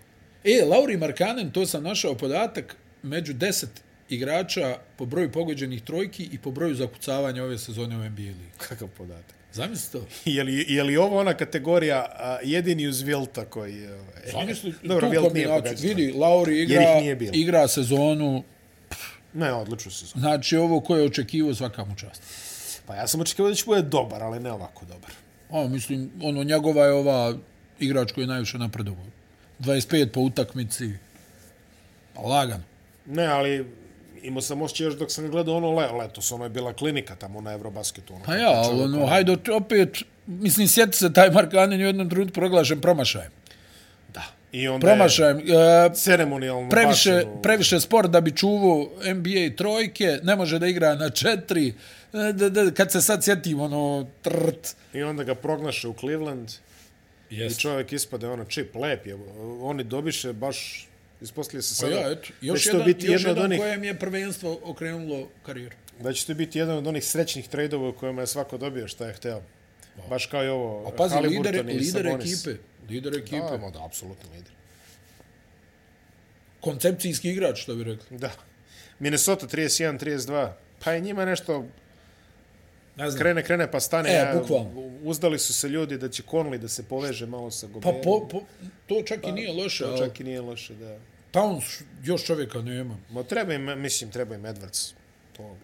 [SPEAKER 2] E, Lauri Markanen, to sam našao podatak, među deset igrača po broju pogođenih trojki i po broju zakucavanja ove sezone u NBA ligi.
[SPEAKER 1] Kakav podatak.
[SPEAKER 2] Zamisli to.
[SPEAKER 1] Je li, je li ovo ona kategorija a, jedini uz Vilta koji je... ovaj,
[SPEAKER 2] Zamisli
[SPEAKER 1] Dobro,
[SPEAKER 2] tu
[SPEAKER 1] Vilt nije
[SPEAKER 2] kombinaciju.
[SPEAKER 1] pogađao.
[SPEAKER 2] Vidi, Lauri
[SPEAKER 1] Jer ih
[SPEAKER 2] igra,
[SPEAKER 1] nije bilo.
[SPEAKER 2] igra sezonu,
[SPEAKER 1] Ne, odlično se zove.
[SPEAKER 2] znači ovo ko je očekivao svaka mu čast.
[SPEAKER 1] Pa ja sam očekivao da će bude dobar, ali ne ovako dobar.
[SPEAKER 2] O, mislim, ono, njegova je ova igrač koji je najviše napredovao. 25 po utakmici, pa lagano.
[SPEAKER 1] Ne, ali imao sam osjećaj još dok sam gledao ono le, letos, ono je bila klinika tamo na Eurobasketu. Ono,
[SPEAKER 2] Pa ja, ali ono, hajde ot- opet, mislim, sjeti se, taj Mark Anen je u jednom trenutku proglašen promašajem.
[SPEAKER 1] I onda je
[SPEAKER 2] Promašajem. E,
[SPEAKER 1] ceremonijalno ono,
[SPEAKER 2] previše,
[SPEAKER 1] bačeno.
[SPEAKER 2] previše sport da bi čuvao NBA trojke, ne može da igra na četiri. E, Da, da, kad se sad sjetim, ono, trt.
[SPEAKER 1] I onda ga prognaše u Cleveland i čovjek ispade ono čip, lep je. Oni dobiše baš ispostavlja se
[SPEAKER 2] Pa
[SPEAKER 1] sada
[SPEAKER 2] ja, eto,
[SPEAKER 1] da
[SPEAKER 2] još
[SPEAKER 1] će to
[SPEAKER 2] jedan,
[SPEAKER 1] biti
[SPEAKER 2] još
[SPEAKER 1] jedna od
[SPEAKER 2] jedan
[SPEAKER 1] onih
[SPEAKER 2] kojem je prvenstvo okrenulo karijeru.
[SPEAKER 1] Da će to biti jedan od onih srećnih trejdova u kojima je svako dobio šta je hteo. Baš kao i ovo.
[SPEAKER 2] A Pa pazi, lider,
[SPEAKER 1] Haliburton i
[SPEAKER 2] lider
[SPEAKER 1] Sabonis.
[SPEAKER 2] ekipe. Lider ekipe.
[SPEAKER 1] Da,
[SPEAKER 2] Da.
[SPEAKER 1] ma da, apsolutno lider.
[SPEAKER 2] Koncepcijski igrač, što bi rekli.
[SPEAKER 1] Da. Minnesota 31-32. Pa je njima nešto
[SPEAKER 2] Ne znam.
[SPEAKER 1] krene, krene pa stane.
[SPEAKER 2] E,
[SPEAKER 1] Ja,
[SPEAKER 2] bukvalno.
[SPEAKER 1] Uzdali su se ljudi da će Conley da se poveže malo sa
[SPEAKER 2] Pa
[SPEAKER 1] Goberom.
[SPEAKER 2] po, po, to čak i nije loše,
[SPEAKER 1] To
[SPEAKER 2] ali
[SPEAKER 1] čak i nije loše, da.
[SPEAKER 2] Towns još čovjeka nema.
[SPEAKER 1] Ma treba im, mislim, treba im Edwards. To,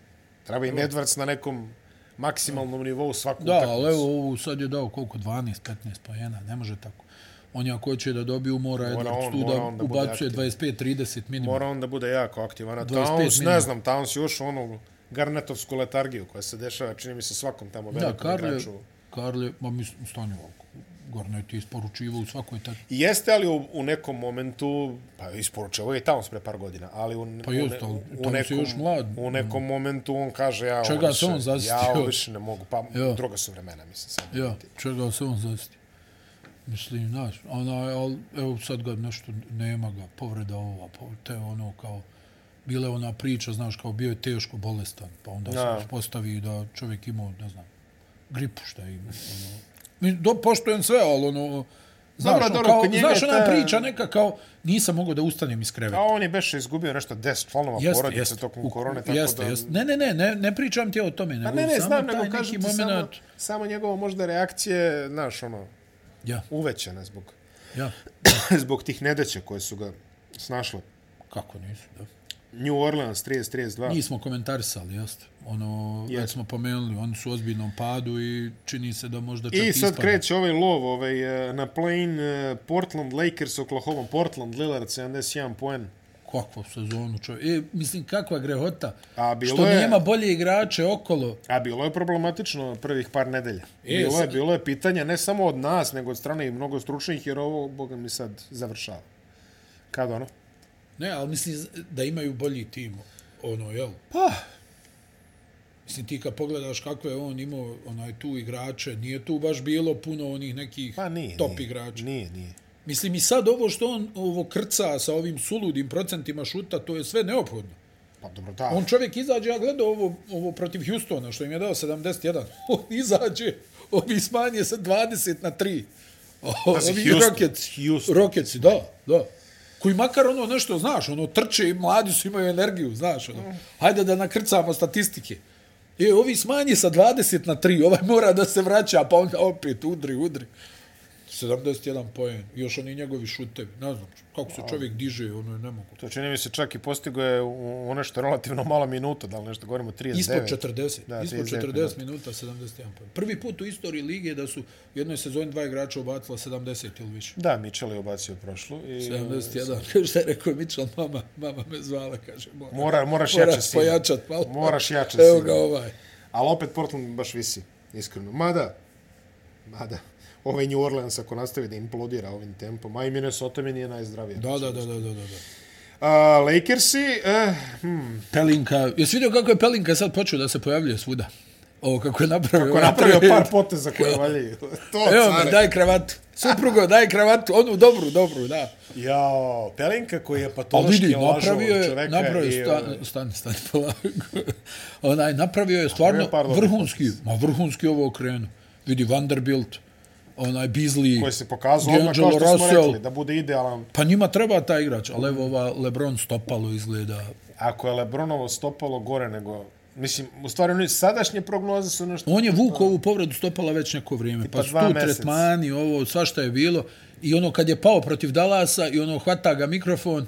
[SPEAKER 1] treba im Edwards na nekom maksimalnom nivou svaku
[SPEAKER 2] Da,
[SPEAKER 1] utakmicu.
[SPEAKER 2] ali evo, ovo sad je dao koliko, 12, 15 pojena, ne može tako. on ako hoće da dobiju, mora, mora Edwards
[SPEAKER 1] on-
[SPEAKER 2] tu
[SPEAKER 1] mora
[SPEAKER 2] da
[SPEAKER 1] on da bude
[SPEAKER 2] ubacuje 25-30 minimum.
[SPEAKER 1] Mora on da bude jako aktivan. A
[SPEAKER 2] 25
[SPEAKER 1] Towns, ne
[SPEAKER 2] minut.
[SPEAKER 1] znam, Towns još onu garnetovsku letargiju koja se dešava, čini mi se svakom tamo
[SPEAKER 2] da,
[SPEAKER 1] velikom
[SPEAKER 2] Karle,
[SPEAKER 1] igraču.
[SPEAKER 2] Karle, ma mislim, stani ovako. Garnet je isporučivao u svakoj tak...
[SPEAKER 1] I jeste ali u, u nekom momentu, pa isporučeo je i Towns pre par godina, ali u,
[SPEAKER 2] Pa jeste,
[SPEAKER 1] u,
[SPEAKER 2] ali
[SPEAKER 1] ne-
[SPEAKER 2] Towns je još mlad. ono.
[SPEAKER 1] u nekom momentu on kaže, ja,
[SPEAKER 2] Čega
[SPEAKER 1] ovo
[SPEAKER 2] se
[SPEAKER 1] više-
[SPEAKER 2] on zasitio?
[SPEAKER 1] ja ovo više ne mogu, pa
[SPEAKER 2] Jo.
[SPEAKER 1] druga su vremena, mislim, sad.
[SPEAKER 2] Ja, čega se on zasti. Mislim, znaš, onaj, al, evo sad ga nešto, nema ga, povreda ova, povreda, te ono kao, bila je ona priča, znaš, kao bio je teško bolestan, pa onda
[SPEAKER 1] Da.
[SPEAKER 2] se postavi da čovjek imao, ne znam, gripu šta ima. Ono. Mi- Do, poštujem sve, ali ono, znaš,
[SPEAKER 1] Dobro,
[SPEAKER 2] ono,
[SPEAKER 1] dobro,
[SPEAKER 2] kao,
[SPEAKER 1] kod njega
[SPEAKER 2] znaš,
[SPEAKER 1] je
[SPEAKER 2] ona
[SPEAKER 1] ta-
[SPEAKER 2] priča neka kao, nisam mogao da ustanem iz kreveta.
[SPEAKER 1] A on je beše izgubio nešto 10 članova porodice tokom
[SPEAKER 2] U-
[SPEAKER 1] korone, tako
[SPEAKER 2] jeste,
[SPEAKER 1] da...
[SPEAKER 2] Jeste. Ne, ne, ne, ne, ne pričam ti o tome, nego
[SPEAKER 1] Pa ne, ne,
[SPEAKER 2] samo
[SPEAKER 1] znam,
[SPEAKER 2] taj
[SPEAKER 1] nego
[SPEAKER 2] neki
[SPEAKER 1] kažem ti samo,
[SPEAKER 2] moment.
[SPEAKER 1] samo njegovo možda reakcije, znaš, ono,
[SPEAKER 2] Ja,
[SPEAKER 1] uvećane zbog,
[SPEAKER 2] ja,
[SPEAKER 1] zbog tih nedaća koje su ga snašle.
[SPEAKER 2] kako nisu, da.
[SPEAKER 1] New Orleans 30-32.
[SPEAKER 2] Nismo komentarisali, jeste. Ono, yes. već
[SPEAKER 1] Jeste.
[SPEAKER 2] smo pomenuli, oni su u ozbiljnom padu i čini se da možda čak
[SPEAKER 1] I sad
[SPEAKER 2] ispadne.
[SPEAKER 1] kreće ovaj lov ovaj, eh, na plane eh, Portland Lakers Oklahoma. Portland Lillard 71 poen.
[SPEAKER 2] Kakvu sezonu čovjek. E, mislim, kakva grehota.
[SPEAKER 1] A bilo
[SPEAKER 2] što
[SPEAKER 1] je-
[SPEAKER 2] nema bolje igrače okolo.
[SPEAKER 1] A bilo je problematično prvih par nedelja.
[SPEAKER 2] E,
[SPEAKER 1] Bilo je,
[SPEAKER 2] sad-
[SPEAKER 1] bilo je pitanja ne samo od nas, nego od strane i mnogo stručnih, jer ovo, boga mi sad, završava. Kad ono?
[SPEAKER 2] Ne, ali mislim da imaju bolji tim. Ono, jel?
[SPEAKER 1] Pa,
[SPEAKER 2] Mislim, ti kad pogledaš kakve je on imao onaj, tu igrače, nije tu baš bilo puno onih nekih
[SPEAKER 1] pa nije.
[SPEAKER 2] top
[SPEAKER 1] nije,
[SPEAKER 2] igrača.
[SPEAKER 1] Nije, nije.
[SPEAKER 2] Mislim i sad ovo što on ovo krca sa ovim suludim procentima šuta, to je sve neophodno.
[SPEAKER 1] Pa dobro, da.
[SPEAKER 2] On čovjek izađe, ja gledao ovo, ovo protiv Houstona, što im je dao 71. On izađe, ovi smanje sa 20 na 3. O,
[SPEAKER 1] Pazi,
[SPEAKER 2] ovi
[SPEAKER 1] Houston,
[SPEAKER 2] Rockets,
[SPEAKER 1] Houston.
[SPEAKER 2] Rockets, da, da. Koji makar ono nešto, znaš, ono trče i mladi su imaju energiju, znaš, ono. Hajde da nakrcamo statistike. E, ovi smanje sa 20 na 3, ovaj mora da se vraća, pa onda opet udri, udri. 71 poen, još oni njegovi šutevi, ne znam, kako se čovjek diže, ono je nemoguće.
[SPEAKER 1] To čini mi se čak i postigo je u u nešto relativno malo minuta, da li nešto govorimo 39.
[SPEAKER 2] Ispod 40,
[SPEAKER 1] Da,
[SPEAKER 2] da, ispod
[SPEAKER 1] 39
[SPEAKER 2] 40 minuta 71 poen. Prvi put u istoriji lige da su u jednoj sezoni dva igrača obacila 70 ili više.
[SPEAKER 1] Da, Mitchell je obacio prošlu. I,
[SPEAKER 2] 71, kaže šta je rekao Mitchell, mama, mama me zvala, kaže, mora,
[SPEAKER 1] Mora, moraš
[SPEAKER 2] moraš
[SPEAKER 1] jače sine.
[SPEAKER 2] pojačat malo.
[SPEAKER 1] Moraš jače
[SPEAKER 2] Evo
[SPEAKER 1] sine.
[SPEAKER 2] ga ovaj.
[SPEAKER 1] Ali opet Portland baš visi, iskreno. Mada, mada, ovaj New Orleans ako nastavi da implodira ovim tempom, a i Minnesota mi nije najzdravija.
[SPEAKER 2] Da, da, da, da, da, da.
[SPEAKER 1] A, Lakersi, eh, hmm,
[SPEAKER 2] Pelinka, jesi vidio kako je Pelinka sad počeo da se pojavljuje svuda? Ovo kako je napravio.
[SPEAKER 1] ko je napravio par poteza koje valjaju. To,
[SPEAKER 2] Evo me,
[SPEAKER 1] care.
[SPEAKER 2] daj kravatu. Suprugo, daj kravatu. Onu dobru, dobru, da.
[SPEAKER 1] Jao, Pelinka koji je
[SPEAKER 2] Pa vidi,
[SPEAKER 1] patološki lažao
[SPEAKER 2] napravio je,
[SPEAKER 1] čoveka.
[SPEAKER 2] napravio
[SPEAKER 1] i,
[SPEAKER 2] je,
[SPEAKER 1] ovaj,
[SPEAKER 2] stan, stani, stani, polako. Onaj, napravio je stvarno
[SPEAKER 1] par dobrih
[SPEAKER 2] vrhunski, ma vrhunski ovo okrenu. Vidi, Vanderbilt, onaj Beasley,
[SPEAKER 1] koji se pokazao odmah kao
[SPEAKER 2] D'Angelo
[SPEAKER 1] što smo
[SPEAKER 2] Russell.
[SPEAKER 1] rekli, da bude idealan.
[SPEAKER 2] pa njima treba taj igrač, ali evo ova Lebron stopalo izgleda.
[SPEAKER 1] Ako je Lebronovo stopalo gore nego... Mislim, u stvari, oni sadašnje prognoze su nešto...
[SPEAKER 2] On je vukao ovu povredu stopala već neko vrijeme,
[SPEAKER 1] Tipa
[SPEAKER 2] pa su
[SPEAKER 1] Pa- dva
[SPEAKER 2] tu
[SPEAKER 1] mjeseca.
[SPEAKER 2] tretmani, ovo, svašta je bilo. I ono kad je pao protiv Dalasa i ono hvata ga mikrofon,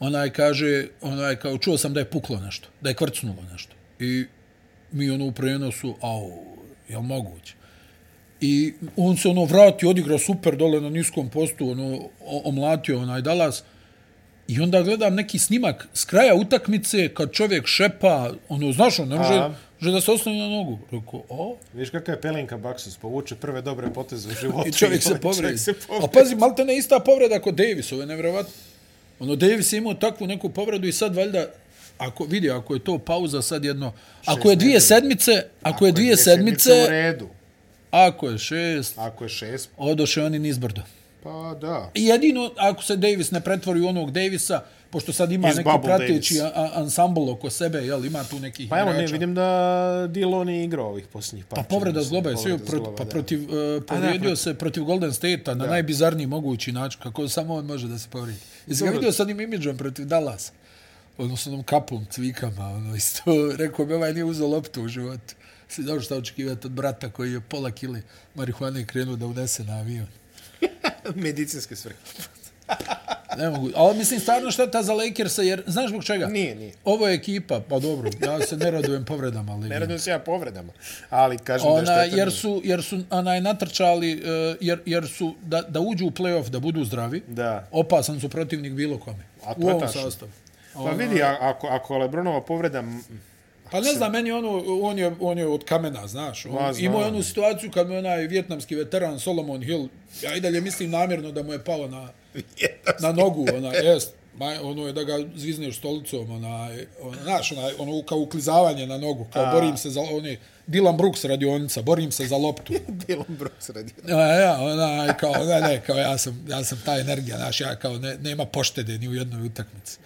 [SPEAKER 2] onaj kaže, onaj kao čuo sam da je puklo nešto, da je kvrcnulo nešto. I mi ono u prenosu, au, jel moguće? I on se ono vratio, odigrao super dole na niskom postu, ono o- omlatio onaj Dalas. I onda gledam neki snimak s kraja utakmice kad čovjek šepa, ono, znaš, on ne može,
[SPEAKER 1] Aha.
[SPEAKER 2] može da se osloni na nogu. Rekao, o,
[SPEAKER 1] Viš kakav je Pelinka Baksus, povuče prve dobre poteze u životu.
[SPEAKER 2] I čovjek se
[SPEAKER 1] ovaj
[SPEAKER 2] povredi.
[SPEAKER 1] čovjek se
[SPEAKER 2] A
[SPEAKER 1] povredi.
[SPEAKER 2] pazi, malte ne ista povreda kod Davis, ovo je nevjerovatno. Ono, Davis je imao takvu neku povredu i sad valjda, ako vidi, ako je to pauza sad jedno, ako je dvije
[SPEAKER 1] nedelja.
[SPEAKER 2] sedmice, ako je dvije
[SPEAKER 1] U
[SPEAKER 2] sedmice,
[SPEAKER 1] redu.
[SPEAKER 2] ako je šest,
[SPEAKER 1] Ako je šest,
[SPEAKER 2] odoše oni nizbrdo.
[SPEAKER 1] pa da.
[SPEAKER 2] I jedino ako se Davis ne pretvori u onog Davisa, pošto sad ima
[SPEAKER 1] Iz
[SPEAKER 2] neki
[SPEAKER 1] Bubble
[SPEAKER 2] prateći
[SPEAKER 1] Davis.
[SPEAKER 2] a- ansambl oko sebe, jel, ima tu nekih
[SPEAKER 1] Pa evo, ne,
[SPEAKER 2] igrača.
[SPEAKER 1] vidim da Dilo nije igrao ovih posljednjih par.
[SPEAKER 2] Pa povreda zgloba je sve,
[SPEAKER 1] Povreda
[SPEAKER 2] pro,
[SPEAKER 1] zgloba,
[SPEAKER 2] pa
[SPEAKER 1] da.
[SPEAKER 2] protiv, uh,
[SPEAKER 1] da,
[SPEAKER 2] povrijedio
[SPEAKER 1] protiv-
[SPEAKER 2] se protiv Golden State-a na najbizarniji mogući način, kako samo on može da se povredi. Jesi ga
[SPEAKER 1] Dobro.
[SPEAKER 2] vidio sa onim imidžom protiv Dallasa? Odnosno onom kapom, cvikama, ono isto, rekao bi, ovaj nije uzao loptu u životu. Si dobro šta očekivati od brata koji je pola kile marihuane krenuo da unese na avion.
[SPEAKER 1] Medicinske svrhe.
[SPEAKER 2] Ne mogu. Ali mislim, stvarno šteta za Lakersa, jer znaš zbog čega?
[SPEAKER 1] Pa Nije, nije.
[SPEAKER 2] Ovo je ekipa, pa dobro, ja se ne radujem povredama lige.
[SPEAKER 1] Ne radim se ja povredama, ali kažem da
[SPEAKER 2] Ona,
[SPEAKER 1] je šteta
[SPEAKER 2] jer
[SPEAKER 1] nije.
[SPEAKER 2] su, jer su onaj, natrčali, e, jer, jer su, da, da uđu u play-off, da budu zdravi,
[SPEAKER 1] Da.
[SPEAKER 2] opasan su protivnik bilo kome.
[SPEAKER 1] A to
[SPEAKER 2] u
[SPEAKER 1] je
[SPEAKER 2] ovom
[SPEAKER 1] tačno.
[SPEAKER 2] sastavu.
[SPEAKER 1] Pa vidi, a- ako, ako Lebronova povreda, m,
[SPEAKER 2] Pa ne znam, meni ono, on je, on je od kamena, znaš. On,
[SPEAKER 1] Ma,
[SPEAKER 2] Ma,
[SPEAKER 1] znam.
[SPEAKER 2] imao je onu situaciju kad mu je onaj vjetnamski veteran Solomon Hill, ja i dalje mislim namjerno da mu je palo na, na nogu, ona, jest, ma, ono je da ga zvizneš stolicom, ona, ona, znaš, ona, ono kao uklizavanje na nogu, kao A. borim se za, on je Dylan Brooks radionica, borim se za loptu.
[SPEAKER 1] Dylan Brooks radi.
[SPEAKER 2] A, ja, ona, kao, ne, ne, kao ja sam, ja sam ta energija, znaš, ja kao ne, nema poštede ni u jednoj utakmici.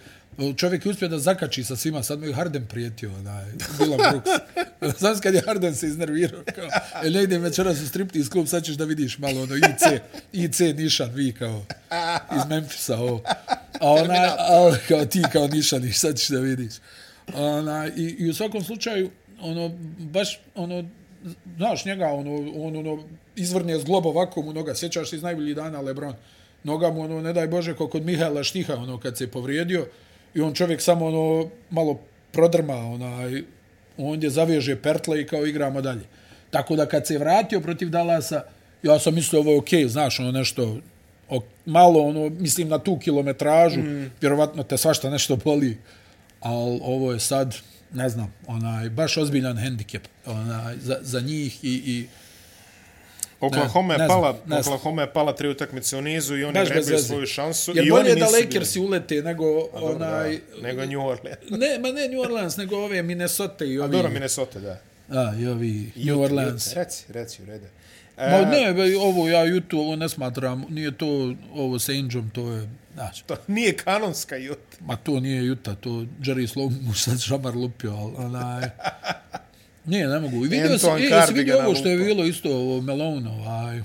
[SPEAKER 2] Čovjek je uspio da zakači sa svima, sad mu je Harden prijetio, onaj, Dylan Brooks. Znaš kad je Harden se iznervirao, kao, e, ne idem večeras u striptease klub, sad ćeš da vidiš malo ono IC, IC Nišan, vi kao, iz Memphisa, ovo. A ona, a, kao ti kao Nišaniš, sad ćeš da vidiš. Ona, i, I u svakom slučaju, ono, baš, ono, znaš njega, ono, on, ono, izvrne zglob ovako mu noga, sjećaš se iz najboljih dana Lebron, noga mu, ono, ne daj Bože, kao kod Mihajla Štiha, ono, kad se povrijedio, i on čovjek samo, ono, malo prodrma, onaj, ondje zaveže pertle i kao igramo dalje. Tako da kad se je vratio protiv Dalasa, ja sam mislio ovo je okej, okay, znaš, ono nešto, o, malo, ono, mislim na tu kilometražu, mm. vjerovatno te svašta nešto boli, ali ovo je sad, ne znam, onaj, baš ozbiljan hendikep onaj, za, za njih i, i
[SPEAKER 1] Oklahoma je
[SPEAKER 2] ne znam,
[SPEAKER 1] pala,
[SPEAKER 2] ne znam.
[SPEAKER 1] Oklahoma je pala tri utakmice u nizu i oni
[SPEAKER 2] baš bez
[SPEAKER 1] vrebaju
[SPEAKER 2] veze.
[SPEAKER 1] svoju šansu.
[SPEAKER 2] Jer
[SPEAKER 1] i
[SPEAKER 2] bolje
[SPEAKER 1] oni
[SPEAKER 2] je da
[SPEAKER 1] nisu bili-
[SPEAKER 2] Lakersi ulete nego onaj...
[SPEAKER 1] Da, nego New Orleans. Pa
[SPEAKER 2] Ne, ma ne New Orleans, nego ove Minnesota i ovi...
[SPEAKER 1] Dobro, Minnesota, da.
[SPEAKER 2] A, i ovi New Orleans.
[SPEAKER 1] Reci, reci, u redu.
[SPEAKER 2] Ma
[SPEAKER 1] E,
[SPEAKER 2] ne, be, ovo ja Jutu ovo ne smatram, nije to ovo sa Angel, to je, znači,
[SPEAKER 1] to nije kanonska Utah.
[SPEAKER 2] ma to nije Juta, to Jerry Slow mu sad šamar lupio, ali onaj... Nije, ne mogu. I vidio sam,
[SPEAKER 1] Antoine
[SPEAKER 2] e, jesi
[SPEAKER 1] Cardigan
[SPEAKER 2] vidio ovo što je
[SPEAKER 1] lupao.
[SPEAKER 2] bilo isto ovo Melone, ovaj,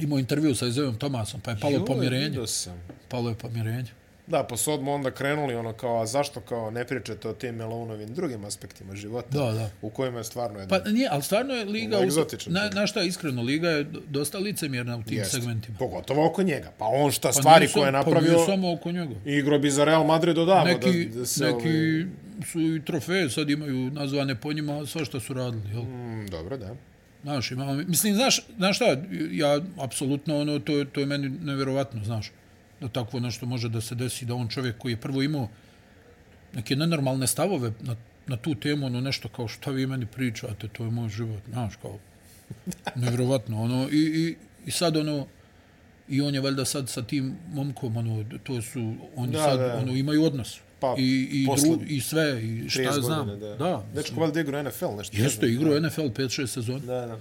[SPEAKER 2] imao intervju sa Izeom Tomasom, pa je palo
[SPEAKER 1] Joj,
[SPEAKER 2] pomirenje.
[SPEAKER 1] vidio sam.
[SPEAKER 2] Palo je pomirenje.
[SPEAKER 1] Da, pa su odmah onda krenuli ono kao, a zašto kao ne pričate o tim Melounovim drugim aspektima života?
[SPEAKER 2] Da, da.
[SPEAKER 1] U kojima je stvarno jedan...
[SPEAKER 2] Pa nije, ali stvarno je Liga...
[SPEAKER 1] Ovo je egzotičan
[SPEAKER 2] na,
[SPEAKER 1] čovjek.
[SPEAKER 2] na šta, iskreno, Liga je dosta licemjerna u tim
[SPEAKER 1] Jeste.
[SPEAKER 2] segmentima.
[SPEAKER 1] Pogotovo oko njega. Pa on šta
[SPEAKER 2] Pa
[SPEAKER 1] stvari
[SPEAKER 2] nije
[SPEAKER 1] koje je
[SPEAKER 2] samo-
[SPEAKER 1] napravio,
[SPEAKER 2] Pa nije samo oko njega.
[SPEAKER 1] igro bi za Real Madrid odavno.
[SPEAKER 2] neki,
[SPEAKER 1] da, da se
[SPEAKER 2] neki su i trofeje sad imaju nazvane po njima, sva što su radili. Jel?
[SPEAKER 1] Ovaj, mm, dobro, da.
[SPEAKER 2] Znaš, imamo, mislim, znaš, znaš šta, ja apsolutno, ono, to, je- to je meni nevjerovatno, znaš, da takvo nešto može da se desi, da on čovjek koji je prvo imao neke nenormalne stavove na, na tu temu, ono nešto kao šta vi meni pričate, to je moj život, znaš, kao, nevjerovatno, ono, i, i, i sad, ono, i on je valjda sad sa tim momkom, ono, to su, oni
[SPEAKER 1] Da,
[SPEAKER 2] da, sad,
[SPEAKER 1] da.
[SPEAKER 2] da. ono, imaju odnos.
[SPEAKER 1] Pa,
[SPEAKER 2] Pa, I, i,
[SPEAKER 1] posle
[SPEAKER 2] dru, I sve, i
[SPEAKER 1] 30
[SPEAKER 2] šta ja znam.
[SPEAKER 1] godina, da.
[SPEAKER 2] da
[SPEAKER 1] Dečko valjda igra NFL, nešto.
[SPEAKER 2] Jeste,
[SPEAKER 1] ne znam.
[SPEAKER 2] igrao NFL 5-6 sezona.
[SPEAKER 1] Da, da.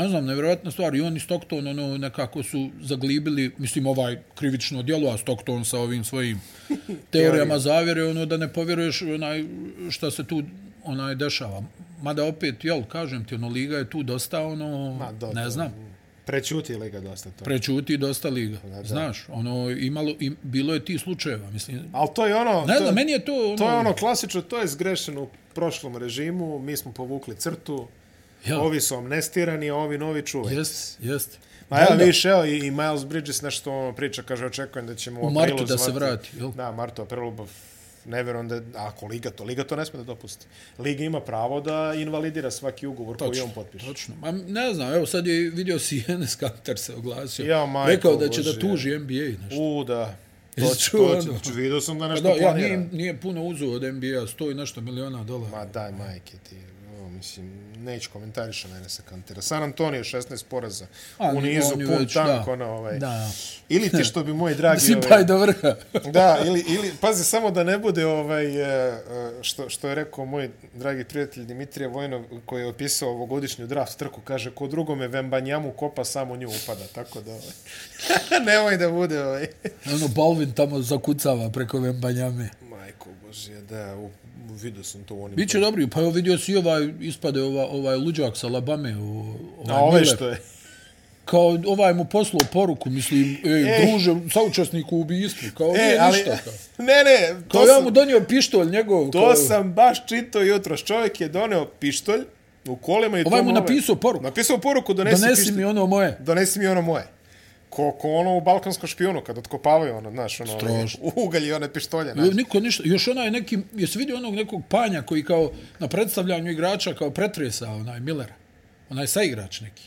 [SPEAKER 2] Ne znam, nevjerojatna stvar. I oni Stockton, ono, nekako su zaglibili, mislim, ovaj krivično djelo, a Stockton sa ovim svojim teorijama zavjere, ono, da ne povjeruješ onaj, šta se tu onaj dešava. Mada opet, jel, kažem ti, ono, Liga je tu dosta, ono,
[SPEAKER 1] Ma, da,
[SPEAKER 2] ne
[SPEAKER 1] to-
[SPEAKER 2] znam,
[SPEAKER 1] Prećuti Liga dosta to.
[SPEAKER 2] prečuti dosta Liga.
[SPEAKER 1] da.
[SPEAKER 2] Znaš, ono, imalo, im, bilo je ti slučajeva, mislim.
[SPEAKER 1] Ali to je ono...
[SPEAKER 2] Ne
[SPEAKER 1] to,
[SPEAKER 2] znam, meni je to, ono,
[SPEAKER 1] To je ono klasično, to je zgrešeno u prošlom režimu, mi smo povukli crtu,
[SPEAKER 2] jel,
[SPEAKER 1] ovi su amnestirani, a ovi novi čuvaju.
[SPEAKER 2] jest, jest.
[SPEAKER 1] Ma
[SPEAKER 2] Da,
[SPEAKER 1] evo,
[SPEAKER 2] da.
[SPEAKER 1] vidiš, evo, i, i Miles Bridges nešto ono priča, kaže, očekujem da ćemo u,
[SPEAKER 2] martu
[SPEAKER 1] aprilu
[SPEAKER 2] da se
[SPEAKER 1] zvati-
[SPEAKER 2] vrati, jel?
[SPEAKER 1] Da, Marto, aprilu, pa f- ne vjerujem da, ako Liga to, Liga to ne sme da dopusti. Liga ima pravo da invalidira svaki ugovor koji on potpiše.
[SPEAKER 2] Točno. Ma, ne znam, evo sad je vidio si Enes Kanter se oglasio.
[SPEAKER 1] Ja, majko
[SPEAKER 2] Rekao da će
[SPEAKER 1] Božja.
[SPEAKER 2] da tuži NBA. Nešto.
[SPEAKER 1] U, da. To,
[SPEAKER 2] Jesi čuo
[SPEAKER 1] to,
[SPEAKER 2] ono?
[SPEAKER 1] to, vidio sam da
[SPEAKER 2] Pa
[SPEAKER 1] nešto
[SPEAKER 2] da, ja
[SPEAKER 1] planira.
[SPEAKER 2] nije, nije puno uzu od NBA, sto i nešto miliona dolara.
[SPEAKER 1] Ma daj majke ti, o, mislim, neću komentariša na Enesa Kantera. San Antonio 16 poraza, u
[SPEAKER 2] ni-
[SPEAKER 1] nizu,
[SPEAKER 2] oni
[SPEAKER 1] pun
[SPEAKER 2] već,
[SPEAKER 1] tank,
[SPEAKER 2] da.
[SPEAKER 1] ono, ovaj.
[SPEAKER 2] Da.
[SPEAKER 1] Ili ti što bi moji dragi... ovaj,
[SPEAKER 2] Sipaj pa do vrha.
[SPEAKER 1] Da, ili, ili, pazi, samo da ne bude ovaj, e, e, što, što je rekao moj dragi prijatelj Dimitrije Vojnov, koji je opisao ovogodišnju draft trku, kaže, ko drugome Vembanjamu kopa, samo nju upada, tako da, ovaj, nemoj da bude, ovaj.
[SPEAKER 2] ono, Balvin tamo zakucava preko Vembanjame.
[SPEAKER 1] Majko Božje, da, u, vidio sam to u onim...
[SPEAKER 2] Biće dobri, pa evo vidio si i ovaj, ispade ova, ovaj luđak sa Alabame. o- Ovaj
[SPEAKER 1] A ove
[SPEAKER 2] Miller.
[SPEAKER 1] što je.
[SPEAKER 2] Kao ovaj mu poslao poruku, mislim, ej,
[SPEAKER 1] Ej.
[SPEAKER 2] druže, saučasnik u ubijstvu, kao
[SPEAKER 1] E,
[SPEAKER 2] nije
[SPEAKER 1] ali,
[SPEAKER 2] ništa. Kao,
[SPEAKER 1] ne, ne, to,
[SPEAKER 2] kao ja
[SPEAKER 1] sam,
[SPEAKER 2] mu donio pištolj njegov.
[SPEAKER 1] to
[SPEAKER 2] kao,
[SPEAKER 1] sam baš čitao jutro. Čovjek je doneo pištolj u kolima i to
[SPEAKER 2] Ovaj mu
[SPEAKER 1] ove-
[SPEAKER 2] napisao poruku.
[SPEAKER 1] Napisao poruku, donesi,
[SPEAKER 2] Donesi
[SPEAKER 1] pištolj.
[SPEAKER 2] mi ono moje.
[SPEAKER 1] Donesi mi ono moje. ko, ko ono u balkanskom špijunu, kad otkopavaju ono, znaš, ono, ovaj,
[SPEAKER 2] Strašno.
[SPEAKER 1] ugalj i one pištolje, znaš.
[SPEAKER 2] Jo, Niko ništa, još onaj neki, jesi vidio onog nekog panja koji kao na predstavljanju igrača kao pretresa onaj Millera, onaj saigrač neki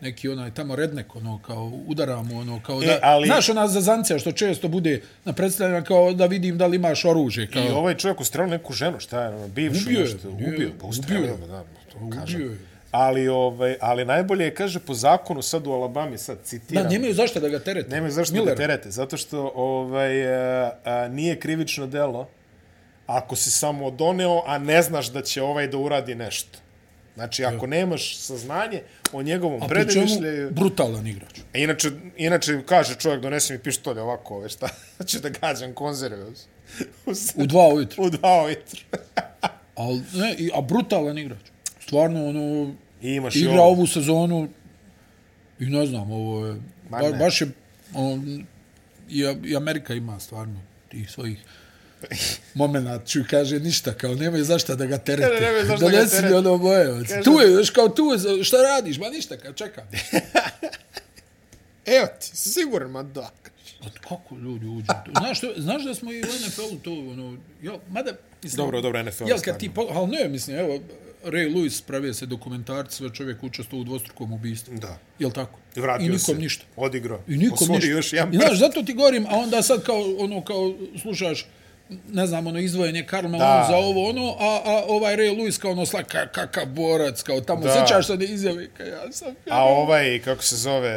[SPEAKER 2] neki onaj tamo rednek, ono, kao udara mu, ono, kao da...
[SPEAKER 1] E, ali-
[SPEAKER 2] Znaš, ona zazancija što često bude na predstavljanju kao da vidim da li imaš oružje, kao...
[SPEAKER 1] I ovaj čovjek ustrelio neku ženu, šta je, ono, bivšu
[SPEAKER 2] Ubio je,
[SPEAKER 1] nešto,
[SPEAKER 2] nije,
[SPEAKER 1] ubio, pa ustrelio
[SPEAKER 2] ubio
[SPEAKER 1] je,
[SPEAKER 2] je.
[SPEAKER 1] da, to
[SPEAKER 2] Ubio
[SPEAKER 1] kažem.
[SPEAKER 2] je.
[SPEAKER 1] Ali, ovaj, ali najbolje je, kaže, po zakonu sad u Alabami, sad citiram.
[SPEAKER 2] Da, nemaju zašto da ga terete.
[SPEAKER 1] Nemaju zašto Miller.
[SPEAKER 2] Millera.
[SPEAKER 1] da terete, zato što ovaj, a, a, nije krivično delo ako si samo doneo, a ne znaš da će ovaj da uradi nešto. Znači, ako nemaš saznanje o njegovom
[SPEAKER 2] A pri čemu
[SPEAKER 1] predvišljaju...
[SPEAKER 2] brutalan igrač.
[SPEAKER 1] E, Inače, inače kaže čovjek, donesi mi pištolje ovako, ove, šta ću da gađam konzerve uz- uz-
[SPEAKER 2] U dva ujutru.
[SPEAKER 1] u dva ujutru.
[SPEAKER 2] Al, ne, i- a brutalan igrač. Stvarno, ono,
[SPEAKER 1] I imaš i
[SPEAKER 2] igra
[SPEAKER 1] ovo.
[SPEAKER 2] ovu sezonu i ne znam, ovo je,
[SPEAKER 1] Ma
[SPEAKER 2] ba,
[SPEAKER 1] ne.
[SPEAKER 2] baš je, on, i, i Amerika ima stvarno tih svojih momenat ću kaže ništa, kao nemaju zašta da ga
[SPEAKER 1] Ne, ne,
[SPEAKER 2] terete.
[SPEAKER 1] nemaju zašta da ga
[SPEAKER 2] Donesi mi
[SPEAKER 1] terete.
[SPEAKER 2] ono boje.
[SPEAKER 1] Kaže-
[SPEAKER 2] Tu je, još kao tu je, šta radiš? Ma ništa, kao čekam.
[SPEAKER 1] Evo ti, siguran, ma da.
[SPEAKER 2] Pa kako ljudi uđu? u to? Znaš, to, znaš da smo i u NFL-u to, ono, jo, mada... Mislim,
[SPEAKER 1] Dobro, dobro, NFL je
[SPEAKER 2] Jel
[SPEAKER 1] stvarno.
[SPEAKER 2] kad ti, po, ali ne, mislim, evo, Ray Lewis pravio se dokumentarci, sve čovjek učestvo u dvostrukom ubistvu.
[SPEAKER 1] Da.
[SPEAKER 2] Jel tako?
[SPEAKER 1] I Vratio
[SPEAKER 2] I nikom
[SPEAKER 1] se.
[SPEAKER 2] ništa.
[SPEAKER 1] Odigrao.
[SPEAKER 2] I nikom
[SPEAKER 1] Osvoji
[SPEAKER 2] ništa.
[SPEAKER 1] još jedan
[SPEAKER 2] I znaš, zato ti govorim, a onda sad kao, ono, kao slušaš, ne znam, ono, izvojenje Karma
[SPEAKER 1] Da.
[SPEAKER 2] on za ovo, ono, a, a ovaj Ray Lewis kao ono, slak, ka- kakav borac, kao tamo,
[SPEAKER 1] Da.
[SPEAKER 2] sjećaš se ne izjave, kao ja sam...
[SPEAKER 1] A ovaj, kako se zove,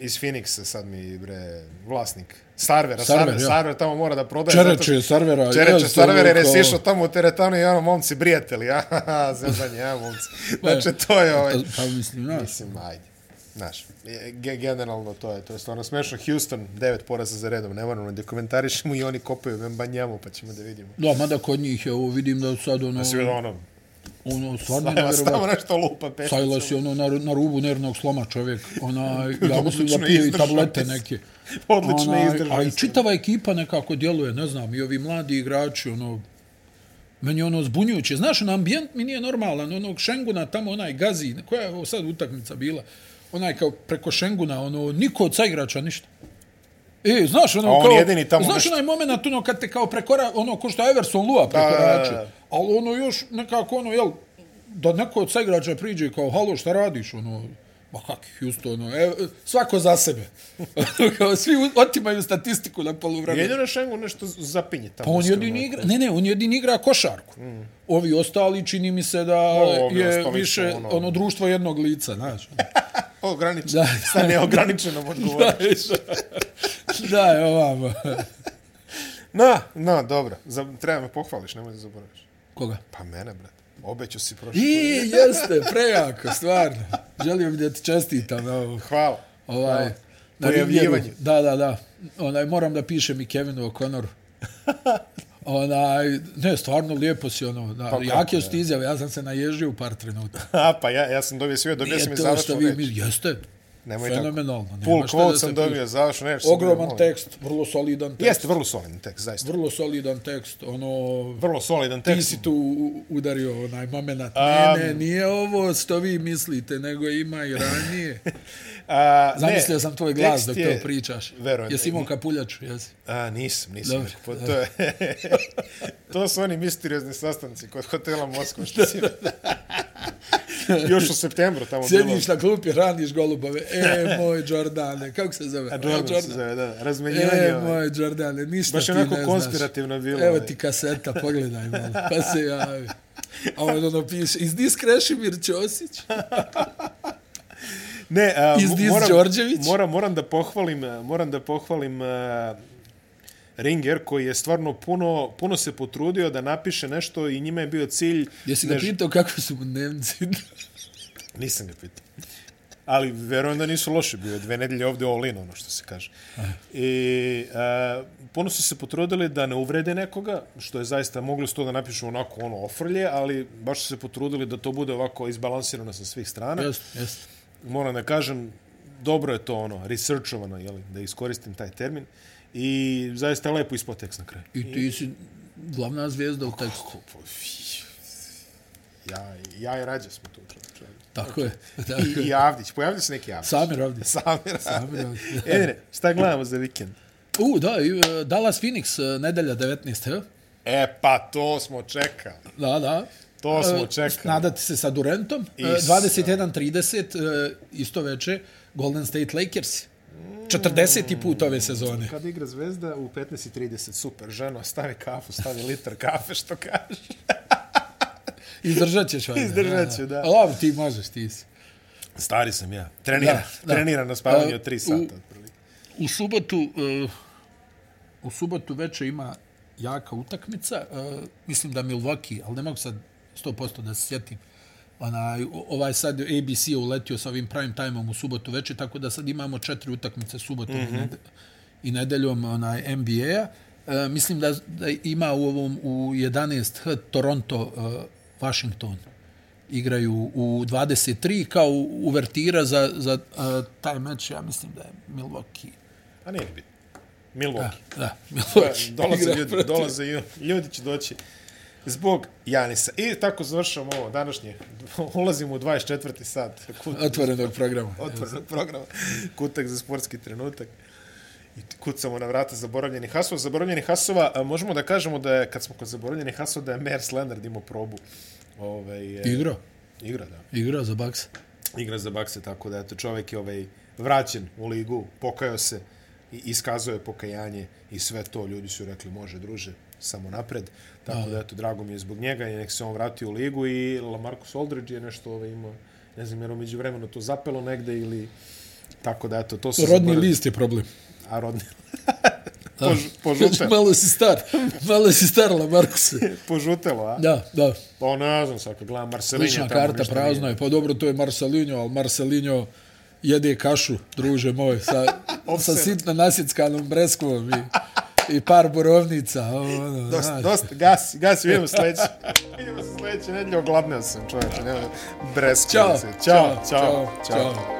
[SPEAKER 1] iz Phoenixa sad mi, bre, vlasnik. Sarvera,
[SPEAKER 2] Sarver,
[SPEAKER 1] Sarver,
[SPEAKER 2] ja.
[SPEAKER 1] Sarver tamo mora da prodaje. zato što-
[SPEAKER 2] Čereče servera.
[SPEAKER 1] Čereče
[SPEAKER 2] jeste,
[SPEAKER 1] Sarver, jer je
[SPEAKER 2] ono, kao-
[SPEAKER 1] sišao tamo u teretanu i ono, momci, prijatelji, aha, zezanje, ja, momci. Znači, to je ovaj,
[SPEAKER 2] Pa mislim, znaš,
[SPEAKER 1] mislim, ajde. Znaš, e, ge- generalno to je, to je stvarno smešno. Houston, devet poraza za redom, ne moramo, da komentarišemo i oni kopaju Vembanjamu, pa ćemo da vidimo.
[SPEAKER 2] Da, mada kod njih je ovo, vidim da sad ono,
[SPEAKER 1] Svi ono,
[SPEAKER 2] ono stvarno
[SPEAKER 1] Sajlas tamo
[SPEAKER 2] nevjerovatno.
[SPEAKER 1] nešto lupa, pešnica.
[SPEAKER 2] Sajlas je ono na, na rubu nervnog sloma čovjek. Ona, ja mislim
[SPEAKER 1] Odlično
[SPEAKER 2] da pije i
[SPEAKER 1] izdržao.
[SPEAKER 2] tablete neke.
[SPEAKER 1] Odlično
[SPEAKER 2] Onaj, A
[SPEAKER 1] izdržao.
[SPEAKER 2] i čitava ekipa nekako djeluje, ne znam, i ovi mladi igrači, ono, meni je ono zbunjujuće. Znaš, ono, ambijent mi nije normalan, onog Šenguna tamo, onaj Gazi, koja je ovo sad utakmica bila, onaj kao preko Šenguna, ono, niko od saigrača ništa. E, znaš, ono,
[SPEAKER 1] A on
[SPEAKER 2] kao,
[SPEAKER 1] jedini tamo
[SPEAKER 2] znaš
[SPEAKER 1] nešto.
[SPEAKER 2] onaj moment, ono, kad te kao prekora, ono, ko što Everson
[SPEAKER 1] da,
[SPEAKER 2] Lua
[SPEAKER 1] da.
[SPEAKER 2] prekoračio, ali ono, još nekako, ono, jel, da neko od saigrača priđe i kao, halo, šta radiš, ono, ma kak Houston, ono, e, svako za sebe. kao, svi u- otimaju statistiku na poluvremenu.
[SPEAKER 1] Jedino Šengu nešto zapinje tamo.
[SPEAKER 2] Pa on
[SPEAKER 1] iskreno.
[SPEAKER 2] jedini igra, ne, ne, on jedini igra košarku. Ovi ostali čini mi se da
[SPEAKER 1] Mm. ovi
[SPEAKER 2] je
[SPEAKER 1] ostali su,
[SPEAKER 2] više
[SPEAKER 1] ono-
[SPEAKER 2] ono, društvo jednog lica, znaš.
[SPEAKER 1] Ograničeno, sa neograničenom odgovornošću.
[SPEAKER 2] da, je ovamo.
[SPEAKER 1] Na, na, dobro. Za, treba me pohvališ, nemoj da zaboraviš.
[SPEAKER 2] Koga?
[SPEAKER 1] Pa mene, brate. Obećao si prošlo.
[SPEAKER 2] I, jeste, prejako, stvarno. Želio bih da ti čestitam na ovo.
[SPEAKER 1] Hvala.
[SPEAKER 2] Ovaj, na
[SPEAKER 1] Pojavljivanje.
[SPEAKER 2] Rivjeru. Da, da, da. Onaj, moram da pišem i Kevinu O'Connoru. Onaj, ne, stvarno lijepo si ono, da,
[SPEAKER 1] Pa kako
[SPEAKER 2] jake su ti izjave, ja sam se naježio u par trenutaka.
[SPEAKER 1] A, pa ja, ja sam dobio sve, dobio sam
[SPEAKER 2] Nije
[SPEAKER 1] i
[SPEAKER 2] to što
[SPEAKER 1] završnu
[SPEAKER 2] vi
[SPEAKER 1] reč.
[SPEAKER 2] mi, jeste,
[SPEAKER 1] Nemoj
[SPEAKER 2] fenomenalno.
[SPEAKER 1] tako.
[SPEAKER 2] nema
[SPEAKER 1] Full
[SPEAKER 2] šta da
[SPEAKER 1] quote
[SPEAKER 2] se
[SPEAKER 1] sam
[SPEAKER 2] priča.
[SPEAKER 1] dobio, završnu reč. sam dobio,
[SPEAKER 2] Ogroman
[SPEAKER 1] molim.
[SPEAKER 2] tekst, vrlo solidan tekst.
[SPEAKER 1] Jeste, vrlo solidan tekst, zaista.
[SPEAKER 2] Vrlo solidan tekst, ono...
[SPEAKER 1] Vrlo solidan
[SPEAKER 2] Ti
[SPEAKER 1] tekst.
[SPEAKER 2] si tu u- udario onaj moment. Ne, ne, nije ovo što vi mislite, nego ima i ranije.
[SPEAKER 1] A, ne,
[SPEAKER 2] Zamislio sam tvoj glas
[SPEAKER 1] tekst
[SPEAKER 2] dok
[SPEAKER 1] je-
[SPEAKER 2] to pričaš.
[SPEAKER 1] Verujem.
[SPEAKER 2] Jesi imao kapuljaču, jesi?
[SPEAKER 1] A, nisam, nisam.
[SPEAKER 2] Dobro.
[SPEAKER 1] Pa, to, je, to su oni misteriozni sastanci kod hotela Moskva. Što si... Još u septembru tamo
[SPEAKER 2] Sjediš na klupi, raniš golubove. E, moj Jordane, kako se zove?
[SPEAKER 1] A Jordan se zove, da. Razmenjivanje.
[SPEAKER 2] E,
[SPEAKER 1] ovaj.
[SPEAKER 2] moj Jordane, ništa
[SPEAKER 1] Baš
[SPEAKER 2] ti ne
[SPEAKER 1] onako
[SPEAKER 2] znaš.
[SPEAKER 1] konspirativno bilo,
[SPEAKER 2] Evo
[SPEAKER 1] ovaj.
[SPEAKER 2] ti kaseta, pogledaj malo, pa se javi. A on ono piše, is this Krešimir Ćosić?
[SPEAKER 1] Ne, a,
[SPEAKER 2] Is
[SPEAKER 1] mo-
[SPEAKER 2] this
[SPEAKER 1] moram,
[SPEAKER 2] Đorđević?
[SPEAKER 1] Moram, moram da pohvalim, a, moram da pohvalim a, Ringer koji je stvarno puno, puno se potrudio da napiše nešto i njima je bio cilj...
[SPEAKER 2] Jesi ga
[SPEAKER 1] ne,
[SPEAKER 2] pitao kako su mu dnevnici?
[SPEAKER 1] Nisam ga pitao. Ali verujem da nisu loše bio. je Dve nedelje ovde all in, ono što se kaže. I a, puno su se potrudili da ne uvrede nekoga, što je zaista mogli su to da napišu onako ono ofrlje, ali baš su se potrudili da to bude ovako izbalansirano sa svih strana.
[SPEAKER 2] Jeste, jeste.
[SPEAKER 1] moram da kažem, dobro je to ono, researchovano, jeli, da iskoristim taj termin. I zaista je lepo ispod tekst na kraju.
[SPEAKER 2] I ti si glavna zvijezda u tekstu.
[SPEAKER 1] Ja, ja i Rađa smo tu. Čovječe.
[SPEAKER 2] Tako je. Tako
[SPEAKER 1] I,
[SPEAKER 2] je.
[SPEAKER 1] I Avdić. Pojavlja se neki Avdić.
[SPEAKER 2] Samir ovdje.
[SPEAKER 1] Samir
[SPEAKER 2] Samir
[SPEAKER 1] Avdić.
[SPEAKER 2] Avdić.
[SPEAKER 1] Edine, šta gledamo za vikend?
[SPEAKER 2] U, da, i, e, Dallas Phoenix, e, nedelja 19. Evo?
[SPEAKER 1] E, pa to smo čekali.
[SPEAKER 2] Da, da.
[SPEAKER 1] To smo
[SPEAKER 2] E,
[SPEAKER 1] čekali.
[SPEAKER 2] Nadati se sa Durantom. E,
[SPEAKER 1] Isa.
[SPEAKER 2] 21-30, e, isto veče, Golden State Lakers. 40. put ove sezone.
[SPEAKER 1] Kad igra Zvezda u 15.30, super, ženo, stavi kafu, stavi litar kafe, što kažeš.
[SPEAKER 2] Izdržat ćeš. valjda,
[SPEAKER 1] Izdržat ću, da.
[SPEAKER 2] Lav, ti možeš, ti si.
[SPEAKER 1] Stari sam ja. Trenira,
[SPEAKER 2] Da, da.
[SPEAKER 1] trenira na spavanje
[SPEAKER 2] A,
[SPEAKER 1] od 3
[SPEAKER 2] u-
[SPEAKER 1] sata. otprilike.
[SPEAKER 2] U subotu, uh, u subotu veče ima jaka utakmica, uh, mislim da Milwaukee, ali ne mogu sad 100% da se sjetim. Onaj, o- ovaj sad ABC je uletio sa ovim prime time-om u subotu veče, tako da sad imamo četiri utakmice subotom mm -hmm. i nedeljom onaj, NBA-a. E, mislim da, da ima u ovom u 11H Toronto e, Washington igraju u 23 kao uvertira za, za e, taj meč, ja mislim da je Milwaukee
[SPEAKER 1] A nije bitno. Milwaukee.
[SPEAKER 2] Da,
[SPEAKER 1] E, Dolaze ljudi, dolaze i ljudi će doći zbog Janisa. I tako završamo ovo današnje. Ulazimo u 24. sat. Kut,
[SPEAKER 2] Otvorenog programa.
[SPEAKER 1] otvorenog programa. Kutak za sportski trenutak. I kucamo na vrata zaboravljenih hasova. Zaboravljenih hasova, a, možemo da kažemo da je, kad smo kod zaboravljenih hasova, da je Mers Leonard imao probu. Ove, e,
[SPEAKER 2] Igra,
[SPEAKER 1] igra, da.
[SPEAKER 2] igra za Bucks.
[SPEAKER 1] igra za bakse, tako da eto, čovjek je ovaj, vraćen u ligu, pokajao se i iskazao je pokajanje i sve to. Ljudi su rekli, može druže, samo napred. Tako da, eto, drago mi je zbog njega i nek se on vrati u ligu i Lamarcus Aldridge je nešto ovaj, ima, ne znam, jer umeđu vremenu to zapelo negde ili Tako da, eto, to su...
[SPEAKER 2] Rodni list je problem.
[SPEAKER 1] A rodni... Pož- požutelo,
[SPEAKER 2] malo si star, malo si starla, Markuse.
[SPEAKER 1] požutelo, a?
[SPEAKER 2] Da, da.
[SPEAKER 1] Pa ne znam, sad kad gledam Marcelinja...
[SPEAKER 2] Lična
[SPEAKER 1] tamo
[SPEAKER 2] karta
[SPEAKER 1] ništa nije.
[SPEAKER 2] prazna je. Pa dobro, to je Marcelinho, ali Marcelinho jede kašu, druže moj, sa, sa
[SPEAKER 1] Opsena.
[SPEAKER 2] sitno nasjeckanom breskvom i, i par borovnica. Ovo, ono,
[SPEAKER 1] Dosta,
[SPEAKER 2] znaš.
[SPEAKER 1] dosta, gasi, gasi, vidimo se sledeće. vidimo se sledeće nedelje, ogladneo sam, čoveče, nema bresko.
[SPEAKER 2] Ćao,
[SPEAKER 1] Ćao, čao, čao. čao.
[SPEAKER 2] čao.